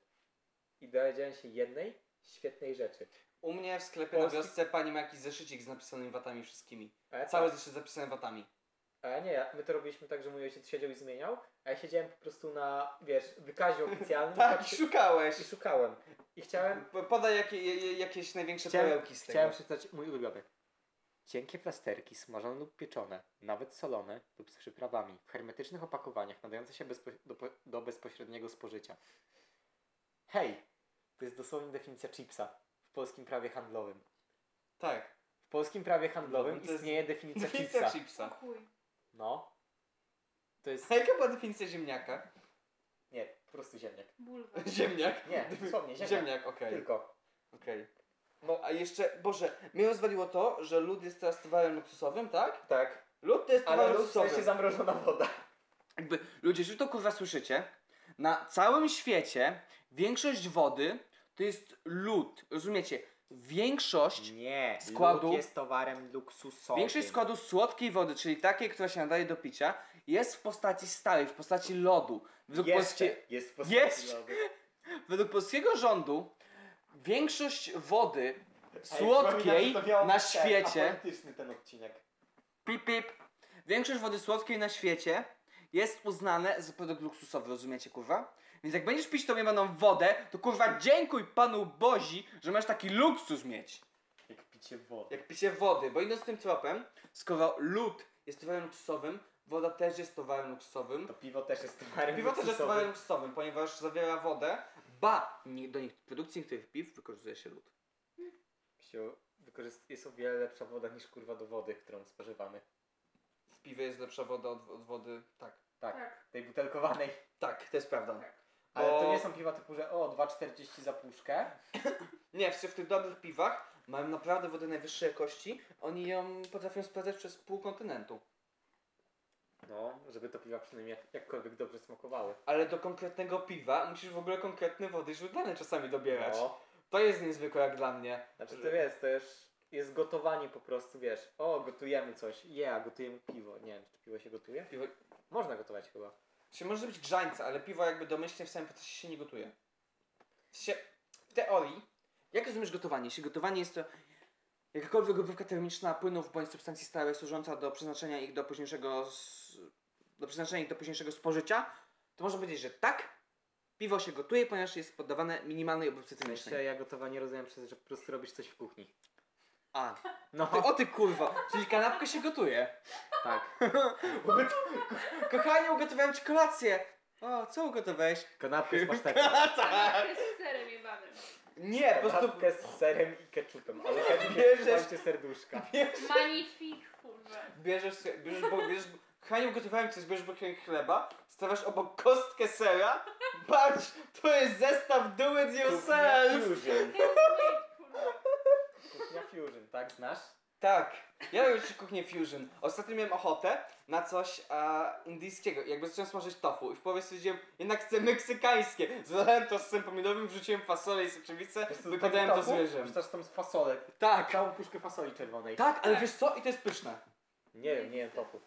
Speaker 1: I dowiedziałem się jednej świetnej rzeczy.
Speaker 2: U mnie w sklepie
Speaker 1: Polski-
Speaker 2: na wiosce pani ma jakiś zeszycik z napisanymi watami wszystkimi.
Speaker 1: A ja
Speaker 2: Cały
Speaker 1: tak.
Speaker 2: zeszyt zapisany watami.
Speaker 1: A nie, ja- my to robiliśmy tak, że mój ojciec siedział i zmieniał, a ja siedziałem po prostu na, wiesz, wykazie oficjalnym
Speaker 2: Tak,
Speaker 1: patrzy-
Speaker 2: szukałeś.
Speaker 1: i szukałem. I chciałem,
Speaker 2: Po- Podaj jakie, je- je- jakieś największe
Speaker 1: Chciałem-
Speaker 2: perełki z tego.
Speaker 1: chciałem przeczytać mój ulubiony. Cienkie plasterki, smażone lub pieczone, nawet solone lub z przyprawami, w hermetycznych opakowaniach, nadające się bezpo- do, po- do bezpośredniego spożycia. Hej! To jest dosłownie definicja chipsa w polskim prawie handlowym.
Speaker 2: Tak.
Speaker 1: W polskim prawie
Speaker 2: No,
Speaker 1: handlowym
Speaker 2: to jest
Speaker 1: istnieje definicja
Speaker 2: Definicja
Speaker 1: chipsa.
Speaker 3: O
Speaker 2: chipsa.
Speaker 3: chuj.
Speaker 1: No. To jest...
Speaker 2: A jaka była definicja ziemniaka?
Speaker 1: Nie, po prostu ziemniak.
Speaker 3: Bulwar.
Speaker 2: Ziemniak?
Speaker 1: Nie,
Speaker 2: Defi-
Speaker 1: dosłownie, ziemniak.
Speaker 2: Ziemniak, okej.
Speaker 1: Tylko.
Speaker 2: Okej.
Speaker 1: No.
Speaker 2: A jeszcze, Boże, mnie rozwaliło to, że lód jest teraz towarem luksusowym, tak?
Speaker 1: Tak.
Speaker 2: Lód to jest
Speaker 1: Ale
Speaker 2: towarem
Speaker 1: lód w
Speaker 2: luksusowym.
Speaker 1: sensie zamrożona woda.
Speaker 2: Jakby, ludzie, jeżeli to kurwa słyszycie, na całym świecie większość wody to jest lód, rozumiecie? Większość
Speaker 1: Nie.
Speaker 2: Składu-
Speaker 1: Lód jest towarem luksusowym.
Speaker 2: Większość składu słodkiej wody, czyli takiej, która się nadaje do picia, jest w postaci stałej, w postaci lodu. Według,
Speaker 1: Jeszcze
Speaker 2: polskie,
Speaker 1: jest w
Speaker 2: Jeszcze.
Speaker 1: postaci lodu.
Speaker 2: według polskiego rządu większość wody
Speaker 1: Ej,
Speaker 2: słodkiej
Speaker 1: przypominam, że to miało
Speaker 2: na
Speaker 1: być ten,
Speaker 2: świecie,
Speaker 1: apolityczny ten odcinek.
Speaker 2: pip, pip, większość wody słodkiej na świecie jest uznane za produkt luksusowy, rozumiecie kurwa? Więc jak będziesz pić tą jebaną wodę, to kurwa dziękuj panu Bozi, że masz taki luksus mieć.
Speaker 1: Jak picie wody.
Speaker 2: Jak picie wody, bo idąc tym tropem, skoro lód jest towarem luksusowym, woda też jest towarem luksusowym.
Speaker 1: To piwo też jest towarem
Speaker 2: Piwo też jest
Speaker 1: luksusowym.
Speaker 2: towarem luksusowym, ponieważ zawiera wodę, ba, nie, do nich, produkcji niektórych piw wykorzystuje się lód.
Speaker 1: Pisiu, wykorzyst- jest o wiele lepsza woda niż kurwa do wody, którą spożywamy.
Speaker 2: W piwie jest lepsza woda od, od wody, tak.
Speaker 3: Tak.
Speaker 1: Tej butelkowanej.
Speaker 2: Tak, to jest prawda.
Speaker 1: Ale
Speaker 2: Bo-
Speaker 1: to nie są piwa typu, że o, 2,40 za puszkę.
Speaker 2: Nie, w, w tych dobrych piwach mają naprawdę wodę najwyższej jakości, oni ją potrafią sprawdzać przez pół kontynentu.
Speaker 1: No, żeby to piwa przynajmniej jak, jakkolwiek dobrze smakowały.
Speaker 2: Ale do konkretnego piwa musisz w ogóle konkretne wody źródlane czasami dobierać.
Speaker 1: No,
Speaker 2: To jest niezwykłe jak dla mnie.
Speaker 1: znaczy to jest, to już jest gotowanie po prostu, wiesz, o, gotujemy coś, ja, yeah, gotujemy piwo. Nie wiem, czy piwo się gotuje?
Speaker 2: Piwo,
Speaker 1: Można gotować chyba.
Speaker 2: Czy może być grzańca, ale piwo jakby domyślnie w samym procesie się nie gotuje. W się, w teorii, jak rozumiesz gotowanie? Jeśli gotowanie jest to jakakolwiek obróbka termiczna płynów bądź substancji stałych służąca do przeznaczenia ich do późniejszego s- do przeznaczenia ich do późniejszego spożycia, to można powiedzieć, że tak, piwo się gotuje, ponieważ jest poddawane minimalnej obróbce
Speaker 1: W sensie
Speaker 2: termicznej.
Speaker 1: ja gotowanie rozumiem przez, że po prostu robisz coś w kuchni.
Speaker 2: A,
Speaker 1: No,
Speaker 2: ty, o ty kurwa, czyli kanapkę się gotuje.
Speaker 1: tak.
Speaker 2: Kochanie, ugotowałem ci kolację. O, co ugotowałeś?
Speaker 1: Kanapkę z pasztetem.
Speaker 2: Kanapkę.
Speaker 3: Tak. Jest serem jebanym.
Speaker 2: Nie, po prostu
Speaker 1: Kanapkę z serem i ketchupem, ale ketchup
Speaker 2: Bierzesz-
Speaker 1: jest w serduszka.
Speaker 3: Magnifik, kurwa.
Speaker 2: Bierzesz, sobie- bierzesz, bo, bierzesz Haniu, gotowałem coś, bierzesz bokiem chleba, stawiasz obok kostkę sera, patrz, to jest zestaw do it
Speaker 1: Kuchnia
Speaker 2: yourself!
Speaker 1: Fusion.
Speaker 3: Handmade, kurwa.
Speaker 1: Kuchnia Fusion, tak? Znasz?
Speaker 2: Tak, ja już kuchnię fusion. Ostatnio miałem ochotę na coś a, indyjskiego, jakby zacząłem smażyć tofu i w połowie stwierdziłem, jednak chcę meksykańskie. Zalałem to z tym pomidorowym, wrzuciłem fasolę i soczewicę, wykładałem to z ryżem.
Speaker 1: Wrzucasz tam z fasolek.
Speaker 2: Tak,
Speaker 1: Całą puszkę fasoli czerwonej.
Speaker 2: tak, ale wiesz co? I to jest pyszne.
Speaker 1: Nie wiem, nie wiem tofu.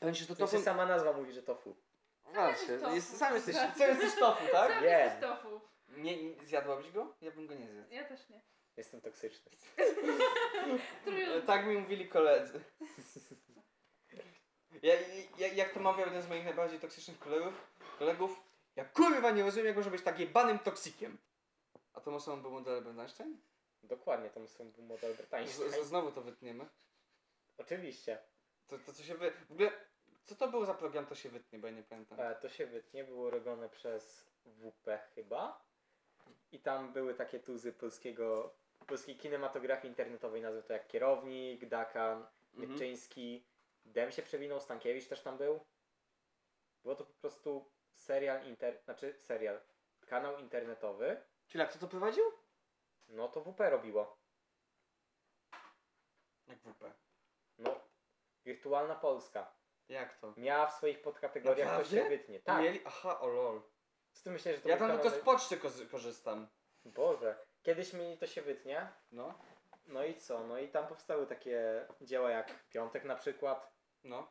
Speaker 2: Powiem ci, że to
Speaker 1: To
Speaker 2: tofu...
Speaker 1: się sama nazwa mówi, że tofu.
Speaker 2: Właśnie,
Speaker 3: jesteś tofu.
Speaker 2: jest, sam jesteś, sam jesteś tofu, tak?
Speaker 3: Sam
Speaker 1: Nie.
Speaker 3: jesteś tofu.
Speaker 2: Nie, nie, zjadłabyś go? Ja bym go nie zjadł.
Speaker 3: Ja też nie.
Speaker 1: Jestem toksyczny.
Speaker 2: E,
Speaker 3: Trójląd.
Speaker 2: Tak mi mówili koledzy. Ja, ja, jak to mawiał jeden z moich najbardziej toksycznych kolegów, kolegów, ja kurwa nie rozumiem, jak może być tak jebanym toksikiem. A tą osobą był model Albert Einstein?
Speaker 1: Dokładnie, to są był model
Speaker 2: Z,
Speaker 1: bretański.
Speaker 2: z, znowu to wytniemy.
Speaker 1: Oczywiście.
Speaker 2: To, to co się wy... W ogóle, co to był za program, to się wytnie, bo ja nie pamiętam.
Speaker 1: E, to się wytnie, było robione przez WP chyba. I tam były takie tuzy polskiego, polskiej kinematografii internetowej, nazwy to jak Kierownik, Dakan,
Speaker 2: Mhm.
Speaker 1: Mieczyński, Dem się przewinął, Stankiewicz też tam był. Było to po prostu serial inter... znaczy serial, kanał internetowy.
Speaker 2: Czyli jak kto to prowadził?
Speaker 1: No to WP robiło.
Speaker 2: Jak WP.
Speaker 1: No, Wirtualna Polska.
Speaker 2: Jak to?
Speaker 1: Miała w swoich podkategoriach to
Speaker 2: Naprawdę?
Speaker 1: się wytnie. Tak.
Speaker 2: Mieli... Aha, o lol.
Speaker 1: Z tym myślę, że to
Speaker 2: Ja
Speaker 1: był
Speaker 2: tam tylko
Speaker 1: kanał-
Speaker 2: z poczty kozy- korzystam.
Speaker 1: Boże. Kiedyś mieli to się wytnie.
Speaker 2: No,
Speaker 1: No i co? No i tam powstały takie dzieła jak Piątek na przykład.
Speaker 2: no.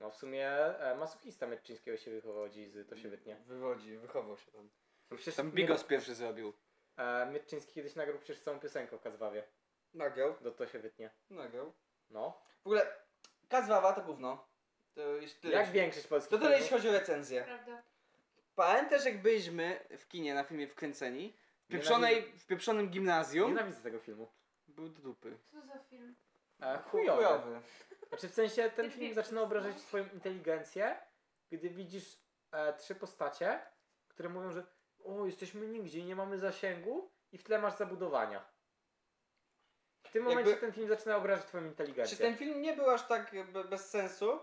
Speaker 1: No w sumie e, masochista Mieczyńskiego się wychował dziś z to się wytnie.
Speaker 2: Wywodzi, wychował się tam.
Speaker 1: Przecież
Speaker 2: No Tam Bigos pierwszy zrobił.
Speaker 1: E, Mieczyński kiedyś nagrał przecież całą piosenkę o Kazwawie.
Speaker 2: Nagiał.
Speaker 1: Do No to się wytnie.
Speaker 2: Nagiał.
Speaker 1: No.
Speaker 2: W ogóle Kazwawa to gówno. To jest tyle.
Speaker 1: Jak większość polskich
Speaker 2: to tyle jeśli
Speaker 1: filmów.
Speaker 2: chodzi o recenzję.
Speaker 3: Prawda.
Speaker 2: Pamiętam też jak byliśmy w kinie na filmie Wkręceni, w, pieprzonej, w pieprzonym gimnazjum,
Speaker 1: Nienawidzę tego filmu.
Speaker 2: był do dupy.
Speaker 3: Co za film?
Speaker 1: E, chujowy. Znaczy w sensie ten film zaczyna obrażać twoją inteligencję, gdy widzisz e, trzy postacie, które mówią, że o, jesteśmy nigdzie i nie mamy zasięgu i w tle masz zabudowania. W tym momencie
Speaker 2: Jakby-
Speaker 1: ten film zaczyna obrażać twoją
Speaker 2: Czy
Speaker 1: inteligencję.
Speaker 2: ten film nie był aż tak be- bez sensu?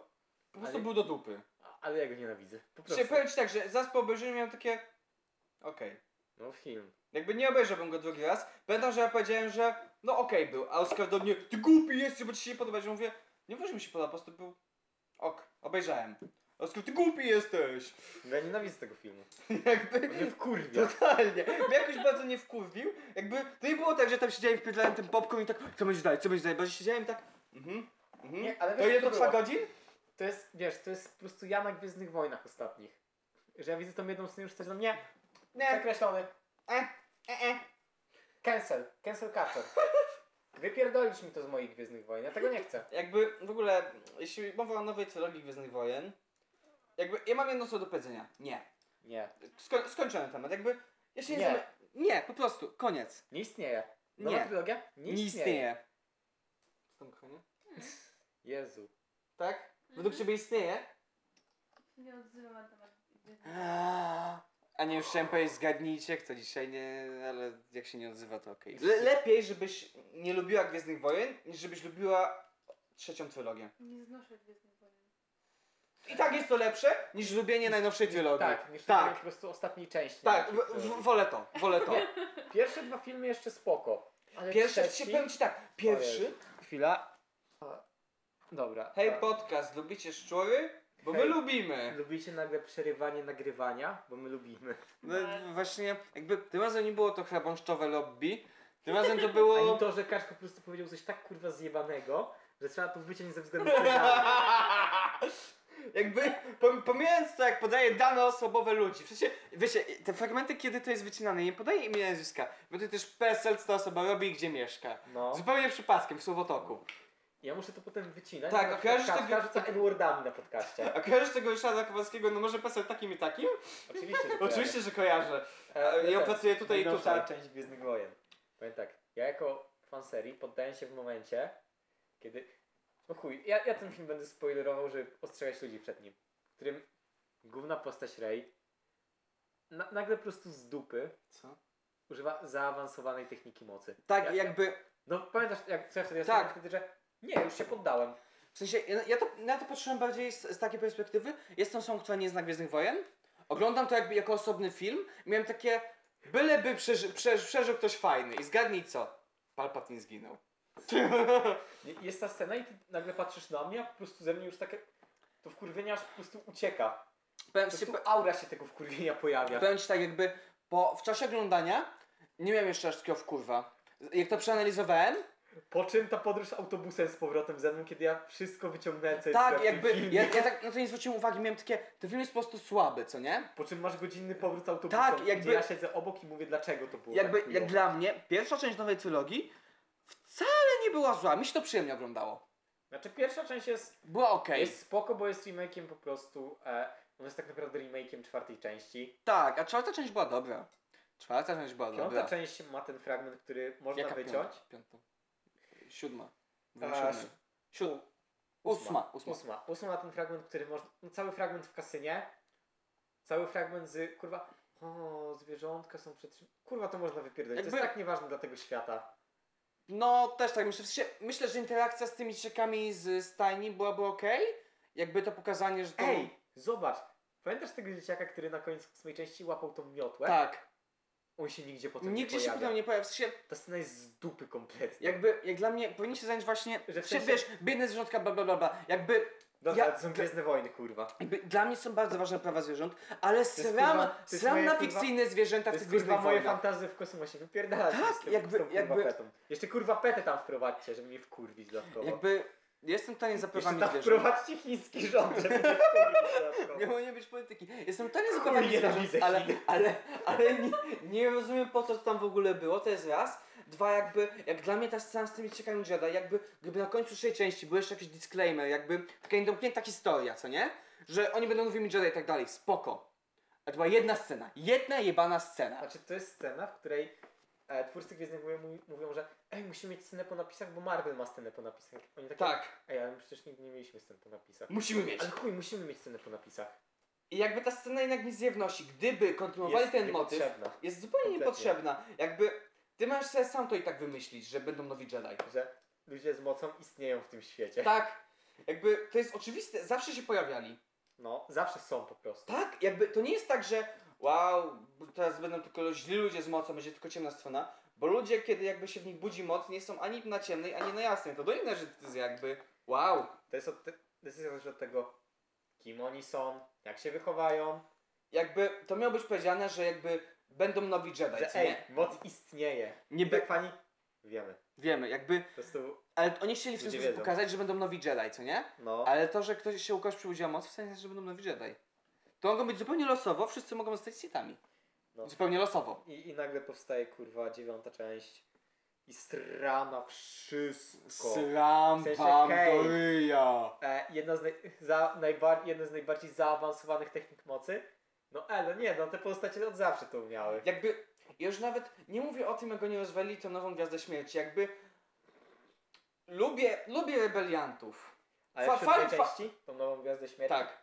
Speaker 2: Po prostu
Speaker 1: Ale-
Speaker 2: był do dupy.
Speaker 1: A- Ale ja go nienawidzę. Po prostu.
Speaker 2: Czy powiem ci tak, że zaraz po obejrzeniu miałem takie... Okej.
Speaker 1: No film.
Speaker 2: Jakby nie obejrzałbym go drugi raz. Pamiętam, że ja powiedziałem, że no okej był, a Oskar do mnie, ty głupi jesteś, bo ci się nie podoba. Ja mówię, nie wiem, że mi się podoba, po prostu był... Ok, obejrzałem. Oskar, ty głupi jesteś!
Speaker 1: No Ja nienawidzę tego filmu.
Speaker 2: Jakby...
Speaker 1: On mnie wkurwia.
Speaker 2: Totalnie. Mnie jakoś bardzo nie wkurwił. Jakby to nie było tak, że tam siedziałem, wpierdlałem ten popcorn i tak, co będzie dalej, co będzie dalej, bo siedziałem tak, mhm, mhm.
Speaker 1: Nie, ale
Speaker 2: to
Speaker 1: wiesz,
Speaker 2: ile
Speaker 1: co
Speaker 2: to trwa
Speaker 1: było?
Speaker 2: godzin?
Speaker 1: To jest, wiesz, to jest po prostu ja na Gwiezdnych Wojnach ostatnich. Że ja widzę tą jedną scenę już coś do mnie.
Speaker 2: Nie,
Speaker 1: Przekreślony.
Speaker 2: e, Tak. e, e.
Speaker 1: Cancel. Cancel culture. Wypierdolisz mi to z moich Gwiezdnych Wojen. Ja tego nie chcę.
Speaker 2: Jakby w ogóle, jeśli mowa o nowej trylogii Gwiezdnych Wojen, jakby ja mam jedno co do powiedzenia. Nie.
Speaker 1: Nie.
Speaker 2: Sko- skończony temat, jakby, ja się nie,
Speaker 1: Nie.
Speaker 2: nie. nie, po prostu, koniec.
Speaker 1: Nie istnieje.
Speaker 2: Nie,
Speaker 1: Nowa trylogia? Nie,
Speaker 2: nie istnieje. Co tam, kochanie?
Speaker 1: Jezu.
Speaker 2: Tak? Według ciebie istnieje?
Speaker 3: Nie odzywam na temat.
Speaker 2: A nie, już chciałem powiedzieć, zgadnijcie, kto dzisiaj nie, ale jak się nie odzywa, to okej. Le- lepiej, żebyś nie lubiła Gwiezdnych Wojen, niż żebyś lubiła trzecią trylogię.
Speaker 3: Nie znoszę Gwiezdnych Wojen.
Speaker 2: I tak jest to lepsze, niż lubienie najnowszej trylogii.
Speaker 1: Tak, niż
Speaker 2: tak.
Speaker 1: tak. po prostu ostatniej części.
Speaker 2: Tak,
Speaker 1: naszej
Speaker 2: w- w-
Speaker 1: trylogii.
Speaker 2: wolę to, wolę to.
Speaker 1: Nie. Pierwsze dwa filmy jeszcze spoko. Ale
Speaker 2: Pierwszy,
Speaker 1: trzeci...
Speaker 2: powiem ci tak, pierwszy...
Speaker 1: Jezu.
Speaker 2: Chwila.
Speaker 1: Dobra.
Speaker 2: Hej
Speaker 1: a-
Speaker 2: podcast, lubicie szczury? Bo
Speaker 1: Hej.
Speaker 2: my lubimy.
Speaker 1: Lubicie nagle przerywanie nagrywania? Bo my lubimy.
Speaker 2: No właśnie, jakby tym razem nie było to chrabąszczowe lobby, tym razem to było...
Speaker 1: Ani to, że Kaśko po prostu powiedział coś tak kurwa zjebanego, że trzeba to wyciąć ze względu na
Speaker 2: Jakby pom- pomijając to, jak podaje dane osobowe ludzi. Przecież wiecie, te fragmenty, kiedy to jest wycinane, nie podaje imienia i nazwiska. Bo to też PESEL, co ta osoba robi i gdzie mieszka.
Speaker 1: No.
Speaker 2: Zupełnie przypadkiem w słowotoku.
Speaker 1: Ja muszę to potem wycinać.
Speaker 2: Tak,
Speaker 1: bo na
Speaker 2: a
Speaker 1: przykład
Speaker 2: kojarzysz
Speaker 1: Kaśka
Speaker 2: tego-
Speaker 1: rzuca N-wordami na podcaście.
Speaker 2: A kojarzysz tego Ryszarda Kowalskiego, no może PESEL takim i takim?
Speaker 1: Oczywiście, że
Speaker 2: Oczywiście, że kojarzę.
Speaker 1: kojarzę.
Speaker 2: Ja
Speaker 1: E,
Speaker 2: pracuję tutaj i
Speaker 1: Najnowsza
Speaker 2: tutaj.
Speaker 1: część Gwiezdnych Wojen. Powiem tak, ja jako fan serii poddaję się w momencie, kiedy... No chuj, ja, ja ten film będę spoilerował, żeby ostrzegać ludzi przed nim. W którym główna postać Rey na, nagle po prostu z dupy
Speaker 2: Co?
Speaker 1: używa zaawansowanej techniki mocy.
Speaker 2: Tak,
Speaker 1: Ja-
Speaker 2: jakby...
Speaker 1: No pamiętasz, jak co ja wtedy
Speaker 2: Tak.
Speaker 1: tak. wtedy, że nie, już się poddałem.
Speaker 2: W sensie, ja, ja to, na to patrzyłem bardziej z, z takiej perspektywy. Jestem osobą, która nie zna Gwiezdnych Wojen. Oglądam to jakby jako osobny film. Miałem takie, byleby przeży, przeż, przeżył ktoś fajny. I zgadnij co? Palpatine zginął.
Speaker 1: Je- Jest ta scena i ty nagle patrzysz na mnie, a po prostu ze mnie już takie... To wkurwienie aż po prostu ucieka. Po
Speaker 2: Powiem ci,
Speaker 1: prostu aura się tego wkurwienia pojawia.
Speaker 2: powiem ci tak jakby, bo w czasie oglądania nie miałem jeszcze aż takiego wkurwa. Jak to przeanalizowałem,
Speaker 1: Po czym ta podróż autobusem z powrotem ze mną, kiedy ja wszystko wyciągnąłem, co jest w
Speaker 2: tak
Speaker 1: tym
Speaker 2: jakby,
Speaker 1: filmie.
Speaker 2: ja, ja tak na to nie zwróciłem uwagi, miałem takie, ten film jest po prostu słaby, co nie?
Speaker 1: Po czym masz godzinny powrót autobusem,
Speaker 2: Tak, jakby-
Speaker 1: gdzie ja siedzę obok i mówię, dlaczego to było
Speaker 2: Jakby,
Speaker 1: tak
Speaker 2: jak
Speaker 1: chujowo.
Speaker 2: dla mnie, pierwsza część nowej trylogii wcale nie była zła, mi się to przyjemnie oglądało.
Speaker 1: Znaczy pierwsza część jest,
Speaker 2: Była okej,
Speaker 1: jest spoko, bo jest remake'iem po prostu... E, on jest tak naprawdę remake'iem czwartej części.
Speaker 2: tak, a czwarta część była dobra. Czwarta część była
Speaker 1: Piąta
Speaker 2: dobra.
Speaker 1: część ma ten fragment, który można
Speaker 2: Jaka
Speaker 1: wyciąć.
Speaker 2: Piąta? piąta? Siódma.
Speaker 1: A,
Speaker 2: Siódma.
Speaker 1: si-
Speaker 2: Siódma. Ósma. Ósma.
Speaker 1: Ósma. Ósma ten fragment, który można. No, cały fragment w kasynie. Cały fragment z. Kurwa. O, zwierzątka są przetrzymane. Kurwa, to można wypierdolić. To
Speaker 2: Jakby-
Speaker 1: jest tak nieważne dla tego świata.
Speaker 2: No też tak, myślę, w sensie, myślę, że interakcja z tymi dzieciakami z stajni byłaby okej. Jakby to pokazanie, że to...
Speaker 1: Ej, zobacz. Pamiętasz tego dzieciaka, który na koniec ósmej części łapał tą miotłę?
Speaker 2: Tak.
Speaker 1: On się nigdzie potem
Speaker 2: Nigdzie
Speaker 1: nie
Speaker 2: się
Speaker 1: pojawia.
Speaker 2: potem nie pojawia. W sensie,
Speaker 1: Ta scena jest z dupy kompletnie.
Speaker 2: jakby, jak dla mnie, powinni się zająć właśnie...
Speaker 1: Że w
Speaker 2: Że w
Speaker 1: sensie-
Speaker 2: Wiesz, biedne zwierzątka, bla, bla, bla, bla. Jakby,
Speaker 1: Dobra,
Speaker 2: ja- Tak,
Speaker 1: to są Gwiezdne Wojny, kurwa.
Speaker 2: jakby dla mnie są bardzo ważne prawa zwierząt, ale
Speaker 1: jest
Speaker 2: sram,
Speaker 1: kurwa- to jest
Speaker 2: sram
Speaker 1: moje,
Speaker 2: na
Speaker 1: kurwa-
Speaker 2: fikcyjne zwierzęta
Speaker 1: To
Speaker 2: w tych
Speaker 1: jest kurwa
Speaker 2: Gwiezdnych
Speaker 1: moje
Speaker 2: Wojnach.
Speaker 1: fantazje w kosmosie. Wypierdalać
Speaker 2: Tak,
Speaker 1: z tym,
Speaker 2: jakby-
Speaker 1: z tą, kurwa,
Speaker 2: jakby-
Speaker 1: Petą. Jeszcze kurwa petę tam wprowadźcie, żeby mnie wkurwić dodatkowo.
Speaker 2: Jakby, jestem w stanie za
Speaker 1: Jeszcze
Speaker 2: prawami
Speaker 1: tam
Speaker 2: zwierząt.
Speaker 1: wprowadźcie chiński rząd, żeby mnie wkurwić dodatkowo.
Speaker 2: Miało nie być polityki. Jestem totalnie
Speaker 1: Chuj,
Speaker 2: zgodny z
Speaker 1: nienawidzę
Speaker 2: tym, ale,
Speaker 1: Chin.
Speaker 2: ale, ale nie, nie rozumiem po co to tam w ogóle było, to jest raz. Dwa, jakby, jak dla mnie ta scena z tymi ciekami Jedi, jakby, gdyby na końcu trzeciej części był jeszcze jakiś disclaimer, jakby taka niedomknięta historia, co nie? Że oni będą nowymi Jedi i tak dalej, spoko. A to była jedna scena, jedna jebana scena.
Speaker 1: Znaczy, to jest scena, w której e, twórcy Gwiezdnych Wojen mówi- mówią, że ej, musimy mieć scenę po napisach, bo Marvel ma scenę po napisach. Oni takie,
Speaker 2: Tak,
Speaker 1: ej, ale my przecież nigdy nie mieliśmy scen po napisach.
Speaker 2: musimy mieć.
Speaker 1: Ale chuj, musimy mieć scenę po napisach.
Speaker 2: I jakby ta scena jednak nic nie wnosi, gdyby kontynuowali ten motyw,
Speaker 1: niepotrzebna,
Speaker 2: jest zupełnie
Speaker 1: Kompletnie.
Speaker 2: niepotrzebna. Jakby, ty masz sobie sam to i tak wymyślić, że będą nowi Jedi.
Speaker 1: Że ludzie z mocą istnieją w tym świecie.
Speaker 2: Tak. Jakby to jest oczywiste, zawsze się pojawiali.
Speaker 1: No, zawsze są po prostu.
Speaker 2: Tak, jakby to nie jest tak, że wow, teraz będą tylko źli ludzie z mocą, będzie tylko ciemna strona, bo ludzie, kiedy jakby się w nich budzi moc, nie są ani na ciemnej, ani na jasnej. To do innej rzeczy jest jakby wow.
Speaker 1: To jest od te, decyzja też od tego, kim oni są, jak się wychowają,
Speaker 2: Jakby to miało być powiedziane, że jakby będą nowi Jedi,
Speaker 1: że
Speaker 2: co
Speaker 1: ej,
Speaker 2: nie?
Speaker 1: moc istnieje.
Speaker 2: Nie
Speaker 1: I
Speaker 2: by...
Speaker 1: tak fani? Wiemy.
Speaker 2: Wiemy, jakby,
Speaker 1: Po prostu,
Speaker 2: ale oni chcieli w ten
Speaker 1: Ludzie
Speaker 2: sposób
Speaker 1: wiedzą.
Speaker 2: pokazać, że będą nowi Jedi, co nie?
Speaker 1: no.
Speaker 2: Ale to, że ktoś się ukoś przybudziła moc, w sensie, że będą nowi Jedi. To mogą być zupełnie losowo, wszyscy mogą zostać Sithami.
Speaker 1: No.
Speaker 2: Zupełnie losowo.
Speaker 1: I, I nagle powstaje kurwa dziewiąta część i strama wszystko.
Speaker 2: Sram
Speaker 1: W sensie,
Speaker 2: wam
Speaker 1: hej.
Speaker 2: do ryja.
Speaker 1: E, jedna z, naj, za, najbar, jedna z najbardziej zaawansowanych technik mocy. No elo, nie, no te postacie od zawsze to umiały.
Speaker 2: Jakby, ja już nawet nie mówię o tym, jak oni rozwalili tą nową Gwiazdę Śmierci, jakby lubię, lubię rebeliantów.
Speaker 1: Ale
Speaker 2: fa-
Speaker 1: w siódmej
Speaker 2: fa- fa-
Speaker 1: części, tą nową Gwiazdę Śmierci,
Speaker 2: Tak.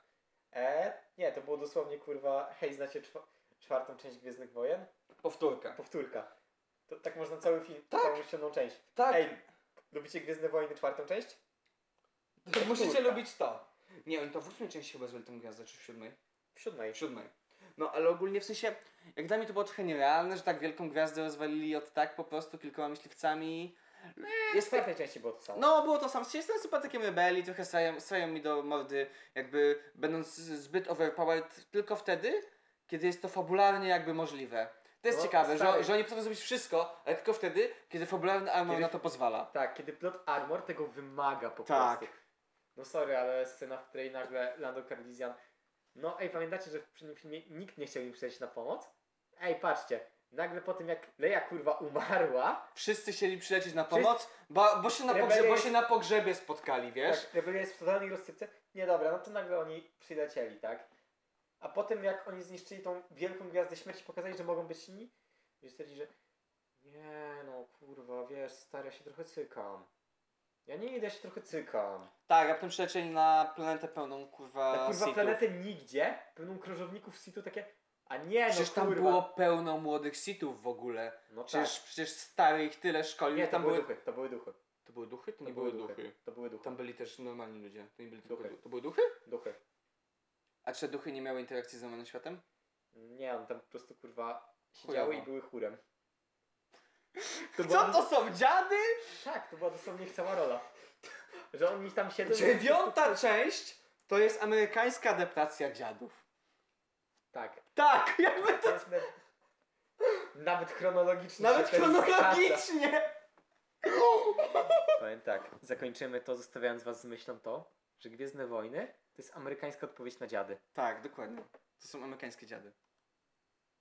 Speaker 1: e, nie, to było dosłownie kurwa, hej, znacie czwa, czwartą część Gwiezdnych Wojen?
Speaker 2: Powtórka.
Speaker 1: Powtórka. To, tak można cały film,
Speaker 2: Tak.
Speaker 1: całą siódmą część.
Speaker 2: Tak,
Speaker 1: Ej, lubicie Gwiezdne Wojny czwartą część? powtórka.
Speaker 2: musicie lubić to. Nie, oni to w ósmej części chyba zrobili tą gwiazdę, czy w siódmej?
Speaker 1: W siódmej.
Speaker 2: W siódmej. No, ale ogólnie w sensie, jak dla mnie to było trochę nierealne, że tak wielką gwiazdę rozwalili od tak po prostu kilkoma myśliwcami.
Speaker 1: W
Speaker 2: Jest tak,
Speaker 1: czwartej części było to samo.
Speaker 2: No, było to sam. Jestem sympatykiem rebelii, trochę strają, strają mi do mordy, jakby będąc zbyt overpowered tylko wtedy, kiedy jest to fabularnie jakby możliwe. To jest
Speaker 1: No,
Speaker 2: ciekawe, że,
Speaker 1: stary.
Speaker 2: że oni potrafią zrobić wszystko, ale tylko wtedy, kiedy fabularny armor
Speaker 1: Kiedy-
Speaker 2: na to pozwala.
Speaker 1: Tak, kiedy plot armor tego wymaga po
Speaker 2: Tak.
Speaker 1: prostu. No sorry, ale scena, w której nagle Lando Cardizian... No ej, pamiętacie, że w poprzednim filmie nikt nie chciał im przyjść na pomoc? Ej, patrzcie, nagle po tym jak Leia kurwa umarła,
Speaker 2: Wszyscy chcieli przylecieć na
Speaker 1: Wszyscy-
Speaker 2: pomoc, bo, bo, się, na
Speaker 1: Rebelia
Speaker 2: pogrzebie, bo
Speaker 1: jest-
Speaker 2: się na pogrzebie spotkali, wiesz?
Speaker 1: tak, rebelia jest w totalnej rozsypce, nie dobra, no to nagle oni przylecieli, tak? A potem jak oni zniszczyli tą wielką gwiazdę śmierci, pokazali, że mogą być inni, i stwierdzili, że nie no kurwa, wiesz, stary, ja się trochę cykam. Ja nie idę, ja się trochę cykam.
Speaker 2: Tak, a potem przylecieli na planetę pełną kurwa.
Speaker 1: Na Tak, kurwa
Speaker 2: Sithów.
Speaker 1: planetę nigdzie, pełną krążowników Situ takie, a nie no
Speaker 2: Przecież tam
Speaker 1: kurwa.
Speaker 2: było pełno młodych sitów w ogóle.
Speaker 1: no
Speaker 2: Przecież, przecież stary ich tyle
Speaker 1: tak.
Speaker 2: szkoli.
Speaker 1: Nie, to
Speaker 2: tam
Speaker 1: były
Speaker 2: były...
Speaker 1: duchy, to były duchy.
Speaker 2: To były duchy? To
Speaker 1: To
Speaker 2: nie były duchy.
Speaker 1: To były duchy.
Speaker 2: Tam byli też normalni ludzie. To nie byli tylko
Speaker 1: Duchy.
Speaker 2: du- To były duchy?
Speaker 1: duchy.
Speaker 2: A czy duchy nie miały interakcji z normalnym światem?
Speaker 1: Nie, on tam po prostu kurwa
Speaker 2: Chujowo.
Speaker 1: siedziały i były chórem. To była,
Speaker 2: Co to są dziady?
Speaker 1: Tak, to była dosłownie ich cała rola. Że oni tam siedzą... i-
Speaker 2: Dziewiąta część to jest amerykańska adaptacja dziadów.
Speaker 1: Tak.
Speaker 2: Tak, jakby
Speaker 1: To jest nawet- Nawet chronologicznie.
Speaker 2: nawet
Speaker 1: się to nie zgadza.
Speaker 2: chronologicznie.
Speaker 1: Powiem tak, zakończymy to zostawiając was z myślą to, że Gwiezdne Wojny to jest amerykańska odpowiedź na dziady.
Speaker 2: Tak, dokładnie. To są amerykańskie dziady.